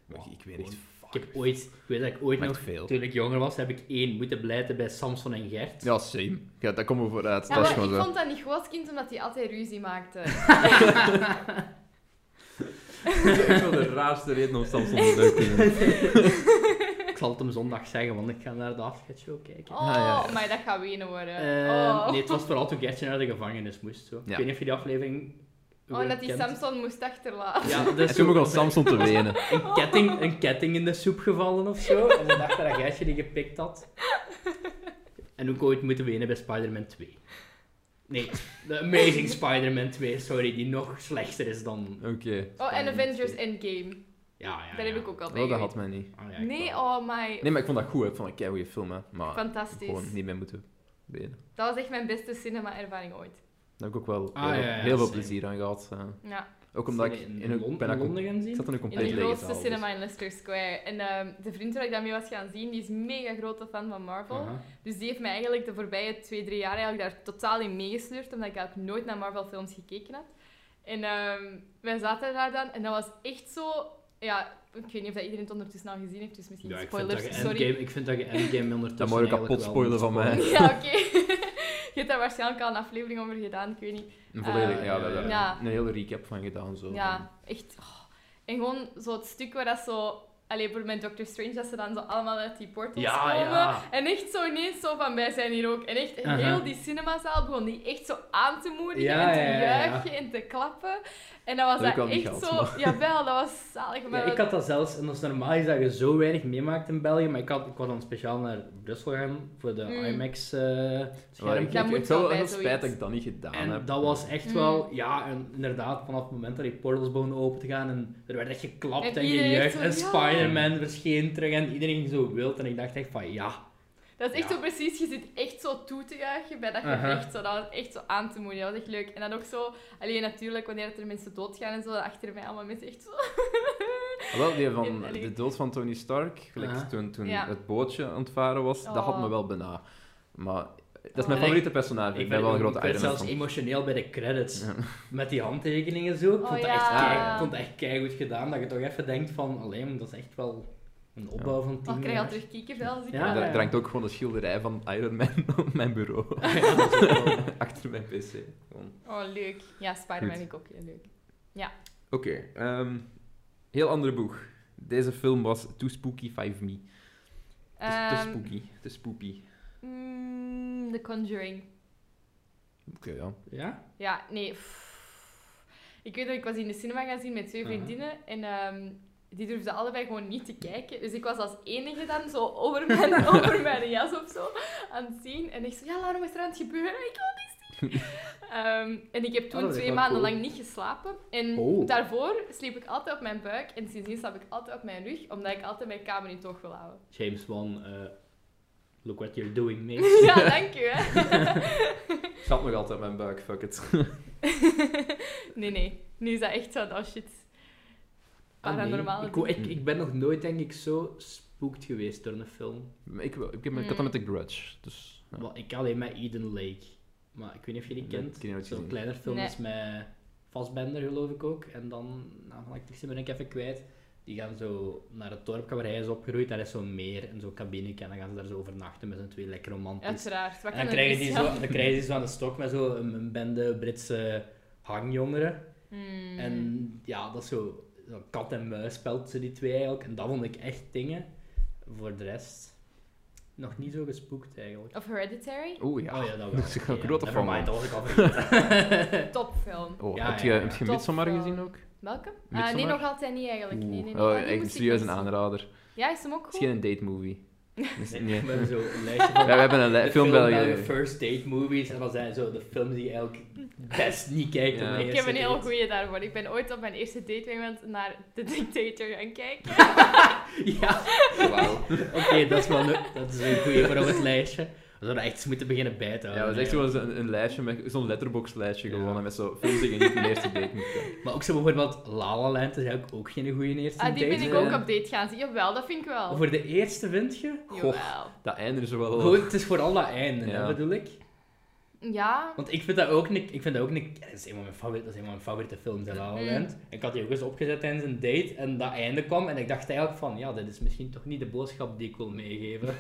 Speaker 2: Maar Ik weet echt... fuck.
Speaker 1: Ik heb ooit... Ik weet dat ik ooit
Speaker 2: Maar
Speaker 1: nog...
Speaker 2: echt veel.
Speaker 1: Toen ik jonger was, heb ik één moeten blijten bij Samson en Gert.
Speaker 2: Ja, same. Ja, daar komen we vooruit.
Speaker 3: Ja,
Speaker 2: dat is
Speaker 3: maar
Speaker 2: gewoon
Speaker 3: ik
Speaker 2: zo.
Speaker 3: vond dat niet goed als kind, omdat hij altijd ruzie maakte.
Speaker 2: Ik vond de raarste reden om Samson te leuk te vinden.
Speaker 1: Ik zal het hem zondag zeggen, want ik ga naar de afscheidshow kijken.
Speaker 3: Oh,
Speaker 2: Ja, ja, ja.
Speaker 3: maar dat gaat wenen worden.
Speaker 1: Ehm,
Speaker 3: oh.
Speaker 1: Nee, het was vooral toen Gertje naar de gevangenis moest. Zo.
Speaker 2: Ja.
Speaker 1: Ik weet niet of je die aflevering...
Speaker 3: Oh, en dat hij
Speaker 1: kent.
Speaker 3: Samson moest achterlaten.
Speaker 1: Ja, dat
Speaker 2: En
Speaker 1: is
Speaker 2: toen
Speaker 1: zo-
Speaker 2: begon Samson te wenen.
Speaker 1: een ketting, een ketting in de soep gevallen of zo. En ze dachten dat Gijsje die gepikt had. En ook ooit moeten wenen bij Spider-Man 2. Nee, The Amazing Spider-Man 2, sorry, die nog slechter is dan.
Speaker 2: Oké.
Speaker 3: Oh, en
Speaker 2: Spider-Man
Speaker 3: Avengers
Speaker 2: twee.
Speaker 3: Endgame.
Speaker 1: Ja, ja.
Speaker 3: Daar
Speaker 1: ja.
Speaker 3: heb ik ook al bij
Speaker 2: Oh, dat had
Speaker 3: gewerkt.
Speaker 2: mij niet.
Speaker 1: Ah, ja, ik
Speaker 3: Nee,
Speaker 1: wel.
Speaker 3: oh my. oh,
Speaker 2: Nee, maar ik vond dat goed. hè. Ik vond dat een goede film, hè. Maar
Speaker 3: Fantastisch.
Speaker 2: gewoon niet meer moeten wenen.
Speaker 3: Dat was echt mijn beste cinema-ervaring ooit.
Speaker 2: Daar heb ik ook wel
Speaker 1: Ah,
Speaker 2: heel,
Speaker 1: ja, ja,
Speaker 2: heel veel
Speaker 1: same.
Speaker 2: plezier aan gehad. hè.
Speaker 3: Ja,
Speaker 2: Ook omdat
Speaker 1: Zijn
Speaker 2: ik
Speaker 1: we
Speaker 2: in een
Speaker 1: Lon-
Speaker 2: bijna
Speaker 1: in
Speaker 2: com-
Speaker 1: Londen gaan
Speaker 2: Ik
Speaker 1: zien?
Speaker 2: zat in een
Speaker 3: in de
Speaker 2: compleet lege
Speaker 3: grootste
Speaker 2: zaal, dus-
Speaker 3: cinema in Leicester Square. En ehm, de vriend waar ik dat mee was gaan zien, die is mega grote fan van Marvel.
Speaker 1: Aha.
Speaker 3: Dus die heeft mij eigenlijk de voorbije twee, drie jaar eigenlijk daar totaal in meegesleurd, omdat ik eigenlijk nooit naar Marvel-films gekeken had. En ehm, wij zaten daar dan en dat was echt zo... Ja, ik weet niet of dat iedereen het ondertussen al gezien heeft, dus misschien
Speaker 1: Ja, ik vind, dat
Speaker 3: spoilers,
Speaker 1: je
Speaker 3: sorry.
Speaker 1: Endgame, ik vind dat je Endgame ondertussen.
Speaker 2: Dat moet je
Speaker 1: eigenlijk
Speaker 2: kapot
Speaker 1: wel
Speaker 2: spoilen van
Speaker 1: moet
Speaker 2: mij.
Speaker 1: spoilen.
Speaker 3: Ja, oké. Je hebt daar waarschijnlijk al een aflevering over gedaan, ik weet niet.
Speaker 2: Een volledig,
Speaker 3: Eh,
Speaker 2: ja, daar hebben we
Speaker 3: ja.
Speaker 2: een hele recap van gedaan. Zo.
Speaker 3: Ja, echt. oh. En gewoon zo het stuk waar dat zo... Allee, voor mijn Doctor Strange, dat ze dan zo allemaal uit die portals
Speaker 1: Ja,
Speaker 3: komen.
Speaker 1: ja.
Speaker 3: En echt zo ineens zo van, wij zijn hier ook. En echt
Speaker 1: Aha.
Speaker 3: heel die cinemazaal begon die echt zo aan te moedigen
Speaker 1: Ja,
Speaker 3: en te
Speaker 1: ja, ja, ja.
Speaker 3: juichen en te klappen. En dat was
Speaker 2: Dat heb ik wel
Speaker 3: dat echt
Speaker 2: niet
Speaker 3: zo...
Speaker 2: gehad,
Speaker 3: Jawel, dat was zalig. Maar
Speaker 1: Ja, ik had dat zelfs, en dat is normaal is dat je zo weinig meemaakt in België, maar ik, had, ik was dan speciaal naar Brussel gaan voor de
Speaker 3: Mm.
Speaker 1: IMAX eh
Speaker 2: Maar
Speaker 1: scherm.
Speaker 2: ik,
Speaker 3: Dat
Speaker 2: ik,
Speaker 3: moet
Speaker 2: ik wel
Speaker 3: wel
Speaker 2: heel
Speaker 3: bij
Speaker 2: spijt
Speaker 3: zoiets.
Speaker 2: dat ik dat niet gedaan
Speaker 1: En
Speaker 2: heb.
Speaker 1: dat was echt
Speaker 3: Mm.
Speaker 1: wel, ja, en inderdaad, vanaf het moment dat die portals begonnen open te gaan en er werd echt geklapt
Speaker 3: En
Speaker 1: en,
Speaker 3: iedereen
Speaker 1: gejuicht
Speaker 3: zo,
Speaker 1: en
Speaker 3: ja.
Speaker 1: Spider-Man verscheen terug en iedereen ging zo wild en ik dacht echt van ja.
Speaker 3: Dat is echt
Speaker 1: Ja.
Speaker 3: zo precies, je zit echt zo toe te juichen bij dat
Speaker 1: Aha.
Speaker 3: gevecht. zo Dat was echt zo aan te moedigen, dat was echt leuk. En dan ook zo, alleen natuurlijk wanneer dat er mensen doodgaan en zo, dat achter mij allemaal mensen echt zo...
Speaker 2: Ah, Wel, die
Speaker 3: In-
Speaker 2: van
Speaker 3: allee.
Speaker 2: de dood van Tony Stark, gelijk
Speaker 1: Ah.
Speaker 2: toen, toen
Speaker 3: Ja.
Speaker 2: het bootje aan het varen was, dat had me
Speaker 3: Oh.
Speaker 2: wel bena. Maar dat is
Speaker 3: Oh.
Speaker 2: mijn
Speaker 1: En ik-
Speaker 2: favoriete personage. Ik, ben
Speaker 1: werd-
Speaker 2: wel een grote
Speaker 1: ik werd
Speaker 2: Iron Man
Speaker 1: zelfs
Speaker 2: fan.
Speaker 1: emotioneel bij de credits.
Speaker 2: Ja.
Speaker 1: Met die handtekeningen zo. Ik
Speaker 3: Oh
Speaker 1: vond dat
Speaker 3: ja.
Speaker 1: echt kei-
Speaker 2: Ja.
Speaker 1: ik vond dat echt keigoed gedaan. Dat je toch even denkt van, alleen, dat is echt wel Een opbouw van
Speaker 3: Maar
Speaker 1: 10
Speaker 3: ik Oh, krijg al
Speaker 1: jaar.
Speaker 3: terug kiekenvel als ik
Speaker 1: Ja,
Speaker 2: En daar
Speaker 1: ja.
Speaker 2: daar hangt ook gewoon een schilderij van Iron Man op mijn bureau.
Speaker 1: Ja, dat is ook wel-
Speaker 2: Achter mijn pc. Gewoon.
Speaker 3: Oh, leuk. Ja, Spider-Man
Speaker 2: Goed.
Speaker 3: vind ik ook heel leuk.
Speaker 2: Oké, ehm, heel andere boeg. Deze film was Too Spooky 5 Me. Te, te
Speaker 3: Ehm,
Speaker 2: spooky, te spooky.
Speaker 3: mm, The Conjuring.
Speaker 2: Oké, ja.
Speaker 1: Ja?
Speaker 3: Ja, nee. pff. Ik weet dat ik was in de cinema gaan zien met twee
Speaker 1: Aha.
Speaker 3: vriendinnen en ehm, die durfden allebei gewoon niet te kijken. Dus ik was als enige dan zo over mijn, over mijn jas of zo aan het zien. En ik zei, ja Laura, wat is er aan het gebeuren? Ik wil niet zien. Ehm, en ik heb toen
Speaker 1: Ah, dat is
Speaker 3: twee
Speaker 1: wel
Speaker 3: maanden
Speaker 1: cool.
Speaker 3: lang niet geslapen. En
Speaker 1: Oh.
Speaker 3: daarvoor sliep ik altijd op mijn buik en sindsdien slaap ik altijd op mijn rug, omdat ik altijd mijn kamer in toog wil houden.
Speaker 1: James Wan, eh, look what you're doing, mate.
Speaker 3: ja, dank u. Hè.
Speaker 2: Ik zat nog altijd op mijn buik, fuck it.
Speaker 3: nee, nee. Nu is dat echt zo, oh shit.
Speaker 1: Ah, nee.
Speaker 3: Paranormale
Speaker 1: ik, ik, ik ben nog nooit, denk ik, zo spooked geweest door een film.
Speaker 2: Maar ik, wel, ik, heb, ik had dat met The Grudge, dus... ja.
Speaker 1: Wel, ik alleen met Eden Lake. Maar ik weet niet of je die
Speaker 2: Nee,
Speaker 1: kent.
Speaker 2: ik heb die nooit
Speaker 1: Zo'n
Speaker 2: gezien.
Speaker 1: kleiner film
Speaker 3: Nee.
Speaker 1: is met Fassbender, geloof ik ook. En dan, nou, van, ik zie ben ik even kwijt. Die gaan zo naar het dorp waar hij is opgeroeid. Daar is zo'n meer en zo'n cabineke. En dan gaan ze daar zo overnachten met z'n twee lekker romantisch.
Speaker 3: Uiteraard. Wat
Speaker 1: en dan
Speaker 3: kan er dus
Speaker 1: krijgen, die
Speaker 3: mis
Speaker 1: zo,
Speaker 3: gaan?
Speaker 1: dan krijgen die zo aan de stok met zo'n een, een bende Britse hangjongeren.
Speaker 3: Hmm.
Speaker 1: En ja, dat is zo, zo'n kat en muis spel tussen die twee eigenlijk. En dat vond ik echt dingen. Voor de rest, nog niet zo gespookt eigenlijk.
Speaker 3: Of Hereditary?
Speaker 2: Oeh, ja.
Speaker 1: Oh ja, dat wel.
Speaker 2: Dat is een
Speaker 1: Oké, ja,
Speaker 2: grote
Speaker 1: never
Speaker 2: fan,
Speaker 1: mind, dat
Speaker 2: man.
Speaker 1: was ik al vergeten.
Speaker 3: Topfilm.
Speaker 2: Oh,
Speaker 1: Ja,
Speaker 2: heb je,
Speaker 1: ja, ja.
Speaker 2: heb je
Speaker 3: Top,
Speaker 2: Midsommar
Speaker 3: eh,
Speaker 2: gezien ook?
Speaker 3: Welke? Ah, nee,
Speaker 2: Midsommar?
Speaker 3: nog altijd niet eigenlijk. Nee, nee, nee.
Speaker 2: Oh,
Speaker 3: Ah, die
Speaker 2: echt
Speaker 3: moest ik
Speaker 2: serieus een
Speaker 3: nog zien.
Speaker 2: aanrader. Het
Speaker 3: Ja, is hem ook
Speaker 2: is
Speaker 3: goed?
Speaker 2: geen een date movie. Dus,
Speaker 1: Nee,
Speaker 2: nee.
Speaker 1: We hebben zo een lijstje van
Speaker 2: Ja, we hebben een
Speaker 1: de
Speaker 2: li-
Speaker 1: film
Speaker 2: film België.
Speaker 1: first date movies. En dan zijn zo de films die je eigenlijk best niet kijkt
Speaker 2: Ja.
Speaker 1: op de
Speaker 2: Ik
Speaker 3: Ik heb
Speaker 1: eerste
Speaker 3: een heel
Speaker 1: date.
Speaker 3: goeie daarvoor. Ik ben ooit op mijn eerste date met iemand naar The Dictator gaan kijken.
Speaker 1: Ja, oké, dat is wel leuk. Dat is een goeie voor op het lijstje. We zouden echt eens moeten beginnen bij te
Speaker 2: Ja, dat
Speaker 1: houden.
Speaker 2: is echt
Speaker 1: eigenlijk.
Speaker 2: gewoon zo'n een lijstje, met- zo'n letterbox-lijstje
Speaker 1: Ja.
Speaker 2: gewoon, en met zo'n films die je niet een eerste date moet kijken.
Speaker 1: Maar ook zo bijvoorbeeld La La Land is eigenlijk ook geen goede eerste
Speaker 3: Ah, die
Speaker 1: date.
Speaker 3: ben ik
Speaker 2: eh,
Speaker 3: ook op date gaan zien. Jawel, dat vind ik wel.
Speaker 1: Voor de eerste vind je?
Speaker 3: Jawel.
Speaker 2: Dat einde is wel...
Speaker 1: Gewoon, het is vooral dat einde, hè,
Speaker 2: Oh. Ja.
Speaker 1: bedoel ik.
Speaker 3: Ja.
Speaker 1: Want ik vind dat ook een... Ik vind dat, ook een ja, dat, is een van mijn favoriete, dat is een van mijn favoriete films, La La
Speaker 3: Mm.
Speaker 1: Land. Ik had die ook eens opgezet tijdens een date en dat einde kwam. En ik dacht eigenlijk van, ja, dit is misschien toch niet de boodschap die ik wil meegeven.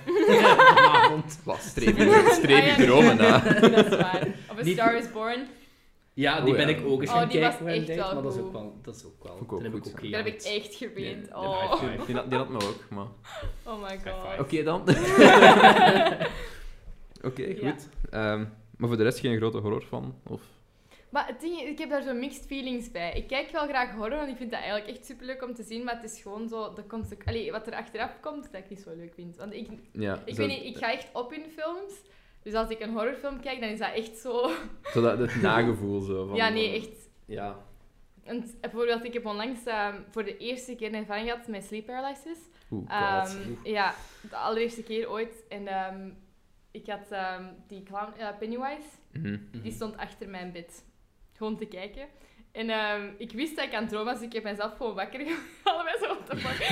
Speaker 1: Vanavond.
Speaker 2: Wat, streef je, streef
Speaker 3: Ah, ja,
Speaker 2: je
Speaker 3: nee.
Speaker 2: dromen na.
Speaker 3: dat is waar. Of A
Speaker 1: Niet-
Speaker 3: Star is Born.
Speaker 1: Ja, die
Speaker 2: Oh, ja.
Speaker 1: ben ik ook eens
Speaker 3: Oh,
Speaker 1: gaan
Speaker 3: die
Speaker 1: kijken
Speaker 3: was
Speaker 1: voor een
Speaker 3: echt
Speaker 1: date,
Speaker 3: wel
Speaker 1: maar dat is
Speaker 3: goed.
Speaker 1: ook wel... Dat is ook wel...
Speaker 2: Vond ik ook
Speaker 1: dat heb
Speaker 2: goed,
Speaker 1: ik ook
Speaker 2: ja.
Speaker 3: Daar heb ik
Speaker 1: gejankt.
Speaker 3: echt geweend.
Speaker 2: Ja,
Speaker 1: high
Speaker 3: Oh.
Speaker 1: five.
Speaker 2: Die had, die had me ook, maar... Oké
Speaker 3: oh my
Speaker 1: High
Speaker 3: god.
Speaker 1: five.
Speaker 2: dan. Oké, goed. Ehm, maar voor de rest geen grote horror van, of...
Speaker 3: Maar het ding, is, ik heb daar zo mixed feelings bij. Ik kijk wel graag horror, want ik vind dat eigenlijk echt superleuk om te zien. Maar het is gewoon zo, de conse- Allee, wat er achteraf komt, dat ik niet zo leuk vind. Want ik,
Speaker 2: Ja,
Speaker 3: ik
Speaker 2: zo-
Speaker 3: weet niet, ik ga echt op in films. Dus als ik een horrorfilm kijk, dan is dat echt zo...
Speaker 2: Zo dat, dat nagevoel zo. Van,
Speaker 3: Ja, nee, echt.
Speaker 1: Ja.
Speaker 3: Want bijvoorbeeld, ik heb onlangs ehm, voor de eerste keer een ervaring gehad met sleep paralysis.
Speaker 2: Oeh, Oh, god.
Speaker 3: Ehm, ja, de allereerste keer ooit. En ehm, ik had ehm, die clown, eh, Pennywise.
Speaker 2: Mhm.
Speaker 3: Die stond achter mijn bed. Gewoon te kijken. En ehm, ik wist dat ik aan het dromen was, dus ik heb mezelf gewoon wakker gemaakt. Allebei zo op de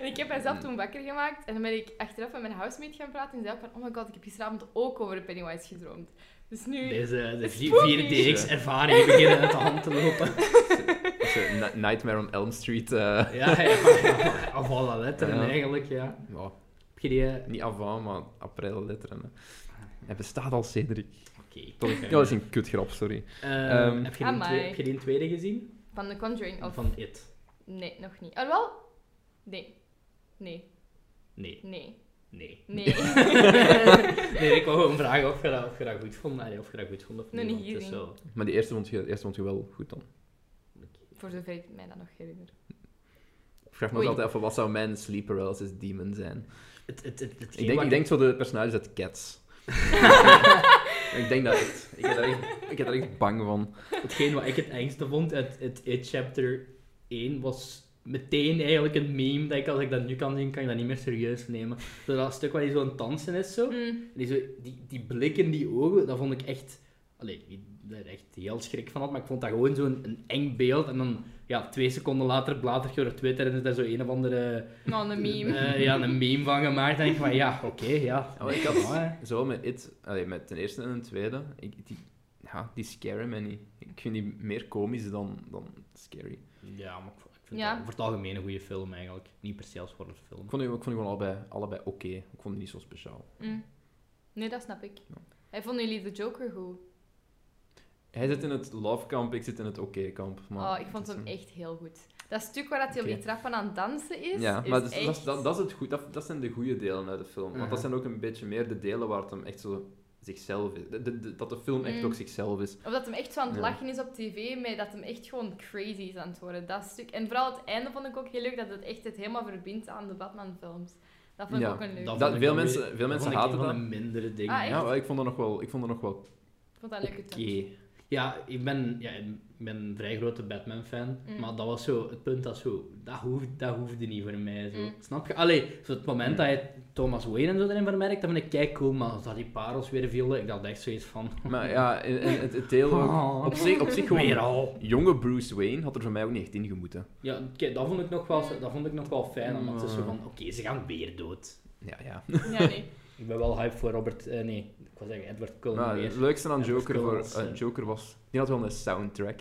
Speaker 3: en ik heb mezelf toen wakker gemaakt. En dan ben ik achteraf met mijn housemate gaan praten. En zei ook van, oh my god, ik heb gisteravond ook over Pennywise gedroomd. Dus nu...
Speaker 1: Deze, deze
Speaker 3: Spooky.
Speaker 1: 4DX-ervaring beginnen uit de hand te lopen.
Speaker 2: Dat is, eh, Na- Nightmare on Elm Street. eh,
Speaker 1: Ja, ja. Of alle letteren
Speaker 2: Ja.
Speaker 1: eigenlijk, ja.
Speaker 2: ja,
Speaker 1: Heb je die... eh,
Speaker 2: niet avant, maar april letteren. hè. Hij bestaat al, Cedric.
Speaker 1: Oké.
Speaker 2: Ah, Toch, ja, dat is een kutgrap, sorry.
Speaker 1: Ehm,
Speaker 2: Ehm,
Speaker 1: heb, je die in
Speaker 3: Amai.
Speaker 1: twee- heb je die in tweede gezien?
Speaker 3: Van The Conjuring of...
Speaker 1: Van It?
Speaker 3: Nee, nog niet. Ah, wel? Nee. Nee.
Speaker 1: Nee.
Speaker 3: Nee.
Speaker 1: Nee.
Speaker 3: Nee.
Speaker 1: Nee, ik wou gewoon vragen of je dat, of je dat goed vond. Allee, of je dat goed vond of
Speaker 3: Nog
Speaker 1: niet.
Speaker 3: niet
Speaker 1: want het is
Speaker 3: gezien.
Speaker 1: wel-
Speaker 2: Maar die eerste vond je, eerste vond je wel goed dan.
Speaker 3: Voor zover ik mij dat nog herinner.
Speaker 2: Ik vraag me
Speaker 3: Oei.
Speaker 2: ook altijd af, wat zou mijn sleep paralysis demon zijn?
Speaker 1: Het, het, het, het
Speaker 2: Ik denk, ik denk zo de personages uit Cats. ik denk dat echt. Ik heb daar echt, ik heb daar echt bang van.
Speaker 1: Hetgeen wat ik het engste vond uit het It Chapter 1 was meteen eigenlijk een meme dat ik als ik dat nu kan zien, kan ik dat niet meer serieus nemen. Zo Dat stuk waar hij zo aan het dansen is zo.
Speaker 3: Mm.
Speaker 1: Die, zo, die, die blik in die ogen, dat vond ik echt... Allee, ik daar echt heel schrik van had, maar ik vond dat gewoon zo'n een eng beeld. En dan, ja, twee seconden later blader je door Twitter en is daar zo een of andere...
Speaker 3: Nou, een meme.
Speaker 1: eh, ja, een meme van gemaakt. En ik van, ja, oké, ja.
Speaker 2: Oh, ik had-
Speaker 1: Ja,
Speaker 2: Zo met It, allee, met ten eerste en ten tweede, ik, die, ja, die scaren me niet. Ik vind die meer komisch dan, dan scary.
Speaker 1: Ja, maar ik vond, ik vind
Speaker 3: Ja.
Speaker 1: dat over het algemeen een goede film eigenlijk. Niet per se als horrorfilm.
Speaker 2: Ik vond die, ik vond die gewoon allebei, allebei oké. Ik vond die niet zo speciaal.
Speaker 3: Mm. Nee, dat snap ik.
Speaker 2: Ja.
Speaker 3: Hij vonden jullie de Joker goed?
Speaker 2: Hij zit in het love kamp, ik zit in het oké kamp. Maar
Speaker 3: oh, ik vond
Speaker 2: het is
Speaker 3: hem
Speaker 2: een-
Speaker 3: echt heel goed. Dat stuk waar dat hij
Speaker 2: Oké.
Speaker 3: op die trappen aan het dansen is,
Speaker 2: Ja,
Speaker 3: is
Speaker 2: maar dus,
Speaker 3: echt...
Speaker 2: dat, is- dat, dat is het goed. Dat, dat zijn de goede delen uit de film. Want
Speaker 1: Mhm.
Speaker 2: dat zijn ook een beetje meer de delen waar het hem echt zo zichzelf is. De- de- de- dat de film echt
Speaker 3: Mm.
Speaker 2: ook zichzelf is.
Speaker 3: Of dat hem echt zo aan het
Speaker 2: Ja.
Speaker 3: lachen is op tv, maar dat hem echt gewoon crazy is aan het worden. Dat stuk. En vooral het einde vond ik ook heel leuk, dat het echt het helemaal verbindt aan de Batman-films. Dat vond ik
Speaker 2: Ja,
Speaker 3: ook een leuk.
Speaker 1: dat-
Speaker 2: Dat,
Speaker 1: vond ik
Speaker 2: veel
Speaker 1: dan
Speaker 2: mensen,
Speaker 1: Dat
Speaker 2: veel mensen
Speaker 1: vond ik
Speaker 2: haten
Speaker 1: een van
Speaker 2: dat.
Speaker 1: de mindere dingen.
Speaker 3: Ah, echt?
Speaker 2: Ja, maar ik vond dat nog wel, ik vond dat nog wel
Speaker 3: Ik vond dat een
Speaker 2: oké.
Speaker 3: leuke touch.
Speaker 1: Ja, ik ben, ja, ik ben een vrij grote Batman-fan,
Speaker 3: Mm.
Speaker 1: maar dat was zo het punt dat zo, dat, hoef, dat hoefde niet voor mij. Zo.
Speaker 3: Mm.
Speaker 1: Snap je? Allee, zo het moment
Speaker 2: Mm.
Speaker 1: dat je Thomas Wayne en zo erin vermerkt, dan ben ik kijk cool, maar als dat die parels weer vielen, ik had echt zoiets van...
Speaker 2: Maar ja, en- en het, het deel ook.
Speaker 1: oh,
Speaker 2: Op zich, op zich
Speaker 1: weer
Speaker 2: gewoon...
Speaker 1: al.
Speaker 2: Jonge Bruce Wayne had er voor mij ook niet echt in gemoeten.
Speaker 1: Ja, kijk, dat vond ik nog wel, dat vond ik nog wel fijn, omdat het is zo
Speaker 2: Maar-
Speaker 1: van, oké, ze gaan weer dood.
Speaker 2: Ja, ja.
Speaker 3: Ja, nee.
Speaker 1: Ik ben wel hype voor Robert, eh, nee, ik wil zeggen Edward Cullen
Speaker 2: Maar
Speaker 1: weer.
Speaker 2: het leukste aan
Speaker 1: Ja,
Speaker 2: Joker,
Speaker 1: dat
Speaker 2: voor,
Speaker 1: was,
Speaker 2: eh,
Speaker 1: eh,
Speaker 2: Joker was... Die had wel een soundtrack.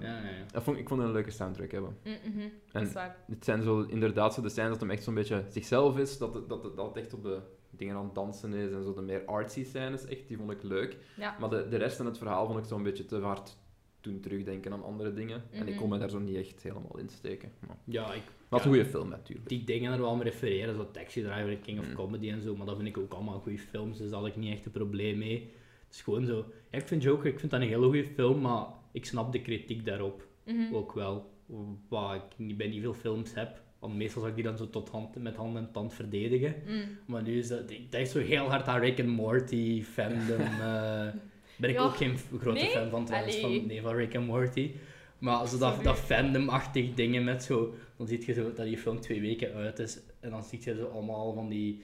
Speaker 1: Ja, ja, ja.
Speaker 2: dat vond, ik vond het een leuke soundtrack hebben.
Speaker 3: Mm, mhm. Dat
Speaker 2: En
Speaker 3: is waar.
Speaker 2: het zijn zo inderdaad zo de scènes dat hem echt zo'n beetje zichzelf is. Dat het, dat, het, dat het echt op de dingen aan het dansen is. En zo de meer artsy scènes, echt, die vond ik leuk.
Speaker 3: Ja.
Speaker 2: Maar de, de rest van het verhaal vond ik zo'n beetje te hard toen terugdenken aan andere dingen. En ik kon me daar zo niet echt helemaal in steken. Maar,
Speaker 1: Ja, ik,
Speaker 2: wat
Speaker 1: Ja.
Speaker 2: een goede film, natuurlijk.
Speaker 1: die dingen er wel mee refereren, zo Taxi Driver en King of
Speaker 2: Mm.
Speaker 1: Comedy en zo, maar dat vind ik ook allemaal goede films, dus daar had ik niet echt een probleem mee. Het is gewoon zo, ja, ik vind Joker, ik vind dat een hele goede film, maar ik snap de kritiek daarop
Speaker 3: Mhm.
Speaker 1: ook wel, wat ik niet- bij niet veel films heb. Want meestal zou ik die dan zo tot hand, met hand en tand verdedigen.
Speaker 3: Mm.
Speaker 1: Maar nu is dat, ik denk zo heel hard aan Rick and Morty fandom. eh, ben ik
Speaker 3: Ja.
Speaker 1: ook geen f- grote
Speaker 3: Nee?
Speaker 1: fan van trouwens,
Speaker 3: Allee.
Speaker 1: van, nee, van Rick and Morty. Maar zo dat,
Speaker 3: Sorry.
Speaker 1: dat fandom-achtig dingen met zo... Dan zie je zo dat die film twee weken uit is. En dan zie je zo allemaal van die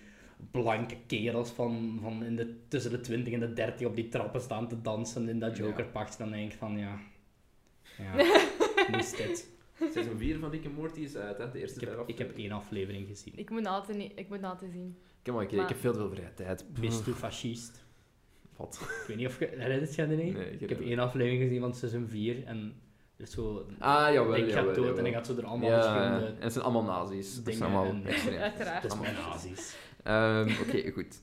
Speaker 1: blanke kerels van, van in de, tussen de 20 en de 30 op die trappen staan te dansen in dat
Speaker 2: Ja.
Speaker 1: Joker-pak. Dan denk ik van, ja... Ja, moest dit.
Speaker 2: Seizoen 4 van Rick and Morty is uit, hè? De eerste
Speaker 1: Ik heb,
Speaker 2: vijf
Speaker 1: ik heb
Speaker 2: afleveringen.
Speaker 1: één aflevering gezien.
Speaker 3: Ik moet altijd, niet, ik moet altijd zien.
Speaker 2: Ik heb, maar een keer- ik heb veel te veel vrije tijd.
Speaker 1: Bist u fascist?
Speaker 2: Wat?
Speaker 1: Ik weet niet of je... Herinnert je dat niet?
Speaker 2: Nee,
Speaker 1: Ik heb één aflevering gezien van seizoen 4 en er is zo...
Speaker 2: Ah, jawel,
Speaker 1: ik ga
Speaker 2: jawel,
Speaker 1: dood en
Speaker 2: jawel.
Speaker 1: ik had zo er allemaal
Speaker 2: Ja, en
Speaker 1: verschillende...
Speaker 2: het zijn allemaal nazi's. Dat
Speaker 1: dingen
Speaker 2: zijn allemaal
Speaker 1: en-
Speaker 2: extreem.
Speaker 3: Uiteraard.
Speaker 1: Dat is mijn
Speaker 2: Allemaal-
Speaker 1: nazi's.
Speaker 2: Ehm, Oké, goed.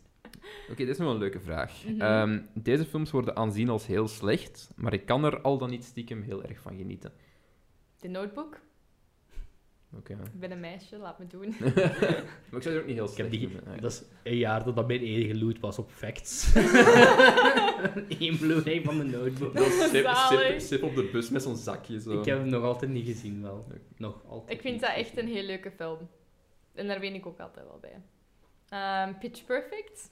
Speaker 2: Oké, dit is nog wel een leuke vraag.
Speaker 3: Mhm.
Speaker 2: Ehm, deze films worden aanzien als heel slecht, maar ik kan er al dan niet stiekem heel erg van genieten.
Speaker 3: De Notebook.
Speaker 2: Oké. hè.
Speaker 3: Ik ben een meisje, laat me doen.
Speaker 2: maar ik zou er ook niet heel
Speaker 1: Ik heb
Speaker 2: slecht
Speaker 1: die...
Speaker 2: vinden, hè.
Speaker 1: Dat is een jaar dat dat mijn enige loot was op facts. Eén Blu-ray van mijn notebook.
Speaker 2: Dat is sip, sip,
Speaker 3: Zalig.
Speaker 2: sip op de bus met zo'n zakje. Zo.
Speaker 1: Ik heb hem nog altijd niet gezien, wel. Nog altijd
Speaker 3: Ik vind
Speaker 1: niet.
Speaker 3: dat echt een heel leuke film. En daar ben ik ook altijd wel bij. Ehm, Pitch Perfect.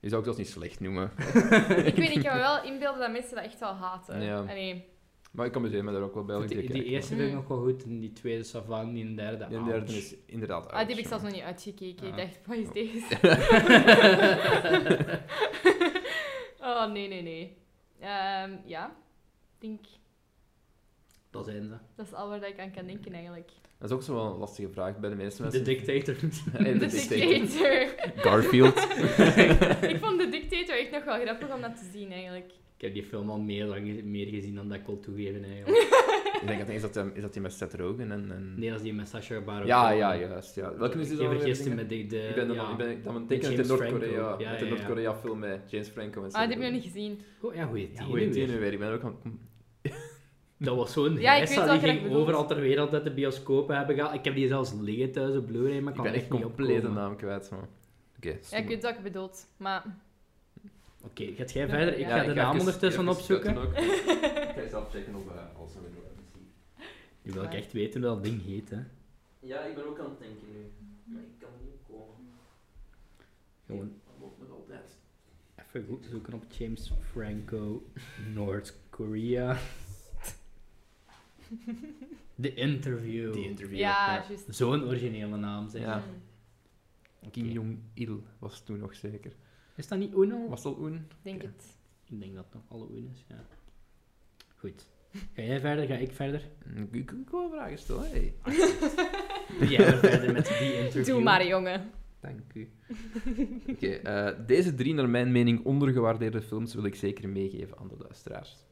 Speaker 2: Je zou ik dat niet slecht noemen.
Speaker 3: Ik weet niet, ik kan me wel inbeelden dat mensen dat echt wel haten.
Speaker 2: Ja.
Speaker 3: Allee,
Speaker 2: Maar ik kan me daar ook wel bij.
Speaker 1: Die, die eerste
Speaker 3: Mm.
Speaker 1: vind ik nog wel goed, en die tweede Savan, die derde...
Speaker 2: En de derde is inderdaad
Speaker 3: ah, die heb
Speaker 2: ouch,
Speaker 3: ik zelfs
Speaker 2: ja.
Speaker 3: nog niet uitgekeken.
Speaker 2: Oh,
Speaker 3: Ik
Speaker 2: Ah.
Speaker 3: dacht, wat is deze? oh, nee, nee, nee. Ehm, ja, ik denk,
Speaker 1: Dat zijn ze.
Speaker 3: dat is al waar ik aan kan denken eigenlijk.
Speaker 2: Dat is ook zo wel een lastige vraag bij de meeste
Speaker 1: De
Speaker 2: mensen.
Speaker 1: Dictator.
Speaker 2: Hey,
Speaker 3: De
Speaker 2: de Dictator.
Speaker 3: Dictator.
Speaker 2: Garfield.
Speaker 3: ik vond de Dictator echt nog wel grappig om dat te zien eigenlijk.
Speaker 1: Ik heb die film al meer, lang- meer gezien dan dat ik wil toegeven, eigenlijk.
Speaker 2: ik denk dat is dat, hem- is dat die met Seth Rogen en... en...
Speaker 1: Nee, dat is die met Sacha Baron.
Speaker 2: ja,
Speaker 1: Cohen.
Speaker 2: ja, juist. Ja. Welke is dit
Speaker 1: Ik
Speaker 2: dan
Speaker 1: vergis
Speaker 2: weer
Speaker 1: hem met de... de
Speaker 2: Ik ben dan
Speaker 1: Eh, ja.
Speaker 2: ik ben, ik ben aan het
Speaker 1: Met
Speaker 2: denken met de
Speaker 1: James
Speaker 2: Noord-Korea.
Speaker 1: Franco. Ja,
Speaker 2: met de
Speaker 1: ja, ja.
Speaker 2: Noord-Korea film met James Franco en Seth
Speaker 3: Ah, die heb ik nog
Speaker 2: Rogen.
Speaker 3: niet gezien.
Speaker 1: Goh, ja, goeie
Speaker 2: Ja,
Speaker 1: tien.
Speaker 2: hoe heet die nu weer? Ik ben ook aan...
Speaker 1: Dat was zo'n
Speaker 3: Ja, ik
Speaker 1: rest
Speaker 3: weet
Speaker 1: dat die
Speaker 3: welke dat
Speaker 1: ging
Speaker 3: bedoelt.
Speaker 1: overal ter wereld uit de bioscopen hebben gehaald. Ik heb die zelfs liggen thuis op Blu-ray, maar
Speaker 2: Ik
Speaker 1: kan
Speaker 2: ben echt
Speaker 1: niet
Speaker 2: compleet de
Speaker 1: opkomen.
Speaker 2: naam kwijt, man. Oké,
Speaker 3: Ja, ik weet wat ik bedoeld, maar...
Speaker 1: Oké, gaat jij
Speaker 3: Ja,
Speaker 1: verder? Ik
Speaker 3: ja.
Speaker 1: ga de naam ondertussen opzoeken.
Speaker 2: Ik ga zelf checken op als we
Speaker 1: Nu wil ik echt weten hoe dat ding heet, hè.
Speaker 2: Ja, ik ben ook aan het denken nu. Maar ik kan niet komen.
Speaker 1: Gewoon
Speaker 2: Wat moet altijd?
Speaker 1: even goed zoeken op James Franco, Noord-Korea. The Interview.
Speaker 2: Die interview.
Speaker 3: ja, juist.
Speaker 1: Zo'n originele naam, zeg.
Speaker 2: Ja.
Speaker 3: Mm,
Speaker 2: Kim Jong-il was toen nog zeker.
Speaker 1: Is dat niet Uno?
Speaker 2: Was dat Oen?
Speaker 3: ik denk
Speaker 2: Oké.
Speaker 3: het.
Speaker 1: Ik denk dat het nog alle Uno is, ja. Goed. Ga jij verder? Ga ik verder?
Speaker 2: Ik- Ik ik wil vragen stellen, hey.
Speaker 1: Doe jij maar verder met die interview.
Speaker 3: Doe maar, jongen.
Speaker 2: Dank u. Oké, eh, deze drie naar mijn mening ondergewaardeerde films wil ik zeker meegeven aan de luisteraars.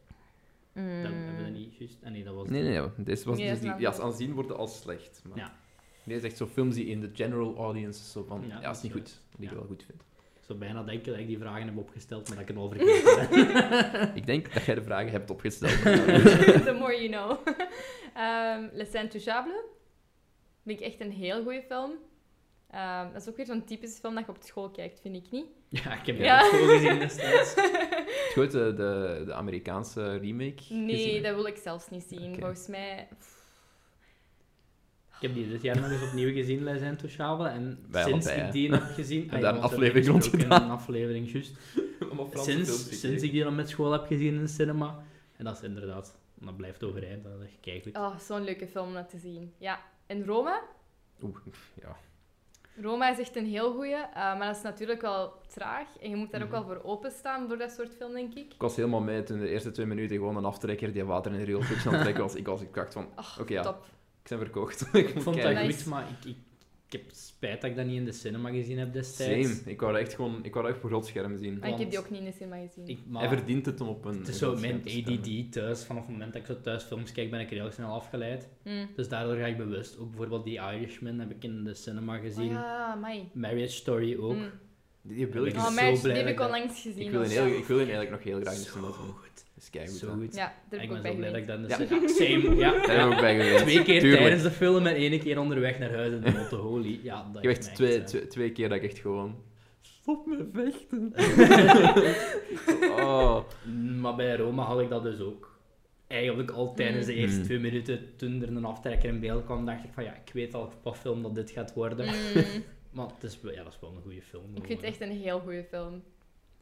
Speaker 1: Dat hebben we dat niet juist. Ah, nee, dat was
Speaker 2: Nee, nee, nee. Deze was dus
Speaker 3: Nee, dat is
Speaker 2: die,
Speaker 3: een
Speaker 2: ja,
Speaker 3: andere.
Speaker 2: aanzien worden als slecht. Maar
Speaker 1: Ja.
Speaker 2: Deze is echt zo films die in de general audience zo van,
Speaker 1: Ja,
Speaker 2: ja,
Speaker 1: dat
Speaker 2: is niet
Speaker 1: is,
Speaker 2: goed. Die
Speaker 1: ja.
Speaker 2: ik wel goed vind.
Speaker 1: Zo bijna denken dat ik die vragen heb opgesteld, maar dat ik het al vergeten ben.
Speaker 2: Ik denk dat jij de vragen hebt opgesteld.
Speaker 3: The more you know. Ehm Les Intouchables. Vind ik echt een heel goede film. Ehm, dat is ook weer zo'n typische film dat je op school kijkt, vind ik niet.
Speaker 1: Ja, ik heb
Speaker 3: Ja.
Speaker 1: dat ook zo gezien destijds.
Speaker 2: Goed, de, de, de Amerikaanse remake
Speaker 3: Nee,
Speaker 2: gezien?
Speaker 3: dat wil ik zelfs niet zien.
Speaker 2: Oké.
Speaker 3: Volgens mij...
Speaker 1: Ik heb die dit jaar nog eens opnieuw gezien, Les Intouchables. En
Speaker 2: Wij
Speaker 1: sinds ik
Speaker 2: allebei, hè.
Speaker 1: die heb gezien... Ah,
Speaker 2: daar
Speaker 1: want
Speaker 2: een
Speaker 1: we
Speaker 2: aflevering
Speaker 1: hebben
Speaker 2: rond
Speaker 1: gesproken,
Speaker 2: gedaan.
Speaker 1: Een aflevering, juist.
Speaker 2: Allemaal Franse films
Speaker 1: Sinds,
Speaker 2: gekeken.
Speaker 1: sinds ik die dan met school heb gezien in de cinema. En dat is inderdaad... Dat blijft overeind. Dat is echt keigoed.
Speaker 3: Oh, zo'n leuke film om dat te zien. Ja. En Roma?
Speaker 2: Oeh, ja.
Speaker 3: Roma is echt een heel goeie, eh, maar dat is natuurlijk wel traag. En je moet daar
Speaker 2: Mhm.
Speaker 3: ook wel voor openstaan, voor dat soort film, denk ik.
Speaker 2: Ik was helemaal mee toen de eerste twee minuten gewoon een aftrekker die water in de riool aan het trekken was. Ik was ik dacht van,
Speaker 3: Ach,
Speaker 2: Oké, ja.
Speaker 3: top.
Speaker 2: ik ben verkocht. ik
Speaker 1: Ik
Speaker 2: moet
Speaker 1: vond dat
Speaker 2: kijken.
Speaker 3: Nice.
Speaker 1: goed, maar ik, ik, ik heb spijt dat ik dat niet in de cinema gezien heb destijds.
Speaker 2: Same. Ik wou dat echt gewoon, ik wou dat echt op een grotscherm zien.
Speaker 3: Maar ik heb
Speaker 1: Want
Speaker 3: die ook niet in de cinema gezien.
Speaker 1: Ik,
Speaker 2: Hij
Speaker 1: maar,
Speaker 2: verdient het om op een...
Speaker 1: het is zo
Speaker 2: een
Speaker 1: mijn
Speaker 2: grotscherm te spelen.
Speaker 1: ADD thuis. Vanaf het moment dat ik zo thuis films kijk, ben ik er heel snel afgeleid.
Speaker 3: Hm.
Speaker 1: Dus daardoor ga ik bewust. Ook bijvoorbeeld die Irishman heb ik in de cinema gezien.
Speaker 3: Ah, ja, amai.
Speaker 1: Marriage Story ook.
Speaker 3: Hm.
Speaker 2: Die, die wil ik,
Speaker 1: Ik
Speaker 3: Oh,
Speaker 1: zo
Speaker 3: Marriage, die
Speaker 1: blij dat
Speaker 3: heb ik
Speaker 1: ik dat-
Speaker 3: onlangs gezien.
Speaker 2: ik, wil
Speaker 3: of
Speaker 2: een
Speaker 3: zo.
Speaker 2: heel, ik wil een eigenlijk nog heel graag in de
Speaker 1: Zo
Speaker 2: cinema doen.
Speaker 1: goed.
Speaker 2: Dat is keigoed.
Speaker 1: Zo
Speaker 2: hè.
Speaker 1: goed.
Speaker 3: Ja,
Speaker 1: ik
Speaker 3: daar heb
Speaker 1: ben
Speaker 3: ik ook
Speaker 1: zo
Speaker 3: bij
Speaker 1: blij dat ik
Speaker 3: geweest.
Speaker 1: dat in de
Speaker 2: Ja.
Speaker 1: cinema... Same, ja.
Speaker 2: Daar ben ik ook bij geweest.
Speaker 1: Twee keer
Speaker 2: Tuurlijk.
Speaker 1: tijdens de film en één keer onderweg naar huis in de auto. Holy, ja, dat
Speaker 2: Ik
Speaker 1: is
Speaker 2: heb echt
Speaker 1: mij
Speaker 2: twee,
Speaker 1: eh,
Speaker 2: twee, twee keer dat ik echt gewoon... Stop me vechten. oh.
Speaker 1: Maar bij Roma had ik dat dus ook. Eigenlijk al tijdens de
Speaker 2: Mm.
Speaker 1: eerste
Speaker 2: Mm.
Speaker 1: twee minuten, toen er een aftrekker in beeld kwam, dacht ik van ja, ik weet al wat film dat dit gaat worden.
Speaker 3: Hm.
Speaker 1: Maar het is, wel- ja, dat is wel een goede film.
Speaker 3: Ik vind het echt een heel goede film.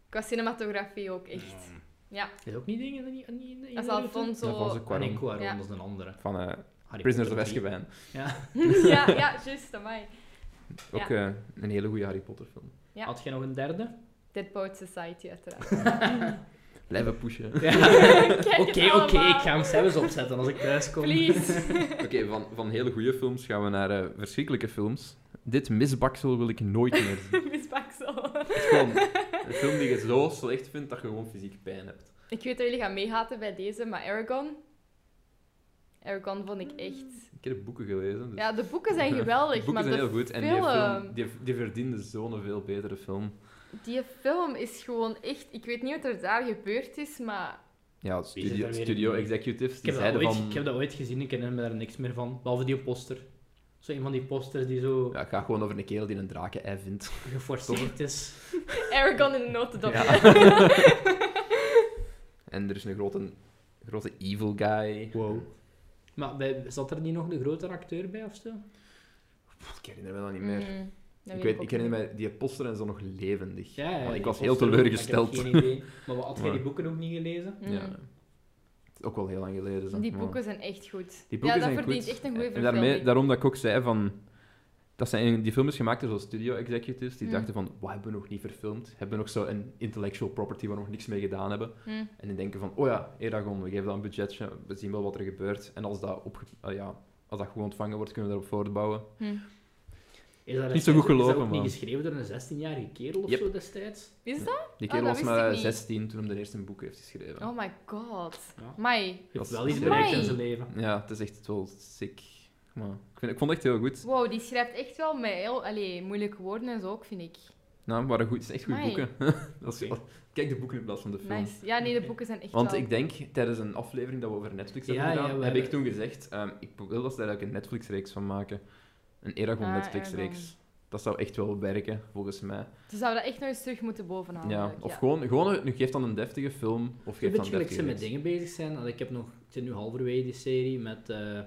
Speaker 3: Qua cinematografie ook echt.
Speaker 2: Mm.
Speaker 3: Ja.
Speaker 1: Is ook niet dingen die niet niet in de in
Speaker 3: Dat is
Speaker 1: de route?
Speaker 2: Dat was
Speaker 3: Alfonso.
Speaker 2: een
Speaker 1: Ah, nee,
Speaker 2: kwaron
Speaker 1: Cuarón,
Speaker 3: Ja.
Speaker 1: dat is een andere.
Speaker 2: van eh,
Speaker 1: Harry
Speaker 2: Prisoners of
Speaker 1: Potter drie.
Speaker 2: Azkaban.
Speaker 1: Ja.
Speaker 3: ja, ja, juist, amai.
Speaker 2: Ook eh, een hele goede Harry Potter film.
Speaker 3: Ja.
Speaker 1: Had jij nog een derde?
Speaker 3: Dead Poet Society, uiteraard.
Speaker 2: Blijven pushen. Oké,
Speaker 3: het
Speaker 1: Oké, oké,
Speaker 3: allemaal.
Speaker 1: ik ga hem zelfs opzetten als ik thuis kom.
Speaker 3: Please.
Speaker 2: van, van hele goede films gaan we naar eh, verschrikkelijke films. Dit misbaksel wil ik nooit meer zien.
Speaker 3: Miss Baxel.
Speaker 2: Het is gewoon een film die je zo slecht vindt dat je gewoon fysiek pijn hebt.
Speaker 3: Ik weet dat jullie gaan meehaten bij deze, maar Aragon... Aragon vond ik echt...
Speaker 2: Ik heb de boeken gelezen. Dus.
Speaker 3: Ja, de boeken zijn
Speaker 2: de
Speaker 3: geweldig,
Speaker 2: boeken
Speaker 3: maar
Speaker 2: zijn heel
Speaker 3: de,
Speaker 2: goed. En die, film,
Speaker 3: film. ehm,
Speaker 2: die, die verdiende zo'n veel betere film.
Speaker 3: die film is gewoon echt... Ik weet niet wat er daar gebeurd is, maar...
Speaker 2: Ja,
Speaker 1: zit er
Speaker 2: studio,
Speaker 1: weer in?
Speaker 2: studio executives
Speaker 1: Ik
Speaker 2: die
Speaker 1: heb, dat
Speaker 2: zeiden
Speaker 1: ooit,
Speaker 2: van...
Speaker 1: ik heb dat ooit gezien, ik herinner me daar niks meer van. Behalve die poster. Zo een van die posters die zo
Speaker 2: Ja, het gaat gewoon over een kerel die een draken-ei vindt.
Speaker 1: geforceerd is.
Speaker 3: Aragon in de notendop.
Speaker 2: Ja. en er is een grote, grote evil guy.
Speaker 1: Wow. Maar bij- zat er niet nog de grote acteur bij of zo?
Speaker 2: Pff, Ik herinner me dat niet meer.
Speaker 3: Mm, dat
Speaker 2: ik, weet,
Speaker 3: ook
Speaker 2: ik herinner
Speaker 3: niet.
Speaker 2: mij, die posters zijn zo nog levendig.
Speaker 1: Ja, ja,
Speaker 2: Maar ik
Speaker 1: die
Speaker 2: was heel
Speaker 1: poster ook, maar
Speaker 2: teleurgesteld.
Speaker 1: Ik heb geen idee. Maar wat, had jij
Speaker 2: Maar-
Speaker 1: die boeken ook niet gelezen?
Speaker 3: Mm.
Speaker 2: Ja. Het is ook wel heel lang geleden. zeg,
Speaker 3: Die
Speaker 2: maar-
Speaker 3: boeken zijn echt goed.
Speaker 2: Die boeken
Speaker 3: ja, dat
Speaker 2: zijn
Speaker 3: verdient
Speaker 2: goed.
Speaker 3: echt een goede
Speaker 2: En
Speaker 3: verfilming.
Speaker 2: daarmee, daarom dat ik ook zei van... Dat zijn, die film is gemaakt door zo'n studio executives die
Speaker 3: Mm.
Speaker 2: dachten van, wat hebben we nog niet verfilmd? Hebben we nog zo'n intellectual property waar we nog niks mee gedaan hebben?
Speaker 3: Mm.
Speaker 2: En die denken van, oh ja, Eragon, we geven dat een budgetje, we zien wel wat er gebeurt. En als dat, opge- eh, ja, als dat goed ontvangen wordt, kunnen we daarop voortbouwen.
Speaker 3: Hm.
Speaker 1: Is dat
Speaker 2: Niet zo goed
Speaker 1: destijds- Is
Speaker 2: gelopen,
Speaker 1: dat ook
Speaker 2: man.
Speaker 1: niet geschreven door een 16-jarige kerel of
Speaker 2: Yep.
Speaker 1: zo destijds?
Speaker 3: Is dat?
Speaker 2: Die kerel
Speaker 3: Oh, dat
Speaker 2: was
Speaker 3: wist ik
Speaker 2: maar
Speaker 3: niet.
Speaker 2: 16 toen hij de eerste boek heeft geschreven.
Speaker 3: Oh my god.
Speaker 1: Ja.
Speaker 3: Mai.
Speaker 1: Heeft
Speaker 2: Dat
Speaker 1: wel
Speaker 2: is-
Speaker 1: iets bereikt in
Speaker 3: Amai.
Speaker 1: zijn leven.
Speaker 2: Ja, het is echt wel sick. Maar ik, vind, ik vond het echt heel goed.
Speaker 3: Wow, die schrijft echt wel met heel allee, moeilijke woorden en zo ook, vind ik.
Speaker 2: Nou, het waren goed, het zijn echt goede
Speaker 3: Amai.
Speaker 2: boeken. dat is,
Speaker 1: Oké.
Speaker 2: kijk de boeken in plaats van de film.
Speaker 3: Nice. Ja, nee, de
Speaker 1: Oké.
Speaker 3: boeken zijn echt
Speaker 2: Want
Speaker 3: wel...
Speaker 2: ik denk, tijdens een aflevering dat we over Netflix hebben
Speaker 1: Ja, ja,
Speaker 2: gedaan,
Speaker 1: we
Speaker 2: heb
Speaker 1: hebben-
Speaker 2: ik toen gezegd, ehm, ik wil dat ze daar eigenlijk een Netflix-reeks van maken. Een Eragon
Speaker 3: Ah,
Speaker 2: Netflix-reeks. Dat zou echt wel werken, volgens mij.
Speaker 3: Ze zouden dat echt nog eens terug moeten bovenhalen.
Speaker 2: ja. Of gewoon, gewoon een- geef dan een deftige film, of
Speaker 1: Ik weet
Speaker 2: geef dan
Speaker 1: je
Speaker 2: een
Speaker 1: gelijk
Speaker 2: deftige
Speaker 1: ze met
Speaker 2: reeks.
Speaker 1: dingen bezig zijn. Want Ik, heb nog, ik zit nu halverwege die serie met eh,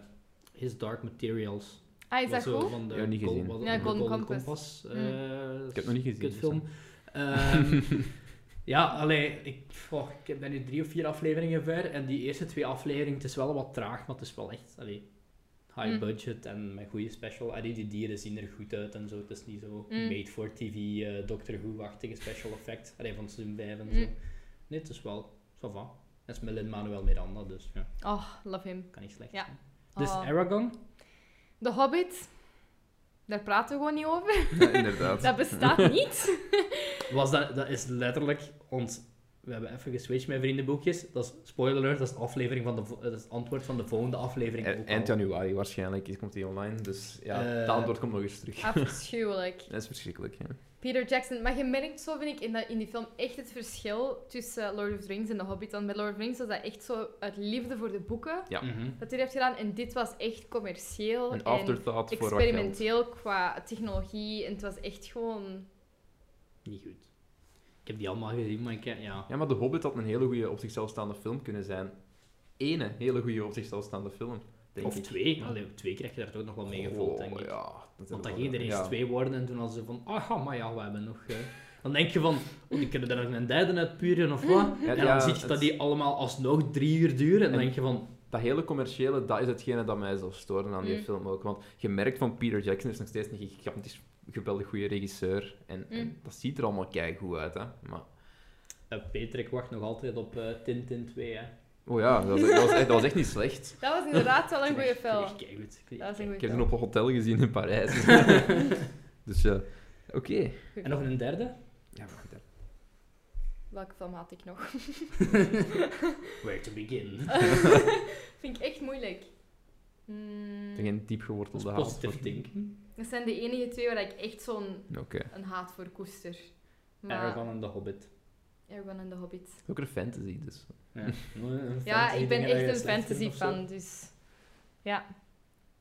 Speaker 1: His Dark Materials.
Speaker 3: Ah, is
Speaker 1: Wat
Speaker 3: dat
Speaker 1: zo
Speaker 3: goed?
Speaker 1: Van de
Speaker 2: Ja, niet
Speaker 1: Gol-
Speaker 2: gezien.
Speaker 1: wat-
Speaker 3: Ja,
Speaker 1: de
Speaker 3: Golden
Speaker 1: Golden
Speaker 3: Compass.
Speaker 1: Compass.
Speaker 3: Mm.
Speaker 1: eh,
Speaker 2: Ik heb het nog niet gezien.
Speaker 1: Kutfilm.
Speaker 2: dus,
Speaker 1: Ehm, ja, allee, ik, goh, ik heb- ben nu drie of vier afleveringen ver. En die eerste twee afleveringen, het is wel wat traag, maar het is wel echt allee, high
Speaker 3: Mm.
Speaker 1: budget en met goede special. Allee, die dieren zien er goed uit en zo. Het is niet zo
Speaker 3: Mm.
Speaker 1: made for TV, eh Doctor Who-achtige special effect. Allee, van seizoen 5 en
Speaker 3: Mm.
Speaker 1: zo. Nee, het is wel, ça va. Dat is met Lin-Manuel Miranda, dus ja,
Speaker 3: Oh, love him.
Speaker 1: kan niet slecht
Speaker 3: Ja.
Speaker 1: zijn. Dus
Speaker 3: Oh.
Speaker 1: Aragon,
Speaker 3: The Hobbit. Daar praten we gewoon niet over.
Speaker 2: ja. Ja, dus, inderdaad.
Speaker 3: Dat bestaat niet.
Speaker 1: was dat, dat is letterlijk ons we hebben even geswitcht met vriendenboekjes. Dat is, spoiler alert, dat is, de aflevering van de, vo- dat is het antwoord van de volgende aflevering. ook
Speaker 2: E-
Speaker 1: al.
Speaker 2: Eind januari waarschijnlijk is- komt die online, dus ja,
Speaker 1: Eh.
Speaker 2: het antwoord komt nog eens terug.
Speaker 3: Afschuwelijk.
Speaker 2: Dat is verschrikkelijk, hè.
Speaker 3: Peter Jackson. Maar je merkt zo, vind ik, in, dat, in die film echt het verschil tussen eh, Lord of the Rings en The Hobbit. Want bij Lord of the Rings was dat echt zo uit liefde voor de boeken
Speaker 2: Ja.
Speaker 1: Mhm.
Speaker 3: dat hij heeft gedaan. En dit was echt commercieel
Speaker 2: Een
Speaker 3: en
Speaker 2: afterthought voor wat geld.
Speaker 3: experimenteel qua technologie. En het was echt gewoon...
Speaker 1: Niet goed. Ik heb die allemaal gezien, maar ik ken... Ja.
Speaker 2: Ja, maar The Hobbit had een hele goede op zichzelf staande film kunnen zijn. Ene hele goede op zichzelf staande film, denk
Speaker 1: Of
Speaker 2: ik.
Speaker 1: twee. Allee, twee krijg je daar ook nog wel mee gevuld,
Speaker 2: Oh,
Speaker 1: denk ik.
Speaker 2: Ja,
Speaker 1: Want
Speaker 2: dat
Speaker 1: dan
Speaker 2: wel-
Speaker 1: gingen er eerst
Speaker 2: ja.
Speaker 1: twee worden en toen hadden ze van... Ah, maar ja, we hebben nog... eh." Dan denk je van... Oh, die kunnen er nog een derde uit puren of wat.
Speaker 2: Ja,
Speaker 1: En dan
Speaker 2: ja,
Speaker 1: zie je dat
Speaker 2: het-
Speaker 1: die allemaal alsnog drie uur duren. En dan
Speaker 2: En-
Speaker 1: denk je van...
Speaker 2: Dat hele commerciële, dat is hetgene dat mij zou storen aan die
Speaker 3: Mm.
Speaker 2: film ook. Want je merkt van Peter Jackson is nog steeds een gigantisch geweldig goede regisseur. En, en
Speaker 3: Mm.
Speaker 2: dat ziet er allemaal keigoed uit, hè. Maar,
Speaker 1: eh, Peter, ik wacht nog altijd op eh, Tintin 2, hè.
Speaker 2: oh ja, dat was, dat, was echt, dat was echt niet slecht.
Speaker 3: Dat was inderdaad wel een goede
Speaker 1: Ik vind
Speaker 3: film.
Speaker 1: echt keigoed. Ik vind
Speaker 3: Dat
Speaker 1: echt
Speaker 3: was een
Speaker 2: Ik
Speaker 3: goede
Speaker 2: heb hem
Speaker 3: film.
Speaker 2: op een hotel gezien in Parijs. dus ja, oké.
Speaker 3: Mm.
Speaker 1: kei- En nog een derde?
Speaker 2: Ja, maar goed,
Speaker 3: Welke film had ik nog?
Speaker 1: Where to begin?
Speaker 3: Vind ik echt moeilijk. Hmm,
Speaker 2: hè. geen
Speaker 1: Dat
Speaker 2: diepgewortelde
Speaker 1: is
Speaker 2: haat.
Speaker 1: positief denken.
Speaker 3: dat zijn de enige twee waar ik echt zo'n
Speaker 2: Oké.
Speaker 3: een haat voor koester. Maar
Speaker 1: Aragon en The Hobbit.
Speaker 3: Eragon en The Hobbit.
Speaker 2: Het is ook een fantasy, dus.
Speaker 1: Ja, Een
Speaker 3: Ja,
Speaker 1: fantasy
Speaker 3: ik ben
Speaker 1: dingen dat je
Speaker 3: echt een
Speaker 1: slecht vindt
Speaker 3: fantasy
Speaker 1: of zo.
Speaker 3: fan, dus... Ja.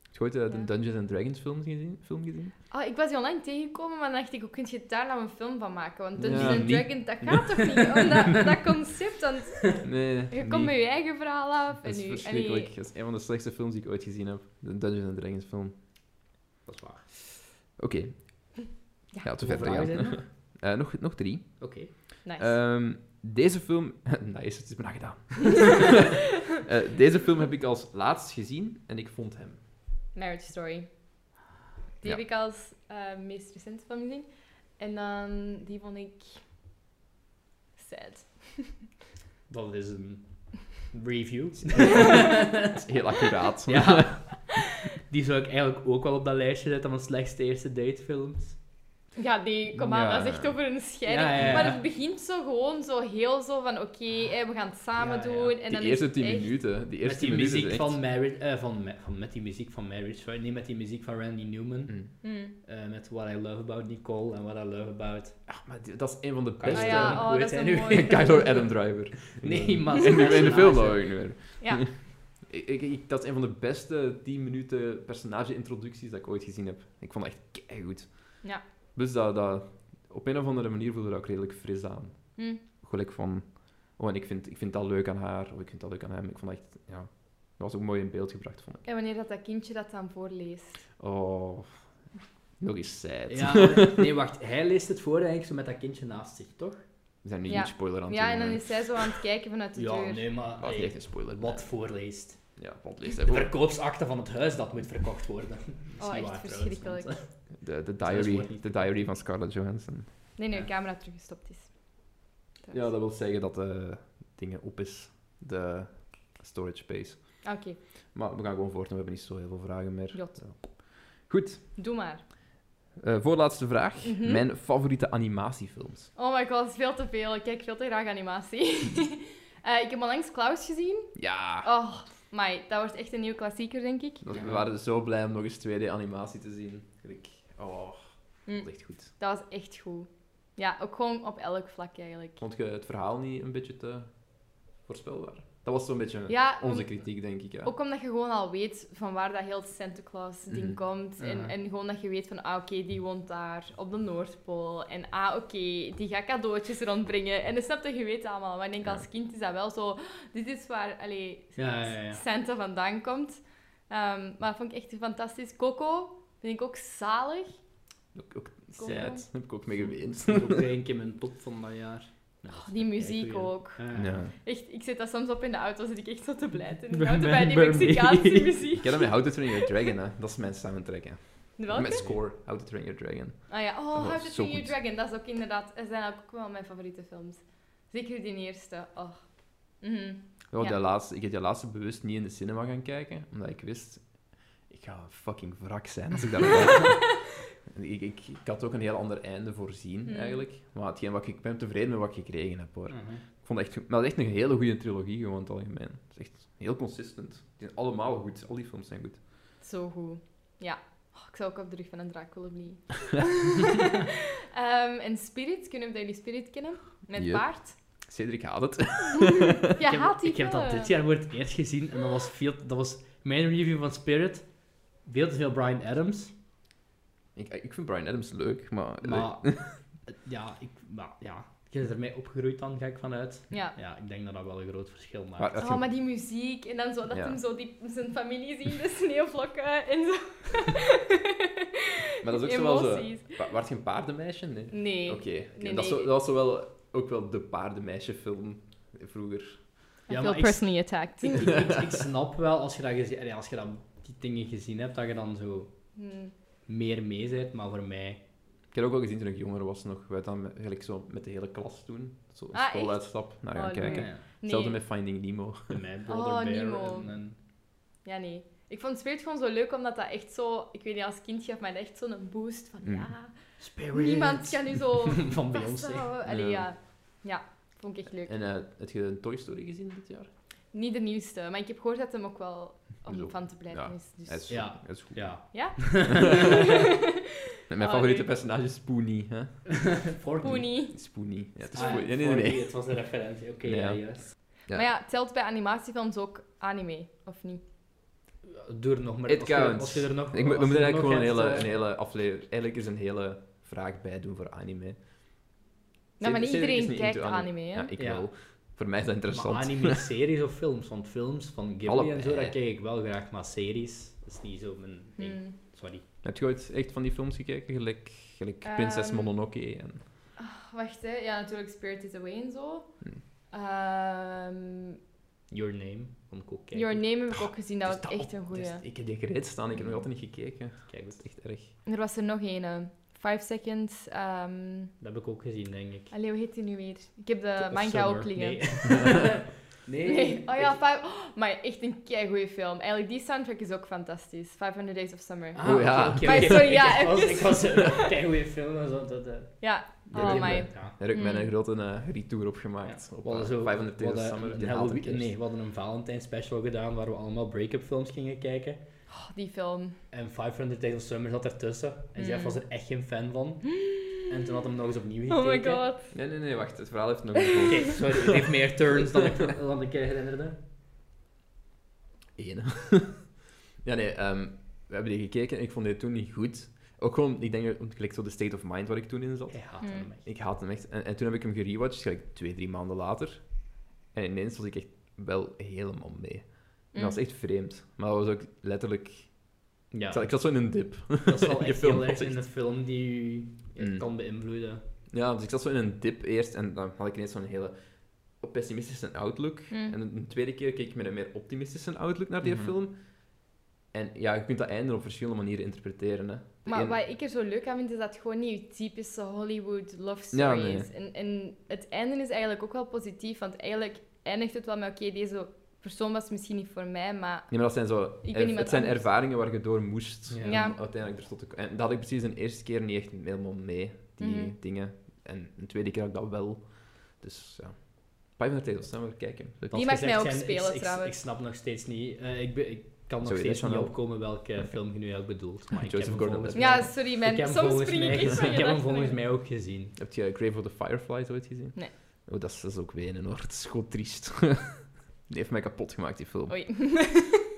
Speaker 2: Heb je ooit eh, de
Speaker 3: Ja.
Speaker 2: Dungeons and Dragons film gezien? Film gezien?
Speaker 3: Ah, ik was die online tegengekomen, maar dan dacht ik, hoe kun je daar nou een film van maken? Want Dungeons
Speaker 2: Ja,
Speaker 3: and
Speaker 2: niet.
Speaker 3: Dragons, dat gaat toch niet? Omdat, dat concept, want
Speaker 2: Nee,
Speaker 3: je
Speaker 2: niet.
Speaker 3: komt met je eigen verhaal af. En
Speaker 2: Dat is
Speaker 3: je- en je-
Speaker 2: verschrikkelijk. Dat is een van de slechtste films die ik ooit gezien heb. De Dungeons and Dragons film.
Speaker 1: Dat is waar.
Speaker 2: Oké.
Speaker 3: Ja,
Speaker 2: Ja, te
Speaker 1: Hoeveel
Speaker 2: verder gaan.
Speaker 1: vragen zijn er?
Speaker 2: Eh, nog, nog drie.
Speaker 1: Oké.
Speaker 3: Nice.
Speaker 2: Ehm, deze film... nice, het is bijna gedaan. Eh, deze film heb ik als laatst gezien en ik vond hem.
Speaker 3: Marriage Story.
Speaker 2: Ja.
Speaker 3: Die heb ik als eh, meest recente film gezien. En dan, die vond ik... Sad.
Speaker 1: Dat is een review.
Speaker 2: Dat is heel accuraat.
Speaker 1: ja. Die zou ik eigenlijk ook wel op dat lijstje zetten van slechtste eerste datefilms.
Speaker 3: Ja, die, kom aan,
Speaker 2: Ja.
Speaker 3: dat is echt over een scheiding.
Speaker 1: Ja, ja, ja.
Speaker 3: Maar het begint zo gewoon zo heel zo van, oké, hè, we gaan het samen
Speaker 1: Ja, ja.
Speaker 3: doen. En
Speaker 2: Die
Speaker 3: dan is
Speaker 2: eerste
Speaker 3: het
Speaker 2: tien
Speaker 3: echt-
Speaker 2: minuten. Die
Speaker 1: Met
Speaker 2: eerste
Speaker 1: die
Speaker 2: tien minuten
Speaker 1: muziek
Speaker 2: is echt-
Speaker 1: van Marriage... eh, van, Ma- van, met die muziek van Marriage Story. Nee, met die muziek van Randy Newman.
Speaker 2: Mm.
Speaker 3: Hmm.
Speaker 1: Eh, met What I Love About Nicole en What I Love About...
Speaker 2: Ach, Ah, maar die- dat is een van de
Speaker 1: Kylo.
Speaker 2: beste...
Speaker 3: Ah ja,
Speaker 1: eh,
Speaker 3: oh,
Speaker 1: hoe
Speaker 3: dat
Speaker 1: heet
Speaker 3: is
Speaker 1: hij
Speaker 3: een
Speaker 1: nu?
Speaker 3: mooie.
Speaker 2: Kylo Adam Driver.
Speaker 1: Nee, maar
Speaker 2: In de, in de
Speaker 1: personage.
Speaker 2: film wou ik nu weer.
Speaker 3: Ja.
Speaker 2: Ik, ik- ik- dat is een van de beste 10 minuten personage-introducties dat ik ooit gezien heb. Ik vond dat echt keigoed.
Speaker 3: Ja.
Speaker 2: Dus dat, dat, op een of andere manier voelde dat ook redelijk fris aan.
Speaker 3: Hm.
Speaker 2: Gelijk van, oh en ik vind, ik vind dat leuk aan haar, of ik vind dat leuk aan hem. Ik vond dat echt, ja, dat was ook mooi in beeld gebracht, vond ik.
Speaker 3: En wanneer dat, dat kindje dat dan voorleest.
Speaker 2: Oh, nog eens sad.
Speaker 1: Ja, maar- nee, wacht. Hij leest het voor eigenlijk zo met dat kindje naast zich, toch?
Speaker 2: We zijn nu
Speaker 3: Ja.
Speaker 2: niet spoiler aan het
Speaker 3: Ja,
Speaker 2: doen,
Speaker 3: en dan
Speaker 2: hè.
Speaker 3: is zij zo aan het kijken vanuit de
Speaker 1: Ja,
Speaker 3: deur.
Speaker 1: nee, maar...
Speaker 2: Dat is
Speaker 1: hey,
Speaker 2: echt een spoiler.
Speaker 1: wat voorleest.
Speaker 2: Ja, wat leest hij
Speaker 1: De
Speaker 2: voor?
Speaker 1: verkoopsakte van het huis dat moet verkocht worden. Dat is
Speaker 3: Oh,
Speaker 1: niet
Speaker 3: echt
Speaker 1: waar, trouwens,
Speaker 3: verschrikkelijk.
Speaker 1: want, eh,
Speaker 2: De, de,
Speaker 1: Dat is mooi
Speaker 2: diary,
Speaker 1: niet.
Speaker 2: de diary van Scarlett Johansson.
Speaker 3: Nee, nee, de
Speaker 1: Ja.
Speaker 3: camera teruggestopt is.
Speaker 2: Ja,
Speaker 3: Trouwens.
Speaker 2: dat wil zeggen dat de dingen op is, de storage space.
Speaker 3: Ah, Oké,
Speaker 2: Maar we gaan gewoon voort, want we hebben niet zo heel veel vragen meer.
Speaker 3: Jot.
Speaker 2: Goed,
Speaker 3: doe maar.
Speaker 2: eh, voorlaatste vraag.
Speaker 3: Mhm.
Speaker 2: Mijn favoriete animatiefilms.
Speaker 3: Oh my god, dat is veel te veel. Ik kijk veel te graag animatie. Eh, ik heb onlangs Klaus gezien.
Speaker 2: Ja,
Speaker 3: Oh, my, dat wordt echt een nieuwe klassieker, denk ik.
Speaker 2: dat- we
Speaker 1: Ja.
Speaker 2: waren dus zo blij om nog eens 2D-animatie te zien. Ik, oh,
Speaker 3: Hm.
Speaker 2: dat is echt goed.
Speaker 3: Dat was echt goed. Ja, ook gewoon op elk vlak eigenlijk.
Speaker 2: Vond je het verhaal niet een beetje te voorspelbaar? Dat was zo'n beetje
Speaker 3: Ja,
Speaker 2: onze
Speaker 3: om-
Speaker 2: kritiek, denk ik. Ja.
Speaker 3: Ook omdat je gewoon al weet van waar dat heel Santa Claus ding
Speaker 2: Mhm.
Speaker 3: komt. En,
Speaker 1: Mm. Ja.
Speaker 3: en gewoon dat je weet van, ah oké, die woont daar op de Noordpool. En ah oké, die gaat cadeautjes rondbrengen. En dat snap je, je weet dat allemaal. Maar ik denk
Speaker 2: Ja.
Speaker 3: als kind is dat wel zo, dit is waar allee,
Speaker 1: Ja, ja, ja.
Speaker 3: Santa vandaan komt. Ehm, maar dat vond ik echt fantastisch. Coco vind ik ook zalig.
Speaker 2: Ook, ook
Speaker 3: Kom.
Speaker 2: sad, heb ik ook mee geweend.
Speaker 1: eh, ook één keer mijn top van dat jaar. Nou,
Speaker 3: Oh, die muziek
Speaker 1: goeie.
Speaker 3: ook.
Speaker 1: Ja.
Speaker 2: Ja.
Speaker 3: Echt, ik zit dat soms op in de auto, zit ik echt zo te blijten. In de
Speaker 1: Bij
Speaker 3: auto bij die
Speaker 1: mij- bij mij.
Speaker 3: Mexicaanse muziek.
Speaker 2: Ik heb hem met How to Train Your Dragon, hè. dat is mijn soundtrack. Hè.
Speaker 3: Welke?
Speaker 2: Met score, How to Train Your Dragon.
Speaker 3: Ah ja,
Speaker 2: Dat
Speaker 3: oh,
Speaker 2: was
Speaker 3: How to
Speaker 2: zo
Speaker 3: Train Your
Speaker 2: goed.
Speaker 3: Dragon, dat is ook inderdaad, dat zijn ook wel mijn favoriete films. Zeker die eerste, oh. Mhm.
Speaker 2: Ja,
Speaker 3: Ja.
Speaker 2: die laatste, ik heb die laatste bewust niet in de cinema gaan kijken, omdat ik wist, ik ga een fucking wrak zijn als ik daar kijk. En ik, ik, ik had ook een heel ander einde voorzien,
Speaker 3: Hmm.
Speaker 2: eigenlijk. Maar hetgeen wat ik, ik ben tevreden met wat ik gekregen heb, hoor.
Speaker 1: Mhm.
Speaker 2: vond het echt, goed. maar dat is echt een hele goede trilogie gewoon in het algemeen. Het is echt heel consistent. Die zijn allemaal goed. Al die films zijn goed.
Speaker 3: Zo goed. Ja. Oh, ik zou ook op de rug van een draak willen vliegen. Ehm, en Spirit, kunnen we dat jullie Spirit kennen? Met
Speaker 2: Yep.
Speaker 3: paard.
Speaker 2: Cedric haat het.
Speaker 1: ik
Speaker 3: Je
Speaker 1: heb,
Speaker 3: haat die
Speaker 1: ik heb dat
Speaker 3: film.
Speaker 1: dit jaar voor het eerst gezien en dat was, veel, dat was mijn review van Spirit. Veel te veel Brian Adams.
Speaker 2: ik, ik vind Brian Adams leuk, maar...
Speaker 1: Maar eh, ja, ik, maar, ja, je bent ermee opgegroeid dan, ga ik vanuit.
Speaker 3: Ja.
Speaker 1: Ja, ik denk dat dat wel een groot verschil maakt.
Speaker 2: Maar dat
Speaker 3: Oh,
Speaker 2: je-
Speaker 3: maar die muziek. En dan zo dat
Speaker 2: Ja.
Speaker 3: hem zo die, zijn familie zien, de sneeuwvlokken en zo.
Speaker 2: Maar dat is ook zo wel zo...
Speaker 3: Emoties.
Speaker 2: Wa- Waart je een paardenmeisje? Nee.
Speaker 3: Nee.
Speaker 2: Oké.
Speaker 3: nee,
Speaker 2: dat, is
Speaker 3: nee.
Speaker 2: zo- dat was zo wel, ook wel de paardenmeisjefilm vroeger.
Speaker 1: Ja, maar
Speaker 3: I feel
Speaker 1: ik-
Speaker 3: personally attacked.
Speaker 1: ik, ik, ik, ik snap wel, als je, dat gezi- allee, als je dat, die dingen gezien hebt, dat je dan zo
Speaker 3: Hmm.
Speaker 1: meer mee bent. Maar voor mij...
Speaker 2: Ik heb ook wel gezien toen ik jonger was nog. Wij dan eigenlijk zo met de hele klas toen. Zo een
Speaker 3: Ah,
Speaker 2: schooluitstap naar gaan
Speaker 3: Oh,
Speaker 2: kijken.
Speaker 3: nee.
Speaker 1: Ja,
Speaker 2: Hetzelfde
Speaker 3: Nee.
Speaker 2: met Finding Nemo.
Speaker 1: bij mij Brother
Speaker 3: Oh,
Speaker 1: Bear
Speaker 3: Nemo.
Speaker 1: en- en-
Speaker 3: Ja, nee. Ik vond Spirit gewoon zo leuk, omdat dat echt zo... Ik weet niet, als kind gaf mij dat echt zo'n boost van...
Speaker 2: Mm.
Speaker 3: Ja,
Speaker 1: Spirit.
Speaker 3: niemand kan nu zo
Speaker 1: Van Beyoncé.
Speaker 3: vasthouden. Allee,
Speaker 2: Ja.
Speaker 3: ja. Ja, vond ik echt leuk.
Speaker 2: En eh heb je een Toy Story gezien dit jaar?
Speaker 3: Niet de nieuwste, maar ik heb gehoord dat hem ook wel
Speaker 2: Zo.
Speaker 3: om van te blijven
Speaker 2: Ja.
Speaker 3: is. Dus...
Speaker 2: Hij is,
Speaker 1: Ja.
Speaker 2: hij is goed.
Speaker 1: Ja.
Speaker 2: Mijn
Speaker 3: Oh,
Speaker 2: favoriete personage is Spoonie. Hè?
Speaker 1: Fortney.
Speaker 3: Pony.
Speaker 2: Spoonie. Ja, het is
Speaker 1: Ah,
Speaker 2: Spoonie. Nee, nee, nee.
Speaker 1: Fortney, Het was een referentie. Oké,
Speaker 2: Ja.
Speaker 1: ja, juist.
Speaker 2: Ja.
Speaker 3: Maar ja, het telt bij animatiefilms ook anime, of niet? Nou,
Speaker 1: Doe er nog maar.
Speaker 2: It
Speaker 1: als je-
Speaker 2: counts.
Speaker 1: Als je er nog...
Speaker 2: Ik, moet-
Speaker 1: als
Speaker 2: we
Speaker 1: je
Speaker 2: moeten
Speaker 1: er
Speaker 2: eigenlijk
Speaker 1: nog
Speaker 2: gewoon een hele,
Speaker 1: hebt,
Speaker 2: een
Speaker 1: eh,
Speaker 2: hele aflevering... Eigenlijk is een hele vraag bij doen voor anime.
Speaker 3: Nou, maar niet
Speaker 2: Cedric is
Speaker 3: iedereen
Speaker 2: niet
Speaker 3: kijkt
Speaker 2: into
Speaker 3: anime, hè?
Speaker 2: Ja, ik
Speaker 1: Ja.
Speaker 2: wel. Voor mij is dat interessant. eh.
Speaker 1: Maar anime-series of films? Want films van Ghibli
Speaker 2: Allebei.
Speaker 1: en zo, dat kijk ik wel graag. Maar series, dat is niet zo mijn ding.
Speaker 3: Hmm.
Speaker 1: Sorry.
Speaker 2: Heb je ooit echt van die films gekeken? Gelijk, gelijk Prinses
Speaker 3: Ehm,
Speaker 2: Mononoke en...
Speaker 3: Ah, wacht, hè. Ja, natuurlijk Spirit is Away en zo.
Speaker 2: Hmm.
Speaker 3: Ehm,
Speaker 1: Your Name, van ik ook kijken.
Speaker 3: Your Name heb ik ook gezien, dat
Speaker 2: Dus
Speaker 3: was echt
Speaker 2: op-
Speaker 3: een goeie.
Speaker 2: dus ik heb die gereed staan, ik heb nog altijd niet gekeken.
Speaker 1: Kijk,
Speaker 2: Dat
Speaker 1: dat
Speaker 2: is echt erg.
Speaker 3: Er was er nog een. Five Seconds. ehm
Speaker 1: heb ik ook gezien, denk ik.
Speaker 3: Allee, hoe heet die nu weer? Ik heb de
Speaker 1: Of
Speaker 3: manga
Speaker 1: Summer.
Speaker 3: ook liggen.
Speaker 1: Nee. nee.
Speaker 3: Nee. Oh ja,
Speaker 1: Ik-
Speaker 3: five... oh, maar echt een keigoeie film. Eigenlijk, die soundtrack is ook fantastisch. 500 Days of Summer.
Speaker 1: Ah,
Speaker 2: Oh ja.
Speaker 1: oké, oké,
Speaker 3: Maar
Speaker 1: oké.
Speaker 3: sorry, ja,
Speaker 1: Ik was,
Speaker 3: even.
Speaker 1: ik was eh, kijk hoe je film en zo. Dat, eh,
Speaker 3: Ja.
Speaker 1: dat
Speaker 3: Oh,
Speaker 1: deed
Speaker 3: my.
Speaker 1: me- ja.
Speaker 2: Daar heb ik
Speaker 3: Mm.
Speaker 2: mijn grote eh, retour op gemaakt. Op
Speaker 1: We hadden
Speaker 2: eh,
Speaker 1: zo
Speaker 2: 500
Speaker 1: we
Speaker 2: Days of
Speaker 1: hadden
Speaker 2: Summer.
Speaker 1: een
Speaker 2: Die haat
Speaker 1: Halloween-
Speaker 2: ik eerst.
Speaker 1: nee, we hadden een Valentijn special gedaan waar we allemaal break-up films gingen kijken.
Speaker 3: Oh, die film.
Speaker 1: En 500 Days of Summer zat ertussen. En
Speaker 3: Mm.
Speaker 1: Jeff was er echt geen fan van. En toen had hem nog eens opnieuw gekeken.
Speaker 3: Oh my god.
Speaker 2: Nee, nee, nee, wacht. Het verhaal heeft nog een
Speaker 1: Oké, sorry, het heeft meer turns dan ik, dan ik eh, herinnerde.
Speaker 2: Eén. ja, nee, ehm, we hebben die gekeken en ik vond die toen niet goed. Ook gewoon, ik denk, om- gelijk zo de state of mind waar ik toen in zat.
Speaker 1: Hij haat
Speaker 3: Mm.
Speaker 1: hem echt.
Speaker 2: Ik haat hem echt. En, en toen heb ik hem gerewatcht, gelijk twee, drie maanden later. En ineens was ik echt wel helemaal mee.
Speaker 3: Hmm.
Speaker 2: En dat was echt vreemd. Maar dat was ook letterlijk...
Speaker 1: Ja,
Speaker 2: Ik, zat, ik zat zo in een dip.
Speaker 1: dat is wel
Speaker 2: je
Speaker 1: echt
Speaker 2: film
Speaker 1: heel erg
Speaker 2: was echt-
Speaker 1: in de film die u echt
Speaker 2: Mm.
Speaker 1: kan beïnvloeden.
Speaker 2: Ja, dus ik zat zo in een dip eerst en dan had ik ineens zo'n hele pessimistische outlook.
Speaker 3: Mm.
Speaker 2: En de tweede keer keek ik met een meer optimistische outlook naar die
Speaker 1: Mhm.
Speaker 2: film. En ja, je kunt dat einde op verschillende manieren interpreteren. Hè. De
Speaker 3: Maar
Speaker 2: ene-
Speaker 3: wat ik er zo leuk aan vind, is dat het gewoon niet je typische Hollywood love story
Speaker 2: Ja, nee.
Speaker 3: is. En, en het einde is eigenlijk ook wel positief, want eigenlijk eindigt het wel met, oké, deze persoon was misschien niet voor mij, maar...
Speaker 2: Nee, maar dat zijn zo...
Speaker 3: ben
Speaker 2: er- het
Speaker 3: iemand
Speaker 2: zijn
Speaker 3: anders.
Speaker 2: ervaringen waar je door moest
Speaker 1: Ja.
Speaker 2: om
Speaker 3: Ja.
Speaker 2: uiteindelijk er tot te komen. En dat had ik precies de eerste keer niet echt helemaal mee, die
Speaker 3: Mhm.
Speaker 2: dingen. En de tweede keer had ik dat wel. Dus ja. 500 Days of Summer, kijk hem. Dat-
Speaker 1: Als
Speaker 3: mag
Speaker 1: gezegd
Speaker 3: mij ook
Speaker 1: zijn, ik-
Speaker 3: spelen,
Speaker 1: ik,
Speaker 3: trouwens.
Speaker 1: Ik, snap nog steeds niet. eh, ik, be- ik kan nog
Speaker 2: Sorry,
Speaker 1: steeds
Speaker 2: dat is
Speaker 1: niet
Speaker 2: wel-
Speaker 1: opkomen welke
Speaker 2: Oké.
Speaker 1: film je nu eigenlijk bedoelt. Maar ik
Speaker 2: Joseph
Speaker 1: heb hem
Speaker 2: Gordon-Levitt.
Speaker 1: volgens mij-
Speaker 3: Ja, sorry,
Speaker 1: ik
Speaker 3: mijn...
Speaker 1: heb hem
Speaker 3: soms
Speaker 1: volgens
Speaker 3: spring ik
Speaker 1: mij
Speaker 3: echt van
Speaker 1: gezien.
Speaker 3: je
Speaker 1: Ik heb hem
Speaker 3: gedachten.
Speaker 1: volgens mij ook gezien.
Speaker 2: Heb je Grave of the Fireflies ooit gezien?
Speaker 3: Nee.
Speaker 2: Oh, dat is, dat is ook wenen hoor. Het is gewoon triest. die heeft mij kapot gemaakt, die film.
Speaker 3: Oei.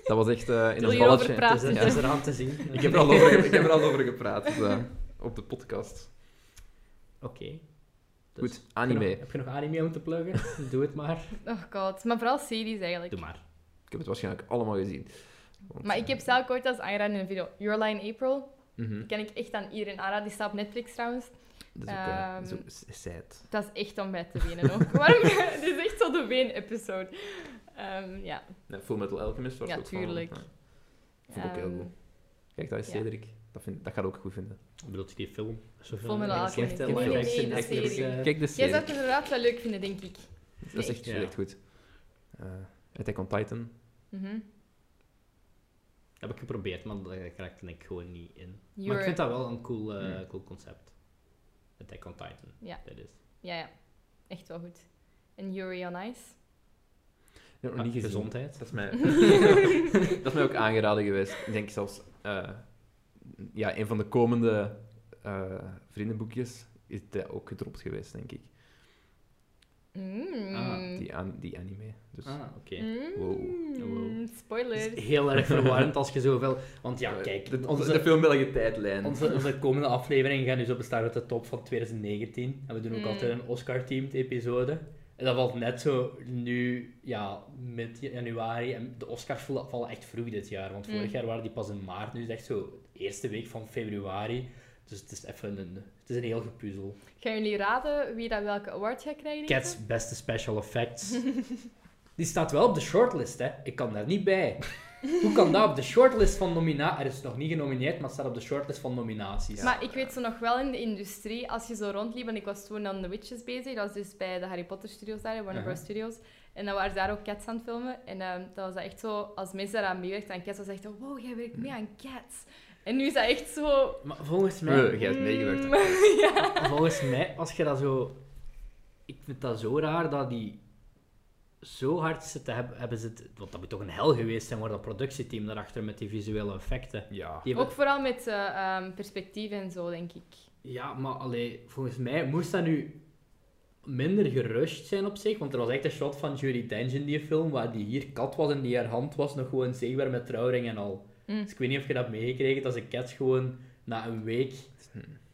Speaker 2: Dat was echt eh, in
Speaker 3: Oh Wil
Speaker 2: een
Speaker 3: je
Speaker 2: balletje.
Speaker 3: erover
Speaker 1: Het is,
Speaker 3: praten?
Speaker 1: er- het is eraan te zien.
Speaker 2: Ik heb, er al over, ge- ik heb er al over gepraat dus, eh, op de podcast.
Speaker 1: Oké. Dus,
Speaker 2: Goed,
Speaker 1: heb je nog-
Speaker 2: anime.
Speaker 1: Heb je nog anime om te pluggen? Doe het maar.
Speaker 3: Oh god, maar vooral series eigenlijk.
Speaker 1: Doe maar.
Speaker 2: Ik heb het waarschijnlijk allemaal gezien. Want, eh,
Speaker 3: Maar ik heb zelf ooit als aanraden in een video. Your Line April.
Speaker 2: mhm,
Speaker 3: Die kan ik echt aan iedereen aanraden. Die staat op Netflix trouwens.
Speaker 2: dat is ook, eh,
Speaker 3: ehm,
Speaker 2: zo s- sad.
Speaker 3: Dat is echt om bij te wenen ook. Waarom? Dit is echt zo de ween-episode. Ehm, ja.
Speaker 2: Nee, Full Metal Alchemist was
Speaker 3: Ja,
Speaker 2: ook van,
Speaker 3: tuurlijk.
Speaker 2: ja. Vond ik ook heel
Speaker 3: Ehm,
Speaker 2: goed. Kijk, dat is
Speaker 3: ja.
Speaker 2: Cedric. Dat, vind, dat gaat ook goed vinden.
Speaker 1: Bedoelt je die film? Zoveel
Speaker 3: Fullmetal
Speaker 1: eh, slechte
Speaker 3: Alchemist.
Speaker 1: live
Speaker 2: Nee,
Speaker 3: nee,
Speaker 1: action
Speaker 3: nee, dat
Speaker 1: actors,
Speaker 3: serie.
Speaker 1: eh,
Speaker 2: Kijk, de
Speaker 3: Jij zou
Speaker 2: Cedric.
Speaker 3: het inderdaad wel leuk vinden, denk ik.
Speaker 2: Dat is echt,
Speaker 1: Ja.
Speaker 2: echt goed. Eh Attack on Titan.
Speaker 3: Mhm.
Speaker 1: Heb ik geprobeerd, maar daar raakte ik gewoon niet in. Maar
Speaker 3: Your...
Speaker 1: ik vind dat wel een cool, eh,
Speaker 2: Hmm.
Speaker 1: cool concept. Attack on Titan.
Speaker 3: Ja.
Speaker 1: Dat is.
Speaker 3: Ja, ja. Echt wel goed. En Yuri on Ice.
Speaker 2: heb ik nog
Speaker 1: Ah,
Speaker 2: niet gezien.
Speaker 1: gezondheid.
Speaker 2: Dat is mij, dat is mij ook aangeraden geweest. Ik denk zelfs, eh, ja, een van de komende eh, vriendenboekjes is dat ook gedropt geweest, denk ik.
Speaker 3: Mm.
Speaker 1: Ah,
Speaker 2: Die, an- die anime. Dus.
Speaker 1: Ah, oké.
Speaker 3: Mm.
Speaker 2: Wow.
Speaker 1: Wow.
Speaker 3: Spoilers.
Speaker 1: Het is heel erg verwarrend als je zoveel... Want ja,
Speaker 2: Eh,
Speaker 1: kijk,
Speaker 2: De, onze, de
Speaker 1: onze,
Speaker 2: filmbellige tijdlijn.
Speaker 1: onze, onze komende dus afleveringen gaan nu zo bestaan uit de top van 2019. En we doen ook
Speaker 3: Mm.
Speaker 1: altijd een Oscar-teamed episode. En dat valt net zo nu, ja, mid januari. En de Oscars vallen vallen echt vroeg dit jaar. Want vorig
Speaker 3: Mm.
Speaker 1: jaar waren die pas in maart. Nu is het echt zo de eerste week van februari. Dus het is even een... Het is een heel gepuzzel.
Speaker 3: Gaan jullie raden wie dat welke award gaat krijgen? deze?
Speaker 1: Cats beste special effects. Die staat wel op de shortlist, hè. Ik kan daar niet bij. Hoe kan dat op de shortlist van nominaties... Er is nog niet genomineerd, maar het staat op de shortlist van nominaties.
Speaker 3: Maar ik weet ze nog wel in de industrie. Als je zo rondliep, en ik was toen aan The Witches bezig. Dat was dus bij de Harry Potter studios daar, Warner Bros.
Speaker 1: Aha.
Speaker 3: Studios. En dan waren ze daar ook Cats aan het filmen. En ehm, dat was dat echt zo, als mensen daaraan meewerkten aan Cats, was dat echt zo, wow, jij werkt mee aan Cats. En nu is dat echt zo...
Speaker 1: Maar volgens
Speaker 2: Eh,
Speaker 1: mij,
Speaker 2: jij hebt meegewerkt.
Speaker 3: Mm, ja.
Speaker 1: volgens mij, als je dat zo... Ik vind dat zo raar dat die zo hard zitten hebben, hebben ze het- Want dat moet toch een hel geweest zijn voor dat productieteam daarachter met die visuele effecten.
Speaker 2: Ja.
Speaker 1: Die hebben-
Speaker 3: Ook vooral met eh, ehm, perspectief en zo, denk ik.
Speaker 1: Ja, maar allee, volgens mij moest dat nu minder gerushed zijn op zich. Want er was echt een shot van Judy Dench in die film, waar die hier kat was en die haar hand was nog gewoon zichtbaar met trouwring en al.
Speaker 3: Mm.
Speaker 1: Dus ik weet niet of je dat meegekregen hebt, dat ze Cats gewoon na een week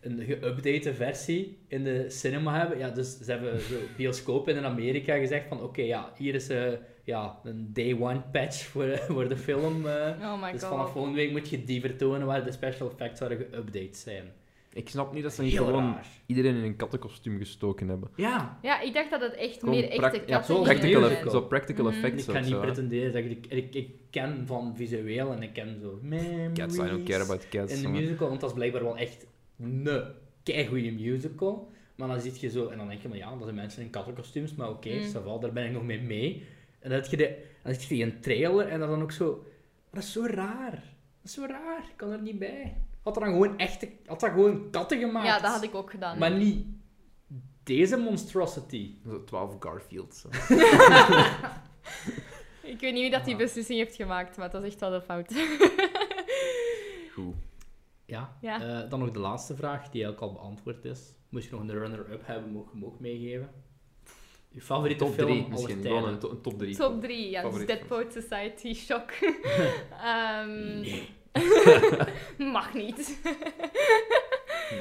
Speaker 1: een geüpdate versie in de cinema hebben. Ja, dus ze hebben zo bioscopen in Amerika gezegd van, oké, ja, hier is eh, ja, een day one patch voor, voor de film. eh.
Speaker 3: Oh my
Speaker 1: dus
Speaker 3: god.
Speaker 1: vanaf volgende week moet je die vertonen waar de special effects zouden geüpdate zijn.
Speaker 2: Ik snap niet dat ze niet
Speaker 1: Heel
Speaker 2: gewoon
Speaker 1: raar.
Speaker 2: iedereen in een kattenkostuum gestoken hebben.
Speaker 1: Ja,
Speaker 3: Ja, ik dacht dat het echt
Speaker 2: Gewoon
Speaker 3: meer
Speaker 2: prac-
Speaker 3: echte
Speaker 2: ja,
Speaker 3: katten
Speaker 1: zo'n
Speaker 3: gingen
Speaker 2: Practical,
Speaker 1: Tuurlijk.
Speaker 2: eff- zo practical
Speaker 3: Mhm.
Speaker 2: effects
Speaker 1: Ik
Speaker 2: of
Speaker 1: kan
Speaker 2: zo,
Speaker 1: niet
Speaker 2: hè.
Speaker 1: pretenderen dat ik, ik, ik ken van visueel en ik ken zo memories.
Speaker 2: Cats, I don't care about cats.
Speaker 1: In de
Speaker 2: maar-
Speaker 1: musical, want dat is blijkbaar wel echt een keigoeie musical. Maar dan zit je zo, en dan denk je van ja, dat zijn mensen in kattenkostuums, maar oké,
Speaker 3: Mm.
Speaker 1: ça va, daar ben ik nog mee mee. En dan heb je, de, dan zit je die een trailer en dat dan ook zo, maar dat is zo raar. Dat is zo raar, ik kan er niet bij. Had er dan gewoon echte, had dat gewoon katten gemaakt.
Speaker 3: Ja, dat had ik ook gedaan.
Speaker 1: Maar niet deze monstrosity.
Speaker 2: Zo 12 Garfields. zo.
Speaker 3: Ik weet niet wie dat die
Speaker 1: Ah.
Speaker 3: beslissing heeft gemaakt, maar dat is echt wel een fout.
Speaker 2: Goed.
Speaker 1: Ja.
Speaker 3: Ja.
Speaker 1: Eh, dan nog de laatste vraag, die eigenlijk al beantwoord is. Moest je nog een runner-up hebben, mocht je hem ook meegeven. Je favoriete
Speaker 2: Top
Speaker 1: film
Speaker 2: 3
Speaker 1: aller
Speaker 2: misschien.
Speaker 1: tijden.
Speaker 2: Gewoon een, to- een top 3.
Speaker 3: Top 3, ja, dus
Speaker 2: Favoriet
Speaker 3: Dead
Speaker 2: van-
Speaker 3: Poet Society, shock. Ehm, Mag niet.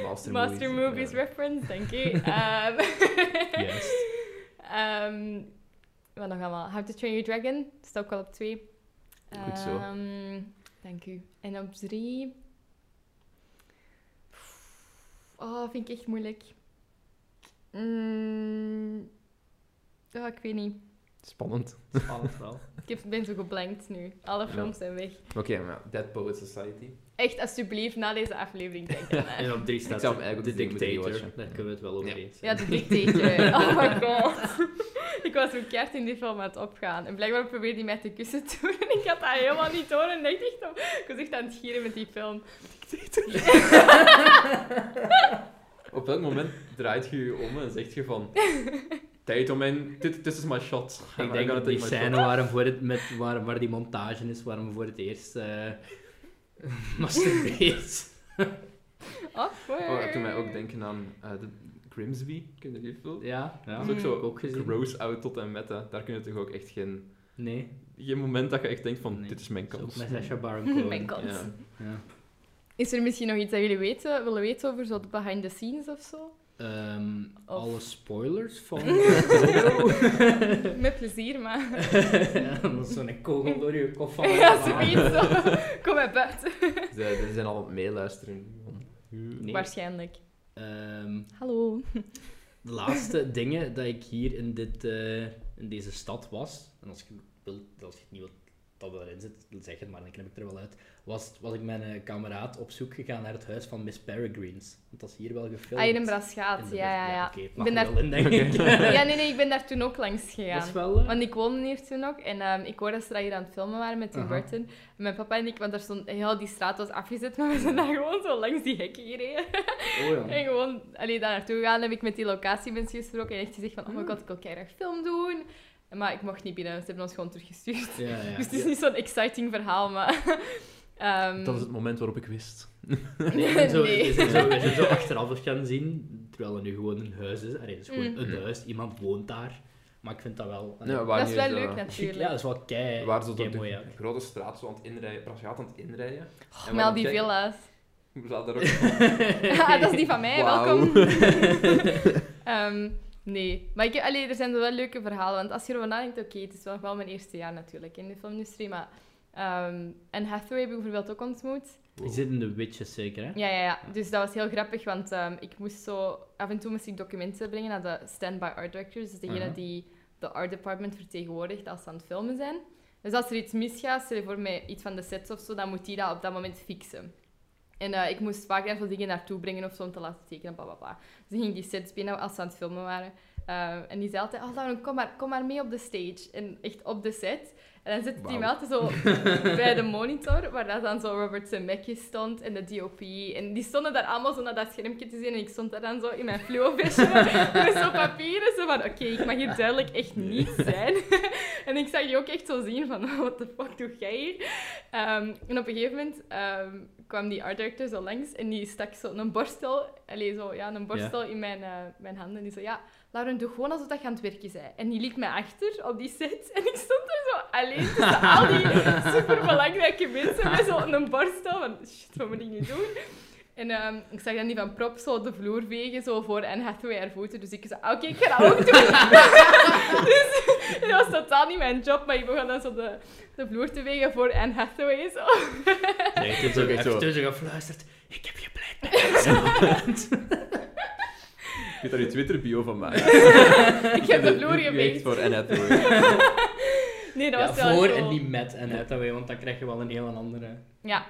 Speaker 2: Master, eh.
Speaker 3: Master Movies
Speaker 2: ja.
Speaker 3: reference, denk ik. Ehm,
Speaker 1: Juist.
Speaker 3: ehm, wat nog allemaal? How to Train Your Dragon, staat ook wel op 2.
Speaker 2: Goed zo.
Speaker 3: Dank u. En op 3... Oh, vind ik echt moeilijk. Mm, oh, ik weet niet.
Speaker 2: Spannend.
Speaker 1: Spannend wel.
Speaker 3: Ik heb- ben zo geblankt nu. Alle
Speaker 2: Ja.
Speaker 3: films zijn weg.
Speaker 2: Oké, maar Dead Poet Society.
Speaker 3: Echt, alsjeblieft, na deze aflevering denken.
Speaker 1: En op 3
Speaker 2: Ik
Speaker 1: staat
Speaker 2: zou hem eigenlijk op
Speaker 1: de
Speaker 2: drie moeten
Speaker 1: Dictator. Daar
Speaker 2: rewatchen.
Speaker 1: kunnen we het wel over
Speaker 2: Ja.
Speaker 1: eens
Speaker 3: Ja, de dictator. Oh my god. Ik was zo keihard in die film aan het opgaan. En blijkbaar probeerde hij mij te kussen toen. En ik had dat helemaal niet door. En ik, dacht echt, ik was echt aan het gieren met die film.
Speaker 2: Op welk moment draait je je om en zegt je van... Tijd om mijn... Dit dit is my shot.
Speaker 1: Ik denk dat die scène waar, hem voor het, met, waar, waar die montage is, waar hem voor het eerst eh masturbeert.
Speaker 3: Awkward.
Speaker 2: Oh, dat doet mij ook denken aan eh, de Grimsby. Ken je die film?
Speaker 1: Ja, ja.
Speaker 2: Dat is ook zo
Speaker 1: Ook gezien.
Speaker 2: gross out tot en met. hè. Daar kun je toch ook echt geen...
Speaker 1: Nee,
Speaker 2: Geen moment dat je echt denkt van...
Speaker 1: Nee.
Speaker 2: Dit is mijn
Speaker 1: dat is ook
Speaker 2: kans.
Speaker 1: met Sacha Baron Cohen.
Speaker 3: Mijn god.
Speaker 2: Ja.
Speaker 1: Ja.
Speaker 3: Is er misschien nog iets dat jullie weten, willen weten over zo de behind the scenes of zo?
Speaker 1: Ehm,
Speaker 3: Of-
Speaker 1: Alle spoilers van.
Speaker 3: Met plezier, maar...
Speaker 1: ja, dat is zo'n kogel door je kop van.
Speaker 3: Ja, zoiets. Zo. Kom maar buiten.
Speaker 2: Ze, ze zijn al aan het meeluisteren.
Speaker 1: Oh Nee.
Speaker 3: Waarschijnlijk. Ah,
Speaker 1: Ehm,
Speaker 3: Hallo.
Speaker 1: de laatste dingen dat ik hier in, dit, eh, in deze stad was, en als je, wilt, als je het niet wilt dat erin zit, zeg het maar, dan knip ik er wel uit. Was, was ik mijn eh, kameraad op zoek gegaan naar het huis van Miss Peregrines. Want dat is hier wel gefilmd.
Speaker 3: Ah, in een brasgaat,
Speaker 1: In de-
Speaker 3: ja, ja, ja.
Speaker 1: oké, het
Speaker 3: Ik
Speaker 1: mag
Speaker 3: ben
Speaker 1: er
Speaker 3: daar-
Speaker 1: wel in, denk ik.
Speaker 3: Ja, nee, nee, ik ben daar toen ook langs
Speaker 1: Dat is
Speaker 3: gegaan.
Speaker 1: wel... eh,
Speaker 3: Want ik woonde hier toen nog en ehm, ik hoorde dat ze dat hier aan het filmen waren met Tim
Speaker 1: Aha.
Speaker 3: Burton. En mijn papa en ik, want daar stond heel die straat was afgezet, maar we zijn daar gewoon zo langs die hekken gereden.
Speaker 1: oh ja.
Speaker 3: En gewoon allee, daar naartoe gegaan heb ik met die locatiemensen gesproken en echt gezegd van, oh
Speaker 1: Ah.
Speaker 3: my god, ik wil keihard film doen. Maar ik mocht niet binnen, ze hebben ons gewoon teruggestuurd.
Speaker 1: Ja, ja.
Speaker 3: Dus het is niet zo'n exciting verhaal, maar... ehm,
Speaker 2: Dat is het moment waarop ik wist.
Speaker 1: Nee, en zo,
Speaker 3: Nee.
Speaker 1: We, zijn zo, we zijn zo achteraf het gaan zien, terwijl het nu gewoon een huis is. Allee, het is gewoon
Speaker 3: Mm.
Speaker 1: een
Speaker 2: Mm.
Speaker 1: huis, iemand woont daar. Maar ik vind dat wel... allee,
Speaker 2: Ja, waar
Speaker 3: dat is
Speaker 2: nu
Speaker 3: wel
Speaker 2: de-
Speaker 3: leuk
Speaker 1: chic, ja,
Speaker 3: natuurlijk.
Speaker 1: dat is wel kei,
Speaker 2: Waar ze
Speaker 1: kei
Speaker 2: door de
Speaker 1: mooi, ja.
Speaker 2: grote straat zo aan het inrijden, Prasjaat aan het inrijden.
Speaker 3: Oh,
Speaker 2: En
Speaker 3: met al die
Speaker 2: waarom
Speaker 3: villa's.
Speaker 2: We zaten daar ook
Speaker 3: ah, dat is die van mij,
Speaker 2: Wauw.
Speaker 3: welkom. Ehm, nee, maar ik, heb- allee, er zijn wel leuke verhalen. Want als je erover nadenkt, oké, het is wel, wel mijn eerste jaar natuurlijk in de filmindustrie. Maar ehm en Hathaway heb ik bijvoorbeeld ook ontmoet.
Speaker 1: Je zit in de witches zeker, hè?
Speaker 3: Ja, ja, ja. Dus dat was heel grappig, want ehm, ik moest zo... Af en toe moest ik documenten brengen naar de standby art directors. Dus degene
Speaker 1: Aha.
Speaker 3: die de art department vertegenwoordigt als ze aan het filmen zijn. Dus als er iets misgaat, stel je voor mij iets van de sets of zo, dan moet die dat op dat moment fixen. En eh, ik moest vaak heel veel dingen naartoe brengen of zo om te laten tekenen, bla bla bla. Dus ik ging die sets binnen als ze aan het filmen waren. Ehm, en die zei altijd, oh Lauren, kom maar, kom maar mee op de stage. En echt op de set. En dan zit die
Speaker 2: Wauw.
Speaker 3: me altijd zo bij de monitor, waar dat dan zo Robert Zemeckis stond en de DOP. En die stonden daar allemaal zo naar dat schermpje te zien. En ik stond daar dan zo in mijn fluovisje met zo'n papieren. Zo van, oké, ik mag hier duidelijk echt niet zijn. en ik zag je ook echt zo zien van, what the fuck doe jij hier? Ehm, en op een gegeven moment ehm, kwam die art director zo langs en die stak zo een borstel, allez, zo, ja, een borstel in mijn, eh, mijn handen. En die zei, ja, Lauren, doe gewoon alsof dat je aan het werken bent. En die liet mij achter op die set. En ik stond er zo alleen tussen al die superbelangrijke mensen met zo'n borstel. Van, shit, wat moet ik nu doen? En ehm, ik zag dan die van prop zo de vloer vegen, zo voor en Hathaway haar voeten. Dus ik zei, oké, ik ga dat ook doen. dus dat was totaal niet mijn job, maar ik begon dan zo de, de vloer te vegen voor Anne Hathaway. Zo.
Speaker 1: Nee, ik heb zo
Speaker 2: ook echt
Speaker 1: even
Speaker 2: zo.
Speaker 1: tussen gefluisterd. Ik heb je pleit
Speaker 2: Je hebt daar je Twitter-bio van maken.
Speaker 3: Ik heb de vloer
Speaker 2: geweest
Speaker 3: geveegd.
Speaker 2: voor en het
Speaker 3: Nee, dat
Speaker 1: ja,
Speaker 3: was wel
Speaker 1: voor
Speaker 3: zo.
Speaker 1: en niet met en uit, dat weet je, want dan krijg je wel een heel andere...
Speaker 3: Ja.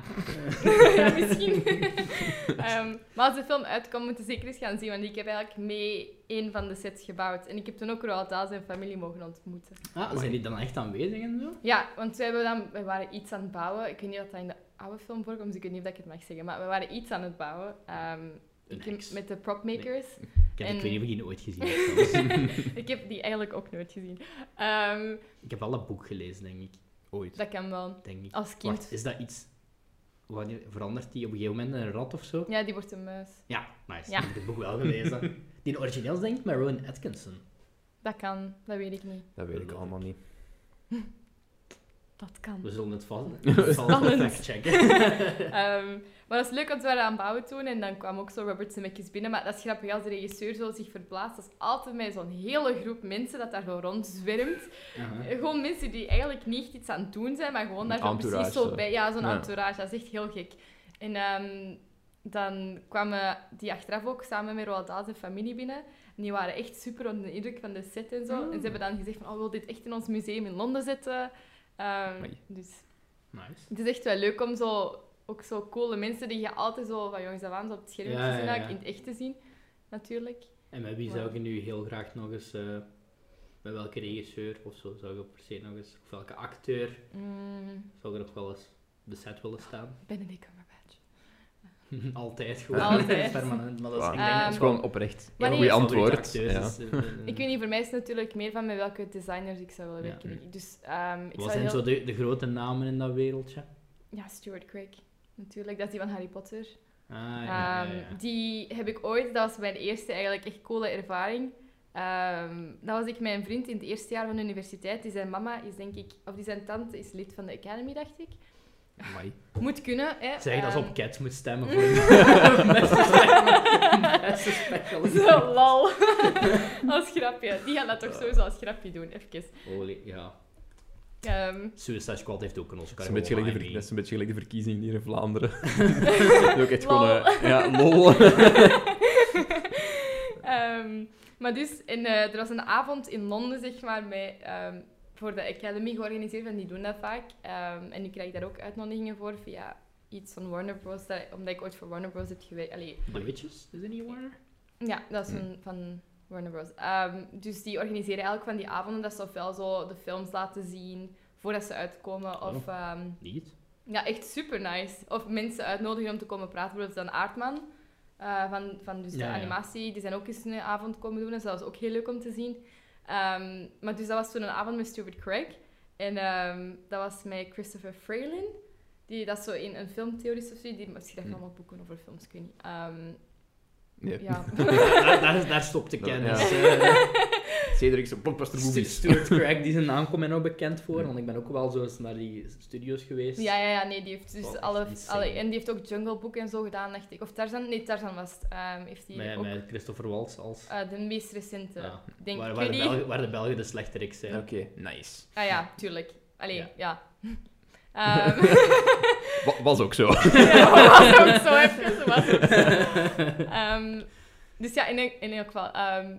Speaker 3: ja, misschien. Ehm, maar als de film uitkomt, moeten we zeker eens gaan zien. Want ik heb eigenlijk mee één van de sets gebouwd. En ik heb toen ook Roald Dahl zijn familie mogen ontmoeten.
Speaker 1: Ah, zijn die dan echt aanwezig en zo?
Speaker 3: Ja, want wij, hebben dan, wij waren iets aan het bouwen. Ik weet niet of dat in de oude film voorkomt, dus ik weet niet of ik het mag zeggen. Maar we waren iets aan het bouwen. Ehm,
Speaker 1: Een
Speaker 3: ik-
Speaker 1: heks.
Speaker 3: met de propmakers.
Speaker 1: Ik, heb,
Speaker 3: En-
Speaker 1: ik weet niet of ik die ooit gezien heb. trouwens.
Speaker 3: Ik heb die eigenlijk ook nooit gezien. Ehm,
Speaker 1: ik heb wel dat boek gelezen, denk ik. Ooit,
Speaker 3: dat kan wel.
Speaker 1: denk ik.
Speaker 3: Als kind.
Speaker 1: Wacht, is dat iets... Wanneer verandert die op een gegeven moment in een rat of zo?
Speaker 3: Ja, die wordt een muis.
Speaker 1: Ja, nice.
Speaker 3: Ja.
Speaker 1: Ik heb het boek wel gelezen. Die origineels denk ik met Rowan Atkinson.
Speaker 3: Dat kan, dat weet ik niet.
Speaker 2: Dat weet ik allemaal niet.
Speaker 3: Dat kan.
Speaker 1: We zullen het vast
Speaker 3: Spannend.
Speaker 1: checken.
Speaker 3: Ehm, maar dat is leuk, want we waren aan het bouwen toen en dan kwam ook zo Robert Zemeckis binnen. Maar dat is grappig, als de regisseur zo zich verplaatst, dat is altijd met zo'n hele groep mensen dat daar zo rondzwermt.
Speaker 1: Uh-huh.
Speaker 3: Eh, Gewoon mensen die eigenlijk niet echt iets aan het doen zijn, maar gewoon
Speaker 2: Een
Speaker 3: daar zo precies
Speaker 2: entourage,
Speaker 3: zo
Speaker 2: zo.
Speaker 3: bij. Ja, zo'n
Speaker 2: Ja.
Speaker 3: entourage, dat is echt heel gek. En ehm, dan kwamen die achteraf ook samen met Roald Dahl zijn familie binnen. En die waren echt super onder de indruk van de set en zo. En ze hebben dan gezegd van, oh, wil dit echt in ons museum in Londen zetten? Ehm,
Speaker 2: Amai.
Speaker 3: dus
Speaker 1: Nice.
Speaker 3: het is echt wel leuk om zo, ook zo coole mensen die je altijd zo van jongens af aan zo op het scherm
Speaker 1: Ja,
Speaker 3: te zien,
Speaker 1: ja, ja.
Speaker 3: ook in het echt te zien, natuurlijk.
Speaker 1: En met wie
Speaker 3: Wauw.
Speaker 1: zou je nu heel graag nog eens... eh, met welke regisseur of zo zou je per se nog eens... Of welke acteur
Speaker 3: Mm,
Speaker 1: zou er nog wel eens op de set willen staan?
Speaker 3: Benedict Cumberbatch.
Speaker 1: Altijd gewoon.
Speaker 3: Altijd.
Speaker 1: Permanent. Maar dat is,
Speaker 2: Wauw.
Speaker 1: ik denk dat
Speaker 3: Ehm,
Speaker 2: Dat
Speaker 1: is
Speaker 2: is
Speaker 1: wel
Speaker 2: gewoon oprecht.
Speaker 3: Wanneer-
Speaker 2: Een
Speaker 1: mijn
Speaker 2: goede antwoord.
Speaker 1: favoriete
Speaker 2: Ja.
Speaker 1: acteurs, dus, eh, eh,
Speaker 3: Ik weet niet, voor mij is het natuurlijk meer van met welke designers ik zou willen
Speaker 1: Ja.
Speaker 3: werken. denk ik. Dus ehm, ik
Speaker 1: Wat
Speaker 3: zou
Speaker 1: zijn
Speaker 3: heel...
Speaker 1: zo de, de grote namen in dat wereldje?
Speaker 3: Ja, Stuart Craig. Natuurlijk, dat is die van Harry Potter.
Speaker 1: Ah, ja, ja,
Speaker 3: Ehm,
Speaker 1: ja.
Speaker 3: Die heb ik ooit, dat was mijn eerste eigenlijk echt coole ervaring. Ehm, dat was ik met een vriend in het eerste jaar van de universiteit. Die zijn mama is denk ik, of die zijn tante is lid van de Academy, dacht ik.
Speaker 2: Amai.
Speaker 3: Moet kunnen, hè.
Speaker 1: Zeg dat ze
Speaker 3: Ehm,
Speaker 1: op Cats moet stemmen voor de beste spec- beste specialist.
Speaker 3: Zo, lol. als grapje. Die gaan dat toch sowieso als grapje doen, even.
Speaker 1: Holy, ja.
Speaker 3: Ehm,
Speaker 1: Suicide Squad heeft ook een
Speaker 2: Dat
Speaker 1: Oscar
Speaker 2: is een beetje gelijk
Speaker 1: gewonnen,
Speaker 2: de,
Speaker 1: I
Speaker 2: ver-
Speaker 1: mean.
Speaker 2: dat is een beetje gelijk de verkiezingen hier in Vlaanderen. Dat is ook echt gewoon...
Speaker 3: Lol.
Speaker 2: eh, ja, lol.
Speaker 3: ehm, maar dus, en, eh, er was een avond in Londen, zeg maar, met ehm, voor de Academy georganiseerd en die doen dat vaak. Ehm, en nu krijg ik daar ook uitnodigingen voor via iets van Warner Bros. dat- omdat ik ooit voor Warner Bros. heb gewerkt. Allee,
Speaker 1: The Witches, is het niet Warner?
Speaker 3: ja, dat is
Speaker 2: Hmm.
Speaker 3: een, van Warner Bros. Ehm, dus die organiseren eigenlijk van die avonden dat ze ofwel zo de films laten zien voordat ze uitkomen.
Speaker 2: Oh.
Speaker 3: Of ehm,
Speaker 1: Niet.
Speaker 3: ja, echt super nice. Of mensen uitnodigen om te komen praten, bijvoorbeeld dan Aardman. eh, van van dus
Speaker 1: Ja, ja.
Speaker 3: de animatie, die zijn ook eens een avond komen doen. Dus dat was ook heel leuk om te zien. Ehm, maar dus dat was toen een avond met Stuart Craig. En ehm, dat was met Christopher Freeland. Die dat is zo in een filmtheorist of zo. Die misschien dat
Speaker 2: Hm.
Speaker 3: allemaal boeken over films, ik weet niet. Ehm,
Speaker 2: Nee.
Speaker 3: ja.
Speaker 1: daar, daar, daar stopt de
Speaker 2: Ja.
Speaker 1: kennis.
Speaker 2: Ja.
Speaker 1: eh.
Speaker 2: Cedric zijn blockbuster
Speaker 1: Stu-
Speaker 2: movies.
Speaker 1: Stuart Craig, die zijn naam komt mij nog bekend voor, want ik ben ook wel zo eens naar die studio's geweest.
Speaker 3: ja, ja, ja, nee, die heeft dus
Speaker 1: Dat is
Speaker 3: alle,
Speaker 1: insane.
Speaker 3: alle... En die heeft ook Jungle Book en zo gedaan, dacht ik. Of Tarzan, nee, Tarzan was het. Ehm, heeft die
Speaker 1: Met,
Speaker 3: ook
Speaker 1: met Christopher Waltz als...
Speaker 3: eh, de meest recente,
Speaker 1: Ja.
Speaker 3: denk
Speaker 1: waar,
Speaker 3: ik.
Speaker 1: waar, de
Speaker 3: weet niet.
Speaker 1: Belgen, waar de Belgen de slechterik zijn.
Speaker 2: Oké, nice.
Speaker 3: Ah ja, tuurlijk. Allee,
Speaker 1: Ja.
Speaker 3: ja. Ehm,
Speaker 2: Wa- was ook zo.
Speaker 3: ja, dat was ook zo even. dat was ook zo. Ehm, dus ja, in, elk- in elk geval. ehm,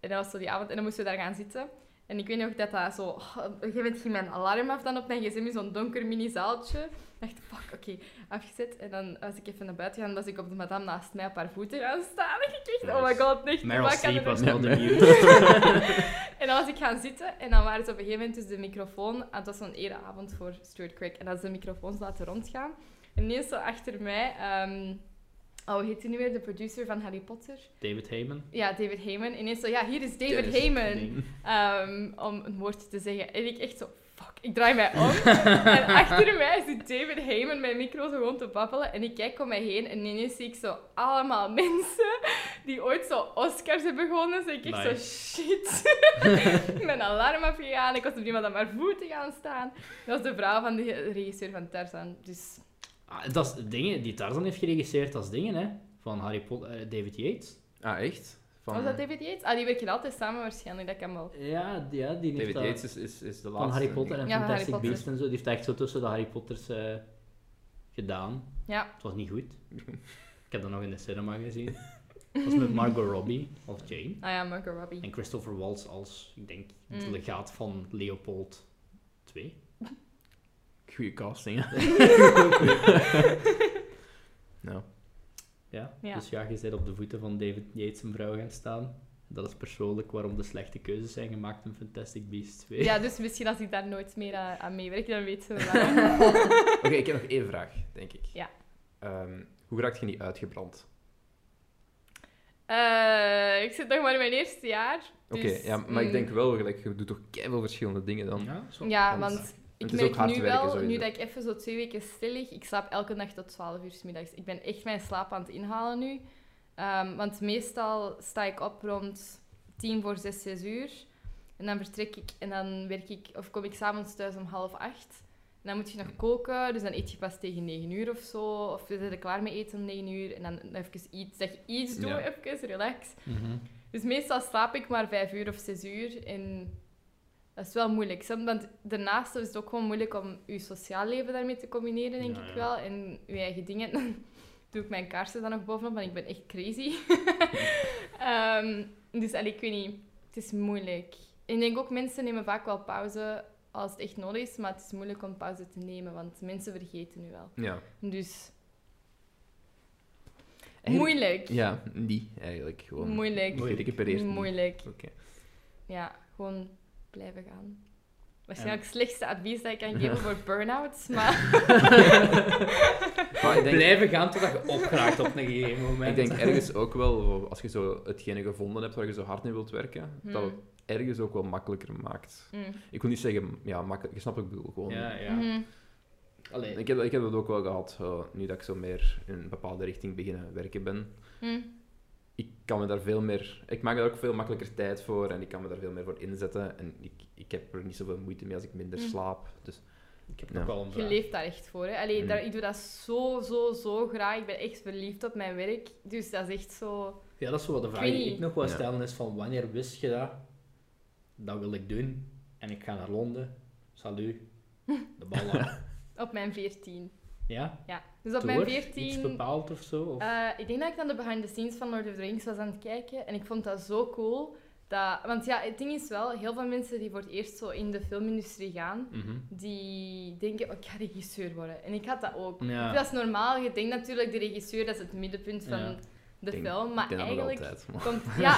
Speaker 3: en dat was zo die avond. En dan moesten we daar gaan zitten. En ik weet nog dat dat zo... oh, op een gegeven moment ging mijn alarm af dan op mijn gsm in zo'n donker mini-zaaltje. Ik dacht, fuck, oké, afgezet. En dan was ik even naar buiten gaan, was ik op de madame naast mij op haar voeten gaan staan. En ik dacht, oh my god, echt,
Speaker 1: Meryl
Speaker 3: wat kan er
Speaker 1: Streep was
Speaker 3: nog
Speaker 2: Ja,
Speaker 1: not
Speaker 2: maar-
Speaker 1: amused.
Speaker 3: En dan was ik gaan zitten en dan waren ze op een gegeven moment dus de microfoon... ah, Het was zo'n ereavond voor Stuart Craig. En dat ze de microfoons laten rondgaan. En ineens zo achter mij... ehm, oh, hoe heet hij nu weer? De producer van Harry Potter?
Speaker 1: David Heyman.
Speaker 3: Ja, David Heyman. Ineens zo, ja, hier is David
Speaker 2: Dennis
Speaker 3: Heyman.
Speaker 1: Nee.
Speaker 3: Ehm, om een woordje te zeggen. En ik echt zo, fuck, ik draai mij om. en achter mij zit David Heyman mijn micro zo gewoon te babbelen. En ik kijk om mij heen en ineens zie ik zo allemaal mensen die ooit zo Oscars hebben gewonnen. Dus ik echt zo, shit. mijn alarm afgegaan. Ik was op iemand aan mijn voeten gaan staan. Dat was de vrouw van de regisseur van Tarzan. Dus
Speaker 1: Ah, dat is dingen die Tarzan heeft geregisseerd als dingen, hè. Van Harry Potter, eh, David Yates.
Speaker 2: Ah, echt? Van,
Speaker 3: was dat David Yates? Ah, die werken altijd samen waarschijnlijk, dat kan wel.
Speaker 1: Ja, die, ja, die heeft
Speaker 2: David
Speaker 1: dat-
Speaker 2: Yates is, is, is de laatste.
Speaker 1: Van Harry Potter en
Speaker 3: Ja, van Harry
Speaker 1: Fantastic
Speaker 3: Potter.
Speaker 1: Beasts en zo. Die heeft dat echt zo tussen de Harry Potters eh, gedaan.
Speaker 3: Ja.
Speaker 1: Het was niet goed. Ik heb dat nog in de cinema gezien. Dat was met Margot Robbie als Jane.
Speaker 3: Ah ja, Margot Robbie.
Speaker 1: En Christopher Waltz als, ik denk, de
Speaker 3: Mm.
Speaker 1: legaat van Leopold II.
Speaker 2: Goeie casting, hè? nou,
Speaker 1: Ja?
Speaker 3: Ja.
Speaker 1: Dus ja, je bent op de voeten van David Yates en vrouw gaan staan. Dat is persoonlijk waarom de slechte keuzes zijn gemaakt in Fantastic Beasts 2.
Speaker 3: Ja, dus misschien als ik daar nooit meer aan, aan meewerk, dan weet ze wel.
Speaker 2: Oké, ik heb nog één vraag, denk ik.
Speaker 3: Ja.
Speaker 2: Ehm, hoe raakt je niet uitgebrand?
Speaker 3: Eh, ik zit nog maar in mijn eerste jaar.
Speaker 2: Oké,
Speaker 3: dus,
Speaker 2: ja, maar ik
Speaker 3: mm,
Speaker 2: denk wel, gelijk, je doet toch keihard verschillende dingen dan.
Speaker 1: Ja, zo.
Speaker 3: Ja,
Speaker 2: want
Speaker 3: want ik
Speaker 2: het is ook
Speaker 3: merk
Speaker 2: hard
Speaker 3: nu
Speaker 2: werken,
Speaker 3: wel,
Speaker 2: sowieso.
Speaker 3: nu dat ik even zo twee weken stil lig, ik slaap elke nacht tot 12 uur 's middags. Ik ben echt mijn slaap aan het inhalen nu. Ehm, want meestal sta ik op rond 10 voor 6, 6 uur. En dan vertrek ik en dan werk ik, of kom ik s'avonds thuis om half acht. En dan moet je nog koken, dus dan eet je pas tegen 9 uur of zo. Of je bent er klaar mee eten om 9 uur. En dan even iets, dat je iets doet,
Speaker 2: Ja.
Speaker 3: even relax.
Speaker 1: Mhm.
Speaker 3: Dus meestal slaap ik maar vijf uur of zes uur. En dat is wel moeilijk. Soms- Want daarnaast is het ook gewoon moeilijk om je sociaal leven daarmee te combineren, denk
Speaker 1: Ja, ja.
Speaker 3: ik wel. En je eigen dingen. Dan doe ik mijn kaarsen dan nog bovenop, want ik ben echt crazy. Ehm, dus allee, ik weet niet. Het is moeilijk. En ik denk ook, mensen nemen vaak wel pauze als het echt nodig is. Maar het is moeilijk om pauze te nemen, want mensen vergeten nu wel.
Speaker 2: Ja.
Speaker 3: Dus...
Speaker 2: Eigenlijk-
Speaker 3: Moeilijk.
Speaker 2: Ja, niet eigenlijk. Gewoon
Speaker 3: Moeilijk.
Speaker 2: Gerecupereerd. niet.
Speaker 3: Moeilijk.
Speaker 2: Oké.
Speaker 3: Ja, gewoon blijven gaan. Waarschijnlijk het slechtste advies dat ik kan geven voor burn-outs, maar
Speaker 2: Maar ik denk,
Speaker 1: Blijven gaan totdat je opraakt op een gegeven moment.
Speaker 2: ik denk ergens ook wel, als je zo hetgene gevonden hebt waar je zo hard in wilt werken, dat het
Speaker 3: Hmm.
Speaker 2: ergens ook wel makkelijker maakt.
Speaker 3: Mm.
Speaker 2: Ik wil niet zeggen, ja, makkelijk. Je snapt wat ik bedoel, gewoon.
Speaker 1: Ja, ja.
Speaker 3: Mhm.
Speaker 1: Allee.
Speaker 2: Ik heb, ik heb dat ook wel gehad, eh, nu dat ik zo meer in een bepaalde richting beginnen werken ben.
Speaker 3: Mm.
Speaker 2: ik kan me daar veel meer... Ik maak daar ook veel makkelijker tijd voor en ik kan me daar veel meer voor inzetten. En ik, ik heb er niet zoveel moeite mee als ik minder
Speaker 3: Mm.
Speaker 2: slaap. Dus
Speaker 1: Ik heb
Speaker 2: Ja.
Speaker 1: nog wel een
Speaker 3: Je
Speaker 1: vraag.
Speaker 3: leeft daar echt voor. Hè? Allee,
Speaker 2: Mm.
Speaker 3: daar, ik doe dat zo, zo, zo graag. Ik ben echt verliefd op mijn werk. Dus dat is echt zo...
Speaker 1: Ja, dat is wel de vraag
Speaker 3: weet
Speaker 1: die
Speaker 3: niet.
Speaker 1: ik nog wel
Speaker 2: Ja.
Speaker 1: stellen is van wanneer wist je dat? Dat wil ik doen. En ik ga naar Londen. Salut. De bal aan.
Speaker 3: Op mijn 14.
Speaker 1: Ja?
Speaker 3: Ja. Dus op
Speaker 1: Door?
Speaker 3: mijn
Speaker 1: Iets
Speaker 3: 14...
Speaker 1: bepaald of zo? Of?
Speaker 3: eh, ik denk dat ik dan de behind the scenes van Lord of the Rings was aan het kijken. En ik vond dat zo cool. Dat, want ja, het ding is wel, heel veel mensen die voor het eerst zo in de filmindustrie gaan,
Speaker 1: Mhm.
Speaker 3: die denken, oh, ik ga regisseur worden. En ik had dat ook.
Speaker 1: Ja.
Speaker 3: Dat is normaal. Je denkt natuurlijk, de regisseur, dat is het middenpunt van
Speaker 1: Ja.
Speaker 3: de
Speaker 2: Denk-
Speaker 3: film. Maar
Speaker 2: Ik ken dat nog
Speaker 3: eigenlijk
Speaker 2: altijd, maar-
Speaker 3: komt... Ja,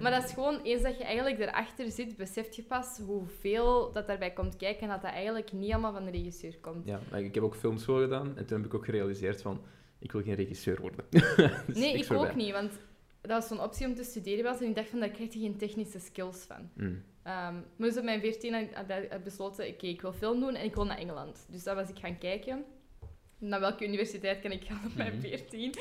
Speaker 3: maar dat is gewoon, eens dat je eigenlijk erachter zit, besef je pas hoeveel dat daarbij komt kijken en dat dat eigenlijk niet allemaal van de regisseur komt.
Speaker 2: Ja, maar ik heb ook films voor gedaan en toen heb ik ook gerealiseerd van, ik wil geen regisseur worden. Dus
Speaker 3: nee,
Speaker 2: niks
Speaker 3: ik
Speaker 2: voor
Speaker 3: ook
Speaker 2: mij.
Speaker 3: niet, want dat was zo'n optie om te studeren was en ik dacht van, daar krijg je geen technische skills van.
Speaker 2: Mm.
Speaker 3: Ehm, maar dus op mijn 14 had ik- had ik had besloten, oké, ik wil film doen en ik wil naar Engeland. Dus dat was ik gaan kijken. Naar welke universiteit kan ik gaan op mijn
Speaker 2: Mhm.
Speaker 3: 14?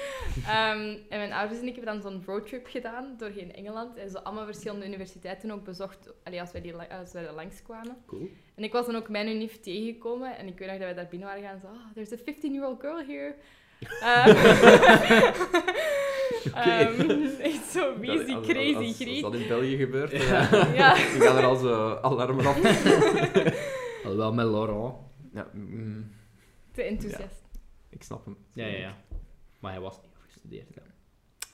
Speaker 3: Ehm, en mijn ouders en ik hebben dan zo'n roadtrip gedaan doorheen Engeland. En zo allemaal verschillende universiteiten ook bezocht, allee, als, wij die, la- als wij er langskwamen.
Speaker 2: Cool.
Speaker 3: En ik was dan ook mijn unief tegengekomen. En ik weet nog dat wij daar binnen waren gaan en zo, oh, there's a 15-year-old girl here. Ehm, ehm, echt zo, wie is die
Speaker 2: Als- als-
Speaker 3: crazy
Speaker 2: als-
Speaker 3: griet?
Speaker 2: Als dat in België gebeurt, dan
Speaker 3: Ja.
Speaker 2: dan gaan er al zo alarmen af.
Speaker 1: Wel met Laurent.
Speaker 2: Ja, mm,
Speaker 3: Te enthousiast.
Speaker 2: ik snap hem.
Speaker 1: Ja, ja, ja. Maar hij was niet afgestudeerd. hè.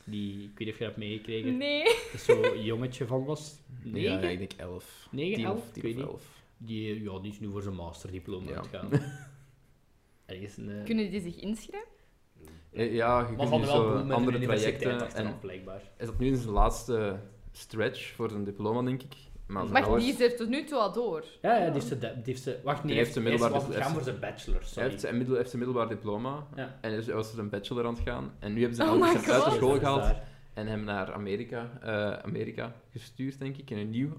Speaker 1: Die, ik weet niet of je dat hebt meegekregen.
Speaker 3: Nee.
Speaker 1: Dat is zo'n jongetje van was.
Speaker 2: Ja,
Speaker 1: Negen?
Speaker 2: ik denk 11.
Speaker 1: Negen,
Speaker 2: 10
Speaker 1: elf?
Speaker 2: of,
Speaker 1: Ik
Speaker 2: 10
Speaker 1: weet
Speaker 2: of
Speaker 1: niet.
Speaker 2: 11.
Speaker 1: Die, ja, die is nu voor zijn masterdiploma
Speaker 2: Ja.
Speaker 1: aan het gaan. Er is een... eh,
Speaker 3: Kunnen die zich inschrijven?
Speaker 2: Eh, Ja, je
Speaker 1: maar
Speaker 2: kunt
Speaker 1: van
Speaker 2: nu
Speaker 1: wel
Speaker 2: zo
Speaker 1: boel met andere
Speaker 2: andere
Speaker 1: een universiteit
Speaker 2: trajecten.
Speaker 1: achteraf,
Speaker 2: En
Speaker 1: blijkbaar.
Speaker 2: is dat nu in zijn laatste stretch voor zijn diploma, denk ik?
Speaker 1: Mm.
Speaker 2: Maar zijn
Speaker 3: Maar
Speaker 2: ouders-
Speaker 3: die is er tot nu toe al door.
Speaker 1: Ja, ja, die heeft ze... Die heeft ze wacht, nee,
Speaker 2: Die heeft ze
Speaker 1: hij is
Speaker 2: middelbaar
Speaker 1: was
Speaker 2: dus-
Speaker 1: gaan
Speaker 2: heeft-
Speaker 1: voor zijn bachelor,
Speaker 2: Hij
Speaker 1: sorry.
Speaker 2: heeft zijn, middel, heeft zijn middelbaar diploma
Speaker 1: Ja.
Speaker 2: en is, hij was een bachelor aan het gaan. En nu hebben ze
Speaker 3: Oh
Speaker 2: ouders
Speaker 3: my
Speaker 2: hem uit de
Speaker 3: God.
Speaker 2: school
Speaker 1: Dat is
Speaker 2: gehaald
Speaker 1: daar.
Speaker 2: en hem naar Amerika, eh, Amerika gestuurd, denk ik, in een nieuw,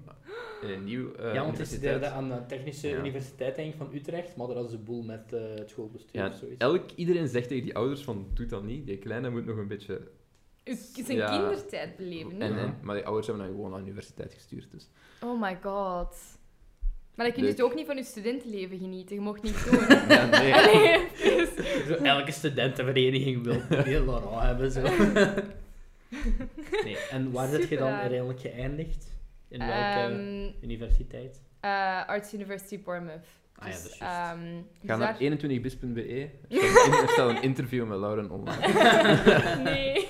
Speaker 2: in een nieuw eh,
Speaker 1: ja, want hij
Speaker 2: universiteit.
Speaker 1: studeerde aan de Technische
Speaker 2: Ja.
Speaker 1: Universiteit denk ik, van Utrecht, maar dat was een boel met eh, het schoolbestuur
Speaker 2: Ja,
Speaker 1: of zoiets.
Speaker 2: Elk, iedereen zegt tegen die ouders van, doe dat niet, die kleine moet nog een beetje...
Speaker 3: U- Zijn
Speaker 2: Ja.
Speaker 3: kindertijd beleven. hè?
Speaker 2: En, eh, en,
Speaker 1: Ja.
Speaker 2: maar die ouders hebben hem gewoon naar de universiteit gestuurd, dus...
Speaker 3: Oh my god. Maar dan kun je
Speaker 2: Leuk.
Speaker 3: het ook niet van je studentenleven genieten. Je mocht niet doen.
Speaker 2: Ja, nee.
Speaker 3: Allee, dus-
Speaker 1: Zo, elke studentenvereniging wil die Laurent hebben. Zo. Nee, en waar zit je dan
Speaker 3: Superraar.
Speaker 1: uiteindelijk geëindigd? In welke
Speaker 3: Ehm,
Speaker 1: universiteit?
Speaker 3: eh, Arts University Bournemouth.
Speaker 1: Ah ja, dat
Speaker 3: Dus,
Speaker 1: is juist.
Speaker 3: ehm,
Speaker 2: Ga
Speaker 3: dus
Speaker 2: naar
Speaker 3: daar-
Speaker 2: 21bis.be, er staat e. een- er staat een interview met Lauren online.
Speaker 3: nee.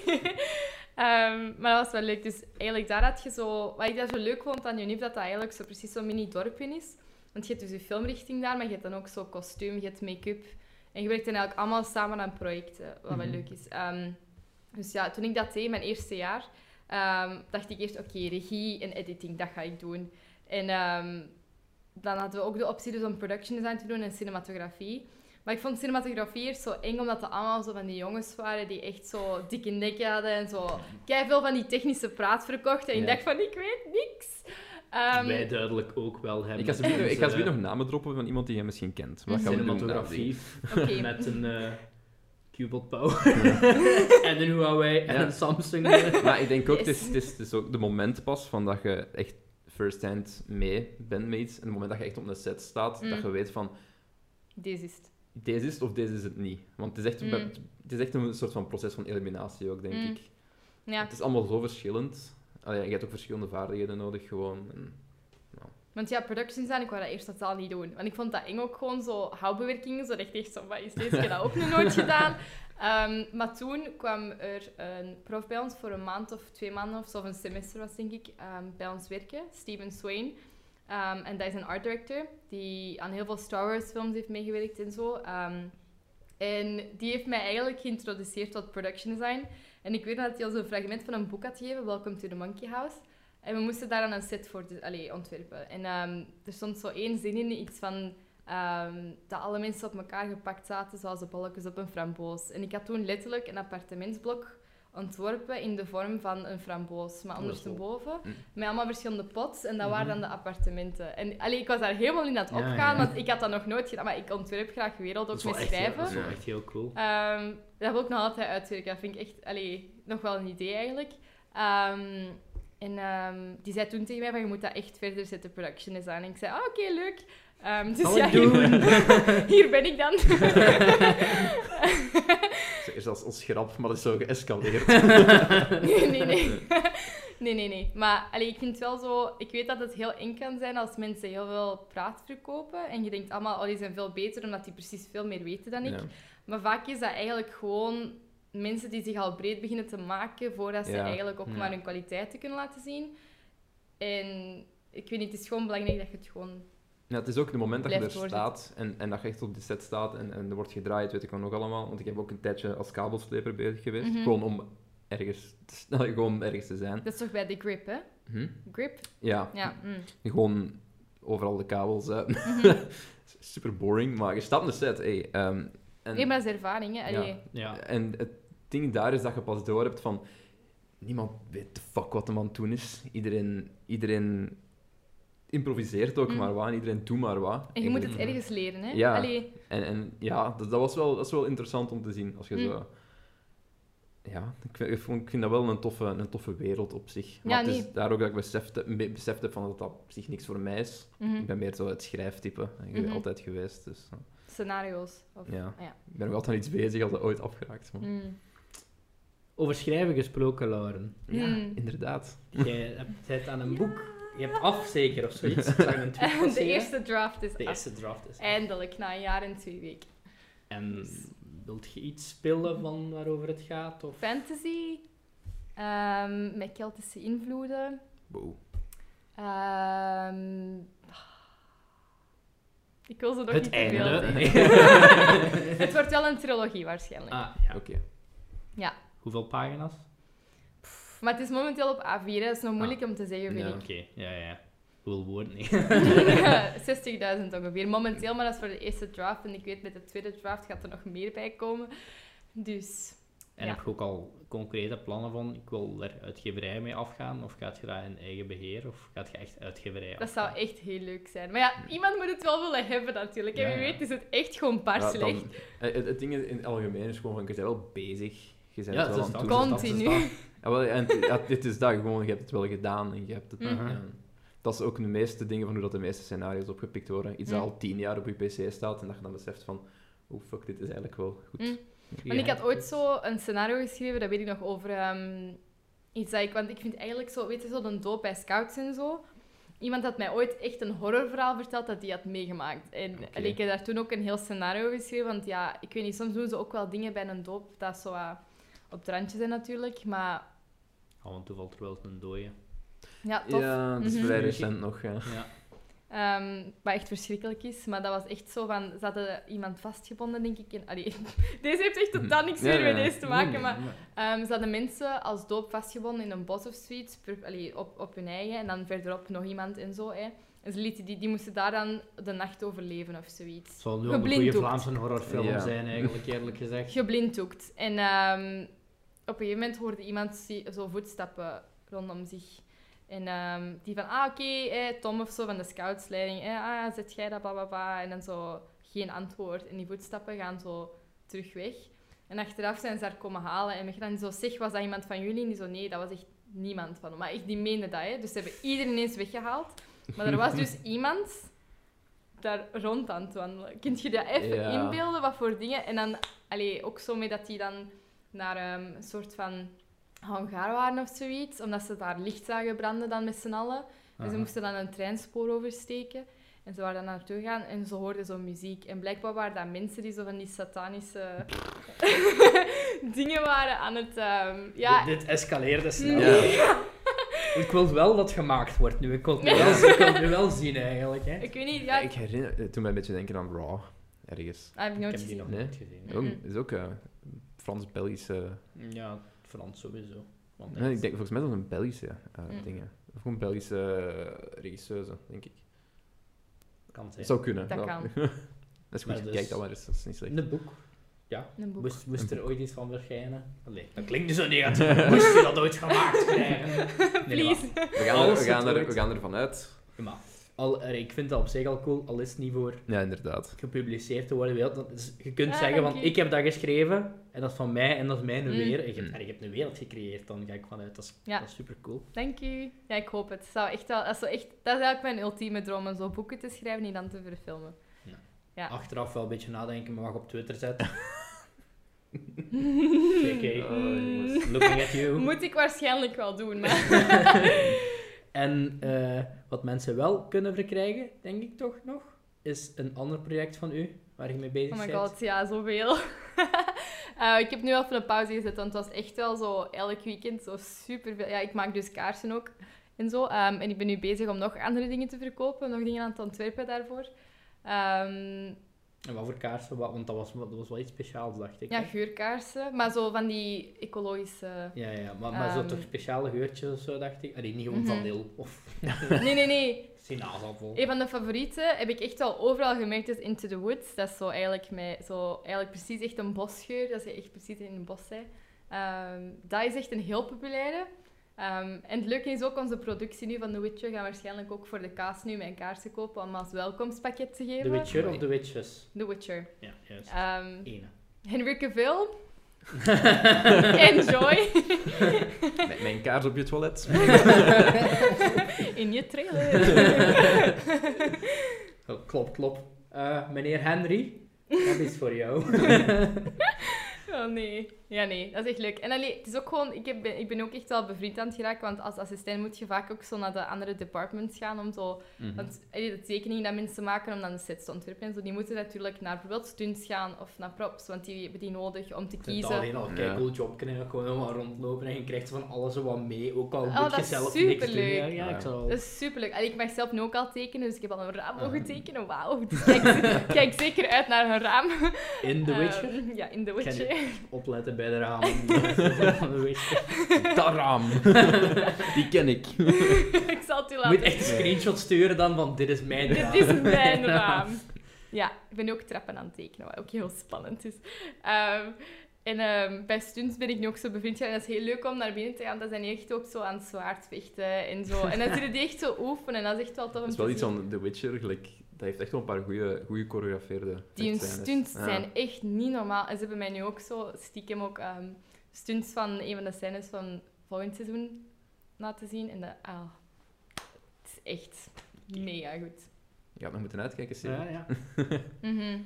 Speaker 3: Ehm, maar dat was wel leuk. Dus eigenlijk daar had je zo... Wat ik daar zo leuk vond aan Unif, dat dat eigenlijk zo precies zo'n mini-dorpje is. Want je hebt dus je filmrichting daar, maar je hebt dan ook zo kostuum, je hebt make-up. En je werkt dan eigenlijk allemaal samen aan projecten, wat wel
Speaker 2: Mhm.
Speaker 3: leuk is. Ehm, dus ja, toen ik dat deed, mijn eerste jaar, ehm, dacht ik eerst, oké, regie en editing, dat ga ik doen. En ehm, dan hadden we ook de optie dus om production design te doen en cinematografie. Maar ik vond cinematografie eerst zo eng, omdat dat allemaal zo van die jongens waren die echt zo dikke nek hadden en zo veel van die technische praat verkochten. En ik
Speaker 1: Ja.
Speaker 3: dacht van, ik weet niks. Ehm,
Speaker 1: Wij duidelijk ook wel hebben.
Speaker 2: Ik ga zo meteen- ik
Speaker 1: Onze
Speaker 2: ga zo meteen nog namen droppen van iemand die jij misschien kent. Wat gaan we doen?
Speaker 1: Cinematografie
Speaker 3: Oké,
Speaker 1: met een eh Cubot Power en een Huawei en
Speaker 2: Ja.
Speaker 1: een Samsung. eh.
Speaker 2: Maar ik denk ook, het, is,
Speaker 3: Yes.
Speaker 2: het, is, het is ook de moment pas van dat je echt first-hand mee bent met iets. En het moment dat je echt op een set staat,
Speaker 3: Mm.
Speaker 2: dat je weet van,
Speaker 3: deze is het.
Speaker 2: deze is het of deze is het niet. Want het is echt, een-
Speaker 3: Mm.
Speaker 2: het is echt een soort van proces van eliminatie ook, denk
Speaker 3: Mm.
Speaker 2: ik.
Speaker 3: Ja,
Speaker 2: Het is allemaal zo verschillend. Allee, je hebt ook verschillende vaardigheden nodig, gewoon. En,
Speaker 3: want ja, productions aan, ik wou dat eerst totaal niet doen. Want ik vond dat eng ook gewoon zo, houtbewerkingen, zo dat ik echt zo, wat is deze, ik heb dat ook nog nooit gedaan. Ehm, maar toen kwam er een prof bij ons voor een maand of twee maanden of zo, of een semester was denk ik, ehm, bij ons werken, Steven Swain. Ehm, en dat is een art director die aan heel veel Star Wars films heeft meegewerkt en zo. Ehm, en die heeft mij eigenlijk geïntroduceerd tot production design. En ik weet nog dat hij ons een fragment van een boek had gegeven, Welcome to the Monkey House. En we moesten daar aan een set voor de- allee, ontwerpen. En ehm, er stond zo één zin in, iets van ehm, dat alle mensen op elkaar gepakt zaten, zoals de bolletjes op een framboos. En ik had toen letterlijk een appartementsblok ontworpen in de vorm van een framboos, maar
Speaker 1: Oh, dat is
Speaker 3: ondersteboven.
Speaker 2: Mm.
Speaker 3: Met allemaal verschillende pots en dat
Speaker 1: Mhm.
Speaker 3: waren dan de appartementen. En allee, ik was daar helemaal in aan het
Speaker 1: Ja, ja.
Speaker 3: opgaan, want ik had dat nog nooit gedaan, maar ik ontwerp graag wereld
Speaker 1: Dat
Speaker 3: ook
Speaker 1: is
Speaker 3: met
Speaker 1: wel echt heel-
Speaker 3: schrijven.
Speaker 1: Dat is wel echt heel cool.
Speaker 3: Ehm, dat wil ik nog altijd uitwerken. Dat vind ik echt allee, nog wel een idee eigenlijk. Ehm, en ehm, die zei toen tegen mij: van, Je moet dat echt verder zetten, production design. En ik zei: ah, Oké, leuk. Ehm, dus
Speaker 1: Zal
Speaker 3: ja,
Speaker 1: ik doen.
Speaker 3: hier, hier ben ik dan.
Speaker 2: zo, eerst als, als grap, maar dat is zo geëscaleerd.
Speaker 3: nee, nee, nee. nee, nee, nee. Maar allee, ik vind het wel zo... Ik weet dat het heel eng kan zijn als mensen heel veel praat verkopen. En je denkt allemaal, oh, die zijn veel beter, omdat die precies veel meer weten dan ik.
Speaker 2: Ja.
Speaker 3: Maar vaak is dat eigenlijk gewoon mensen die zich al breed beginnen te maken voordat ze
Speaker 2: Ja, Hm.
Speaker 3: eigenlijk ook
Speaker 1: ja.
Speaker 3: maar hun kwaliteiten kunnen laten zien. En ik weet niet, het is gewoon belangrijk dat je het gewoon...
Speaker 2: Ja, het is ook het moment dat je er
Speaker 3: Blijft doorzitten.
Speaker 2: staat en, en dat je echt op de set staat en, en er wordt gedraaid, weet ik wel nog allemaal. Want ik heb ook een tijdje als kabelsleper bezig geweest.
Speaker 3: Mhm.
Speaker 2: Gewoon om ergens te, snel- gewoon ergens te zijn.
Speaker 3: Dat is toch bij de grip, hè?
Speaker 2: Hm?
Speaker 3: Grip?
Speaker 2: Ja.
Speaker 3: Ja. mm.
Speaker 2: gewoon overal de kabels. eh.
Speaker 3: Mhm.
Speaker 2: Super boring, maar je staat op de set. Hey, ehm, en,
Speaker 3: Nee, maar dat is ervaring, hè?
Speaker 2: Ja.
Speaker 3: Allee.
Speaker 1: Ja.
Speaker 2: en het ding daar is dat je pas door hebt van. Niemand weet de fuck wat hem aan het doen is. Iedereen, iedereen improviseert ook
Speaker 3: Mm.
Speaker 2: maar wat en iedereen doet maar wat.
Speaker 3: En je moet het
Speaker 2: En-
Speaker 3: ergens leren, hè?
Speaker 2: Ja.
Speaker 3: Allee.
Speaker 2: En, en ja, dat, dat was wel, dat is wel interessant om te zien. Als je
Speaker 3: Mm.
Speaker 2: zo... Ja, ik vind, ik vond- ik vind dat wel een toffe, een toffe wereld op zich. Maar
Speaker 3: Ja,
Speaker 2: het is
Speaker 3: nee.
Speaker 2: daar ook dat ik beseft, heb- be- beseft heb van dat dat op zich niks voor mij is.
Speaker 3: Mhm.
Speaker 2: Ik ben meer zo het schrijftype. Ik ben
Speaker 3: Mhm.
Speaker 2: altijd geweest, dus eh,
Speaker 3: Scenario's. Of...
Speaker 2: ja.
Speaker 3: ja.
Speaker 2: Ik ben nog altijd aan iets bezig als dat ooit afgeraakt. Maar...
Speaker 3: Mm.
Speaker 1: Over schrijven gesproken, Lauren.
Speaker 2: Ja,
Speaker 3: Mm.
Speaker 2: inderdaad.
Speaker 1: Jij hebt- zit aan een boek. Je hebt af, zeker, of zoiets. Ik zag een tweet
Speaker 3: de
Speaker 1: passeren.
Speaker 3: eerste draft is
Speaker 1: De
Speaker 3: af.
Speaker 1: eerste draft is af.
Speaker 3: Eindelijk, na een jaar en twee weken.
Speaker 1: En wilt je iets spelen van waarover het gaat? Of...
Speaker 3: Fantasy, ehm, met Keltische invloeden.
Speaker 2: Wow.
Speaker 3: Ehm, ik wil ze nog
Speaker 1: Het
Speaker 3: niet te veel
Speaker 1: einde.
Speaker 3: zeggen. Het wordt wel een trilogie waarschijnlijk.
Speaker 1: ah, ja.
Speaker 2: Oké.
Speaker 1: Hoeveel pagina's?
Speaker 3: Pff, Maar het is momenteel op A4, hè. dat is nog moeilijk om te zeggen,
Speaker 2: Ja.
Speaker 3: vind
Speaker 1: Oké, Ah. ja, ja. Hoeveel woorden? Nee.
Speaker 3: ik. 60.000 ongeveer momenteel, maar dat is voor de eerste draft. En ik weet, met de tweede draft gaat er nog meer bij komen. Dus
Speaker 1: En
Speaker 3: Ja.
Speaker 1: heb je ook al concrete plannen van, ik wil daar uitgeverij mee afgaan? Of gaat je dat in eigen beheer? Of gaat je echt uitgeverij
Speaker 3: dat
Speaker 1: afgaan?
Speaker 3: zou echt heel leuk zijn. Maar ja, iemand moet het wel willen hebben natuurlijk. En
Speaker 1: Ja,
Speaker 3: wie
Speaker 1: ja.
Speaker 3: weet is het echt gewoon paar
Speaker 2: Ja, dan-
Speaker 3: slecht.
Speaker 2: eh, het, het ding is, in het algemeen is gewoon van, je bent wel bezig. Je bent
Speaker 1: Ja, het
Speaker 2: het wel
Speaker 1: is
Speaker 2: aan
Speaker 1: dat.
Speaker 2: het doen.
Speaker 1: Kon-
Speaker 3: Continu.
Speaker 1: dat
Speaker 2: Ja, wel, en het- ja, dit is dat, gewoon, je hebt het wel gedaan en je hebt het...
Speaker 3: Mm.
Speaker 1: Mhm.
Speaker 2: ja. Dat is ook de meeste dingen van hoe dat de meeste scenario's opgepikt worden. Iets dat
Speaker 3: Mm.
Speaker 2: al tien jaar op je pc staat en dat je dan beseft van... Oh fuck, dit is eigenlijk wel goed.
Speaker 3: Mm.
Speaker 1: Ja.
Speaker 3: Want ik had ooit zo een scenario geschreven, dat weet ik nog, over ehm, iets dat ik... Want ik vind eigenlijk zo, weet je, zo een doop bij scouts en zo. Iemand had mij ooit echt een horrorverhaal verteld dat hij had meegemaakt. En
Speaker 2: Oké.
Speaker 3: allee, ik heb daar toen ook een heel scenario geschreven, want ja, ik weet niet, soms doen ze ook wel dingen bij een doop dat zo wat op het randje zijn natuurlijk, maar
Speaker 1: Oh, want toen valt er wel eens een dooie.
Speaker 3: ja, tof.
Speaker 2: Ja, dat is
Speaker 3: Mhm.
Speaker 2: vrij recent nog. Ja.
Speaker 1: Ja.
Speaker 3: Ehm, wat echt verschrikkelijk is, maar dat was echt zo van... Ze hadden iemand vastgebonden, denk ik. En, allee, deze heeft echt totaal niks
Speaker 2: Ja,
Speaker 3: meer
Speaker 2: ja,
Speaker 3: met
Speaker 2: ja.
Speaker 3: deze te maken,
Speaker 2: Nee, nee,
Speaker 3: maar...
Speaker 2: nee.
Speaker 3: Ehm, ze hadden mensen als doop vastgebonden in een bos of zoiets, per- allee, op, op hun eigen, en dan verderop nog iemand en zo. Hè. En ze lieten die, die moesten daar dan de nacht overleven of
Speaker 1: Het
Speaker 3: zoiets.
Speaker 1: zal nu ook een goede
Speaker 3: Geblinddoekt.
Speaker 1: Vlaamse horrorfilm
Speaker 2: Ja.
Speaker 1: zijn, eigenlijk, eerlijk gezegd.
Speaker 3: Geblinddoekt. En ehm, op een gegeven moment hoorde iemand zie- zo voetstappen rondom zich. En ehm, die van, ah oké, hè, Tom of zo van de scoutsleiding, hè, ah, zet jij dat, bla bla bla. En dan zo geen antwoord. En die voetstappen gaan zo terug weg. En achteraf zijn ze haar komen halen. En we gaan zo, zeg, was dat iemand van jullie? En die zo, nee, dat was echt niemand van hem. Maar echt, die meende dat, hè. Dus ze hebben iedereen eens weggehaald. Maar er was dus iemand daar rond aan het wandelen. Kunt je dat even
Speaker 2: Ja.
Speaker 3: inbeelden, wat voor dingen? En dan, allee, ook zo mee dat die dan naar ehm, een soort van hangar waren of zoiets. Omdat ze daar licht zagen branden dan met z'n allen. En ze
Speaker 1: Aha.
Speaker 3: moesten dan een treinspoor oversteken. En ze waren dan naartoe gegaan en ze hoorden zo muziek. En blijkbaar waren dat mensen die zo van die satanische dingen waren aan het... ehm, ja,
Speaker 1: Dit, dit escaleerde snel.
Speaker 2: Ja.
Speaker 1: Ik wil wel dat gemaakt wordt nu. Ik wil het nu wel, ik wil het nu wel zien, eigenlijk. Hè. Ik
Speaker 3: ik weet niet.
Speaker 2: Ja,
Speaker 3: Ja,
Speaker 2: ik herinner... Het doet mij een beetje denken aan Raw. Ergens.
Speaker 3: dat heb ik nooit
Speaker 1: heb die
Speaker 3: gezien.
Speaker 1: nog
Speaker 2: Nee.
Speaker 1: niet gezien.
Speaker 2: Ook-
Speaker 3: Mhm.
Speaker 2: is ook een Frans-Belgische...
Speaker 1: Ja, Frans sowieso. Want
Speaker 2: Nee, ik denk volgens mij dat is een Belgische eh
Speaker 3: Mm.
Speaker 2: dingen. Of gewoon Belgische eh, regisseuse, denk ik.
Speaker 1: kan zijn.
Speaker 2: Dat zou kunnen.
Speaker 3: Dat
Speaker 2: ja.
Speaker 3: kan.
Speaker 2: dat is goed.
Speaker 1: Maar dus-
Speaker 2: Kijk dat maar eens, dat is niet slecht.
Speaker 1: Een boek.
Speaker 3: Een boek.
Speaker 1: Moest, moest
Speaker 2: Een
Speaker 1: er ooit iets van verschijnen? Nee, dat klinkt nu zo negatief. Moest je dat ooit gemaakt krijgen? Nee, maar-
Speaker 3: Please.
Speaker 2: We gaan,
Speaker 1: Als
Speaker 2: er, we,
Speaker 1: het
Speaker 2: gaan er,
Speaker 1: ooit-
Speaker 2: we gaan ervan uit.
Speaker 1: Ja, maar al, allee, ik vind dat op zich al cool, al is het niet voor
Speaker 2: Ja, inderdaad.
Speaker 1: gepubliceerd te worden. wel, dat is- Je kunt
Speaker 3: Ah,
Speaker 1: zeggen van,
Speaker 3: dank u.
Speaker 1: ik heb dat geschreven, en dat is van mij, en dat is mijn
Speaker 3: Mm.
Speaker 1: weer. En je, hebt-
Speaker 2: Mm.
Speaker 1: en je hebt een wereld gecreëerd, dan ga ik vanuit. Dat is,
Speaker 3: Ja.
Speaker 1: dat is super cool.
Speaker 3: Thank you. Ja, ik hoop het. Zou echt wel, dat, zou echt, dat is eigenlijk mijn ultieme droom, om zo boeken te schrijven en dan te verfilmen. Ja.
Speaker 1: Achteraf wel een beetje nadenken, maar mag op Twitter zetten. JK, looking at you.
Speaker 3: Moet ik waarschijnlijk wel doen, maar...
Speaker 1: En eh, wat mensen wel kunnen verkrijgen, denk ik toch nog, is een ander project van u, waar je mee bezig
Speaker 3: Oh my
Speaker 1: bent.
Speaker 3: god, ja, zoveel. Eh ik heb nu even een pauze gezet, want het was echt wel zo elk weekend zo superveel. Ja, ik maak dus kaarsen ook. en zo. Ehm, en ik ben nu bezig om nog andere dingen te verkopen, nog dingen aan het ontwerpen daarvoor. Ehm,
Speaker 1: En wat voor kaarsen? Wat- Want dat was, dat was wel iets speciaals, dacht ik.
Speaker 3: ja,
Speaker 1: hè?
Speaker 3: geurkaarsen, maar zo van die ecologische...
Speaker 1: ja, ja, maar, maar zo
Speaker 3: Ehm.
Speaker 1: toch speciale geurtjes of zo, dacht ik. Allee, niet gewoon
Speaker 3: Mhm.
Speaker 1: vanil of
Speaker 3: Nee, nee, nee.
Speaker 1: sinaasappel.
Speaker 3: Een van de favorieten heb ik echt al overal gemerkt is Into the Woods. Dat is zo eigenlijk, met, zo eigenlijk precies echt een bosgeur, dat je echt precies in een bos bent. Ehm, dat is echt een heel populaire. Ehm, en het leuke is ook, onze productie nu van The Witcher gaan waarschijnlijk ook voor de kaas nu mijn kaarsen kopen om als welkomstpakket te
Speaker 1: De
Speaker 3: geven.
Speaker 1: Witcher of de Witches?
Speaker 3: The Witcher.
Speaker 1: Ja, juist.
Speaker 3: Ehm,
Speaker 1: Ene.
Speaker 3: Henry Cavill. Enjoy.
Speaker 2: Met mijn kaars op je toilet.
Speaker 3: in je trailer.
Speaker 1: Oh, klop, klop. Eh, meneer Henry, dat is voor jou.
Speaker 3: Oh nee. Ja, nee, dat is echt leuk. En allee, het is ook gewoon, ik, heb, ben- ik ben ook echt wel bevriend aan het geraken, want als assistent moet je vaak ook zo naar de andere departments gaan om zo.
Speaker 1: Mhm.
Speaker 3: Want allee, de tekening dat mensen maken om dan de sets te ontwerpen en zo, die moeten natuurlijk naar bijvoorbeeld stunts gaan of naar props, want die hebben die nodig om te
Speaker 1: Ik vind het
Speaker 3: kiezen.
Speaker 1: alleen al een
Speaker 2: Ja.
Speaker 1: kei cool job kunnen en gewoon helemaal rondlopen en je krijgt van alles wat mee, ook al
Speaker 3: Oh,
Speaker 1: moet
Speaker 3: dat
Speaker 1: je
Speaker 3: is
Speaker 1: zelf niks doen.
Speaker 3: superleuk. Dus,
Speaker 1: Ja, ja, ik
Speaker 2: Ja.
Speaker 1: zal...
Speaker 3: Dat is superleuk. Allee, ik mag zelf nu ook al tekenen, dus ik heb al een raam
Speaker 1: Ah.
Speaker 3: mogen tekenen. Wauw. Dus kijk, kijk zeker uit naar een raam.
Speaker 1: In The Witcher,
Speaker 3: Ehm, ja, in The
Speaker 1: Ken
Speaker 3: Witcher.
Speaker 1: opletten bij de ramen. De Witcher.
Speaker 2: Taram! Die ken ik.
Speaker 3: ik zal het u
Speaker 1: Je
Speaker 3: laten
Speaker 1: moet echt een screenshot sturen dan van dit is mijn raam.
Speaker 3: Dit is mijn raam. Ja, ik ben nu ook trappen aan het tekenen, wat ook heel spannend is. Ehm, en ehm, bij stunts ben ik nu ook zo bevriend. geraakt. En dat is heel leuk om naar binnen te gaan. Dat zijn die echt ook zo aan het zwaardvechten en zo. En dan zullen die echt zo oefenen. Dat is echt wel tof om
Speaker 2: Dat is
Speaker 3: te
Speaker 2: wel iets
Speaker 3: zien.
Speaker 2: van The Witcher, gelijk, dat heeft echt wel een paar goede choreografeerde
Speaker 3: Die hun
Speaker 2: vechtscènes.
Speaker 3: stunts
Speaker 2: dus- Ja.
Speaker 3: zijn echt niet normaal. En ze hebben mij nu ook zo stiekem ook ehm, stunts van een van de scènes van volgend seizoen laten zien. En dat, ah, het is echt mega goed.
Speaker 2: Je had nog moeten uitkijken, Sim.
Speaker 1: Ja, ja.
Speaker 3: Mhm.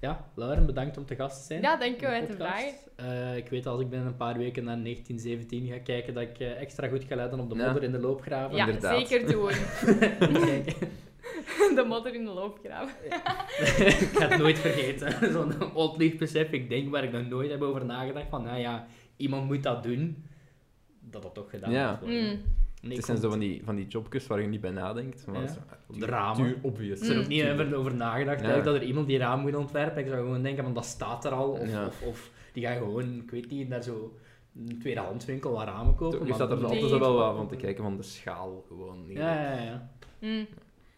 Speaker 1: ja, Lauren, bedankt om te gast te zijn.
Speaker 3: Ja, dank je
Speaker 1: in de
Speaker 3: wel te
Speaker 1: podcast.
Speaker 3: vragen.
Speaker 1: Eh, ik weet als ik binnen een paar weken naar 1917 ga kijken, dat ik eh, extra goed ga letten op de
Speaker 2: Ja.
Speaker 1: modder in de loopgraven.
Speaker 3: Ja,
Speaker 2: inderdaad.
Speaker 3: zeker doen.
Speaker 1: Kijk,
Speaker 3: De modder in de loopgraaf.
Speaker 1: ik ga het nooit vergeten. Zo'n oplicht besef, ik denk waar ik nog nooit heb over nagedacht, van nou ja, iemand moet dat doen, dat dat toch gedaan
Speaker 2: Ja.
Speaker 1: moet worden.
Speaker 3: Mm.
Speaker 1: Nee,
Speaker 2: Het
Speaker 1: ik
Speaker 2: zijn
Speaker 1: vond-
Speaker 2: zo van die, van die jobkes waar je niet bij nadenkt. Maar
Speaker 1: Ja.
Speaker 2: dat is-
Speaker 1: De ramen.
Speaker 2: Duur obvious.
Speaker 1: Ik heb er ook niet
Speaker 2: Tuurlijk.
Speaker 1: even over nagedacht,
Speaker 2: Mm. Ja.
Speaker 1: eigenlijk, dat er iemand die raam moet ontwerpen. Ik zou gewoon denken, van, dat staat er al. Of,
Speaker 2: Ja.
Speaker 1: of, of die gaan gewoon, ik weet niet, naar zo een tweedehandswinkel wat ramen kopen.
Speaker 2: Je
Speaker 1: maar-
Speaker 2: staat er
Speaker 3: Nee.
Speaker 2: altijd zo wel wat van te kijken van de schaal gewoon. niet.
Speaker 1: Ja, ja, ja.
Speaker 3: Mm.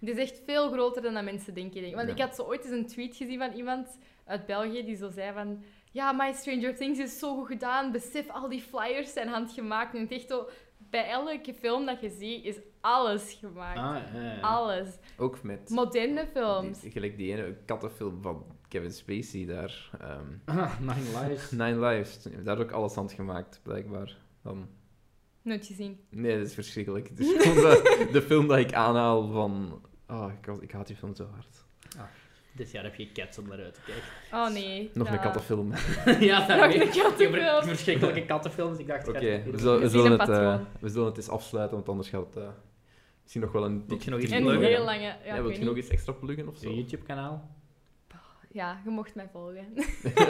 Speaker 3: Het is echt veel groter dan dat mensen denken. denk ik. Want
Speaker 2: Ja.
Speaker 3: ik had zo ooit eens een tweet gezien van iemand uit België die zo zei van... Ja, My Stranger Things is zo goed gedaan. Besef, al die flyers zijn handgemaakt. En het is echt zo... Bij elke film dat je ziet, is alles gemaakt.
Speaker 1: Ah, ja, ja.
Speaker 3: Alles.
Speaker 2: Ook met
Speaker 3: Moderne films.
Speaker 2: die, gelijk die ene kattenfilm van Kevin Spacey daar. ehm,
Speaker 1: Ah, Nine Lives.
Speaker 2: Nine Lives. Daar is ook alles handgemaakt, blijkbaar. Dan...
Speaker 3: Nooit gezien.
Speaker 2: Nee, dat is verschrikkelijk. Het is gewoon de, de film dat ik aanhaal van... Oh, ik, was- ik haat die film zo hard.
Speaker 1: Dit jaar heb je cats om naar uit te kijken.
Speaker 3: Oh nee.
Speaker 2: Nog
Speaker 3: Ja.
Speaker 2: een kattenfilm. Oké,
Speaker 1: ja,
Speaker 3: Nog
Speaker 1: dat weet
Speaker 3: een
Speaker 1: ik. Ik heb er-
Speaker 3: kattenfilm.
Speaker 1: Verschrikkelijke kattenfilms. Ik dacht, ik ga het niet
Speaker 2: we,
Speaker 1: doen.
Speaker 2: zullen- we
Speaker 3: Gezien
Speaker 2: zullen
Speaker 3: een
Speaker 2: het, eh,
Speaker 3: patroon.
Speaker 2: we zullen het eens afsluiten, want anders gaat het eh, misschien nog wel een...
Speaker 1: Moet je nog iets
Speaker 3: En
Speaker 1: pluggen?
Speaker 3: heel lange... Ja,
Speaker 2: Ja,
Speaker 3: ik
Speaker 2: wil
Speaker 3: weet
Speaker 2: je nog
Speaker 3: niet.
Speaker 2: iets extra pluggen of zo?
Speaker 1: Zo'n YouTube-kanaal.
Speaker 3: Ja, je mocht mij volgen.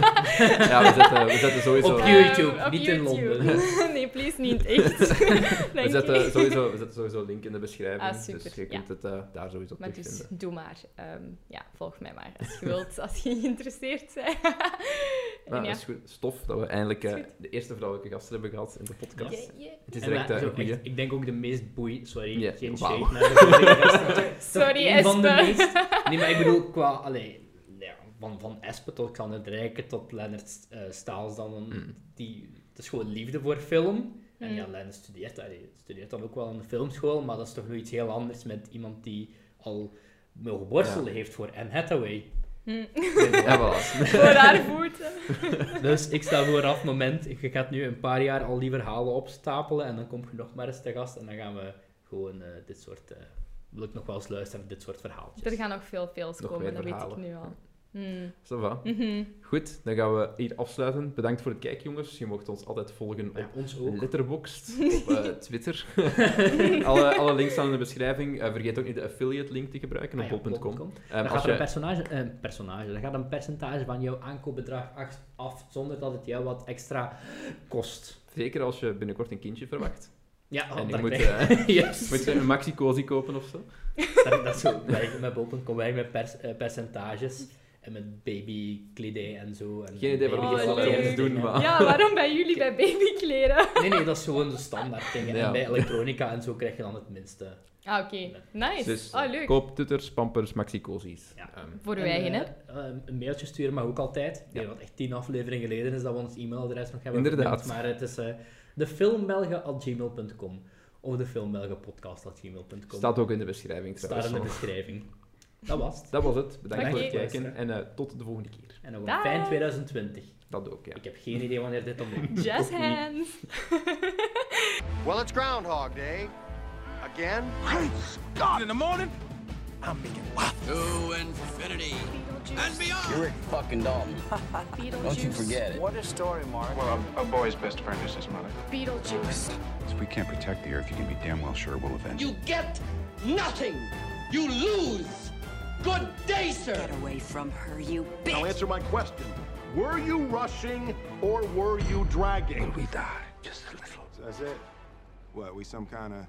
Speaker 2: Ja, we zetten, we zetten sowieso...
Speaker 1: Op
Speaker 3: Ehm,
Speaker 1: YouTube,
Speaker 3: op
Speaker 1: niet in
Speaker 3: YouTube. nee, please, niet echt.
Speaker 2: We
Speaker 3: Dank
Speaker 2: zetten,
Speaker 3: je.
Speaker 2: sowieso, we zetten sowieso een link in de beschrijving,
Speaker 3: Ah, super,
Speaker 2: dus je
Speaker 3: ja.
Speaker 2: kunt het eh, daar sowieso
Speaker 3: Maar dus,
Speaker 2: terugvinden.
Speaker 3: doe maar. Ehm, ja, volg mij maar als je wilt, als je geïnteresseerd bent. En
Speaker 2: Nou,
Speaker 3: ja.
Speaker 2: dat is goed. Stof dat we eindelijk eh,
Speaker 3: Is goed.
Speaker 2: de eerste vrouwelijke gasten hebben gehad in de podcast.
Speaker 1: Ja.
Speaker 3: Yeah, yeah.
Speaker 2: Het is
Speaker 1: En
Speaker 2: direct
Speaker 1: wij-
Speaker 2: eh,
Speaker 1: zo
Speaker 2: een goeie.
Speaker 1: echt, Ik denk ook de meest boeiende... Sorry,
Speaker 2: Ja,
Speaker 1: geen
Speaker 2: wauw.
Speaker 1: shade naar de gasten.
Speaker 3: Sorry,
Speaker 1: Een van de
Speaker 3: Espe.
Speaker 1: meest- Nee, maar ik bedoel, qua... Allee, ja, van, van Espe tot Xander Rijken tot Leonard eh, Staals dan...
Speaker 2: Mm.
Speaker 1: Die, het is gewoon liefde voor film. En ja,
Speaker 3: Mm.
Speaker 1: Leonard studeert, allee, studeert dan ook wel aan de filmschool, maar dat is toch nog iets heel anders met iemand die al mogen worstelen
Speaker 2: Ja.
Speaker 1: heeft voor Anne Hathaway.
Speaker 3: Hm,
Speaker 2: Ja, voilà.
Speaker 3: Voor haar voeten.
Speaker 1: Dus ik stel vooraf, moment, je gaat nu een paar jaar al die verhalen opstapelen en dan kom je nog maar eens te gast en dan gaan we gewoon eh, dit soort... eh, wil ik nog wel eens luisteren naar dit soort verhaaltjes.
Speaker 3: Er gaan nog veel fails
Speaker 2: Nog
Speaker 3: komen,
Speaker 2: meer
Speaker 3: dat weet ik
Speaker 2: verhalen.
Speaker 3: nu al. Hm.
Speaker 2: Zo va.
Speaker 3: Mhm.
Speaker 2: Goed, dan gaan we hier afsluiten. Bedankt voor het kijken, jongens. Je mocht ons altijd volgen op
Speaker 1: Ja, ons ook.
Speaker 2: Letterboxd, op eh, Twitter. alle, alle links staan in de beschrijving. Eh, vergeet ook niet de affiliate link te gebruiken op
Speaker 1: Ah ja,
Speaker 2: bol.com.
Speaker 1: bol.com.
Speaker 2: Ehm,
Speaker 1: dan
Speaker 2: als
Speaker 1: gaat er een
Speaker 2: je...
Speaker 1: personage, eh, een personage, dan gaat een percentage van jouw aankoopbedrag af- af, zonder dat het jou wat extra kost.
Speaker 2: Zeker als je binnenkort een kindje verwacht.
Speaker 1: Ja, oh,
Speaker 2: en je
Speaker 1: dat
Speaker 2: moet,
Speaker 1: krijg-
Speaker 2: eh,
Speaker 1: Yes.
Speaker 2: moet je een maxi cozy kopen of zo.
Speaker 1: Dat, dat is zo. Wij, met bol.com werken met pers- eh, percentages en met babykledij en zo. En
Speaker 2: Geen idee waar
Speaker 1: baby-
Speaker 2: die
Speaker 3: Oh,
Speaker 2: gasten ons
Speaker 3: leuk.
Speaker 2: doen, maar...
Speaker 3: Ja, waarom bij jullie bij babykleren?
Speaker 1: Nee, nee, dat is gewoon de standaard dingen.
Speaker 2: Ja.
Speaker 1: En bij elektronica en zo krijg je dan het minste.
Speaker 3: Ah, oké. Nice.
Speaker 2: Dus
Speaker 3: oh, leuk.
Speaker 2: koop tutters, pampers, maxi cozies.
Speaker 1: Ja.
Speaker 2: Ehm,
Speaker 3: Voor uw
Speaker 1: En,
Speaker 3: eigen, hè?
Speaker 1: eh, eh, Een mailtje sturen mag ook altijd. Ik denk
Speaker 2: Ja.
Speaker 1: dat echt tien afleveringen geleden is dat we ons e-mailadres nog hebben.
Speaker 2: Inderdaad.
Speaker 1: vermeld, Maar het is eh defilmbelgen.gmail.com of defilmbelgenpodcast.gmail.com.
Speaker 2: staat ook in de beschrijving
Speaker 1: Staat
Speaker 2: trouwens.
Speaker 1: in de beschrijving. Dat was het.
Speaker 2: Dat was het. Bedankt
Speaker 3: Oké.
Speaker 2: voor het kijken en eh, tot de volgende keer.
Speaker 1: En nog een
Speaker 3: Dag.
Speaker 1: fijn 2020.
Speaker 2: Dat ook, ja.
Speaker 1: Ik heb geen idee wanneer dit online komt.
Speaker 3: Jazz
Speaker 2: eh, niet.
Speaker 3: hands.
Speaker 4: Well, it's Groundhog Day. Again?
Speaker 5: In the morning, I'm making waffles.
Speaker 6: To infinity and beyond. You're Rick fucking Dalton. Don't you forget it.
Speaker 4: What a story, Mark.
Speaker 7: Well, a, a boy's best friend is his mother.
Speaker 8: If we can't protect the Earth, you can be damn well sure we'll avenge it.
Speaker 6: You get nothing. You lose. Good day, sir.
Speaker 9: Get away from her, you
Speaker 7: Now
Speaker 9: bitch!
Speaker 7: answer my question. Were you rushing or were you dragging?
Speaker 8: We die just a little.
Speaker 7: That's it. What, we some kind of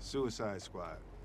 Speaker 7: suicide squad?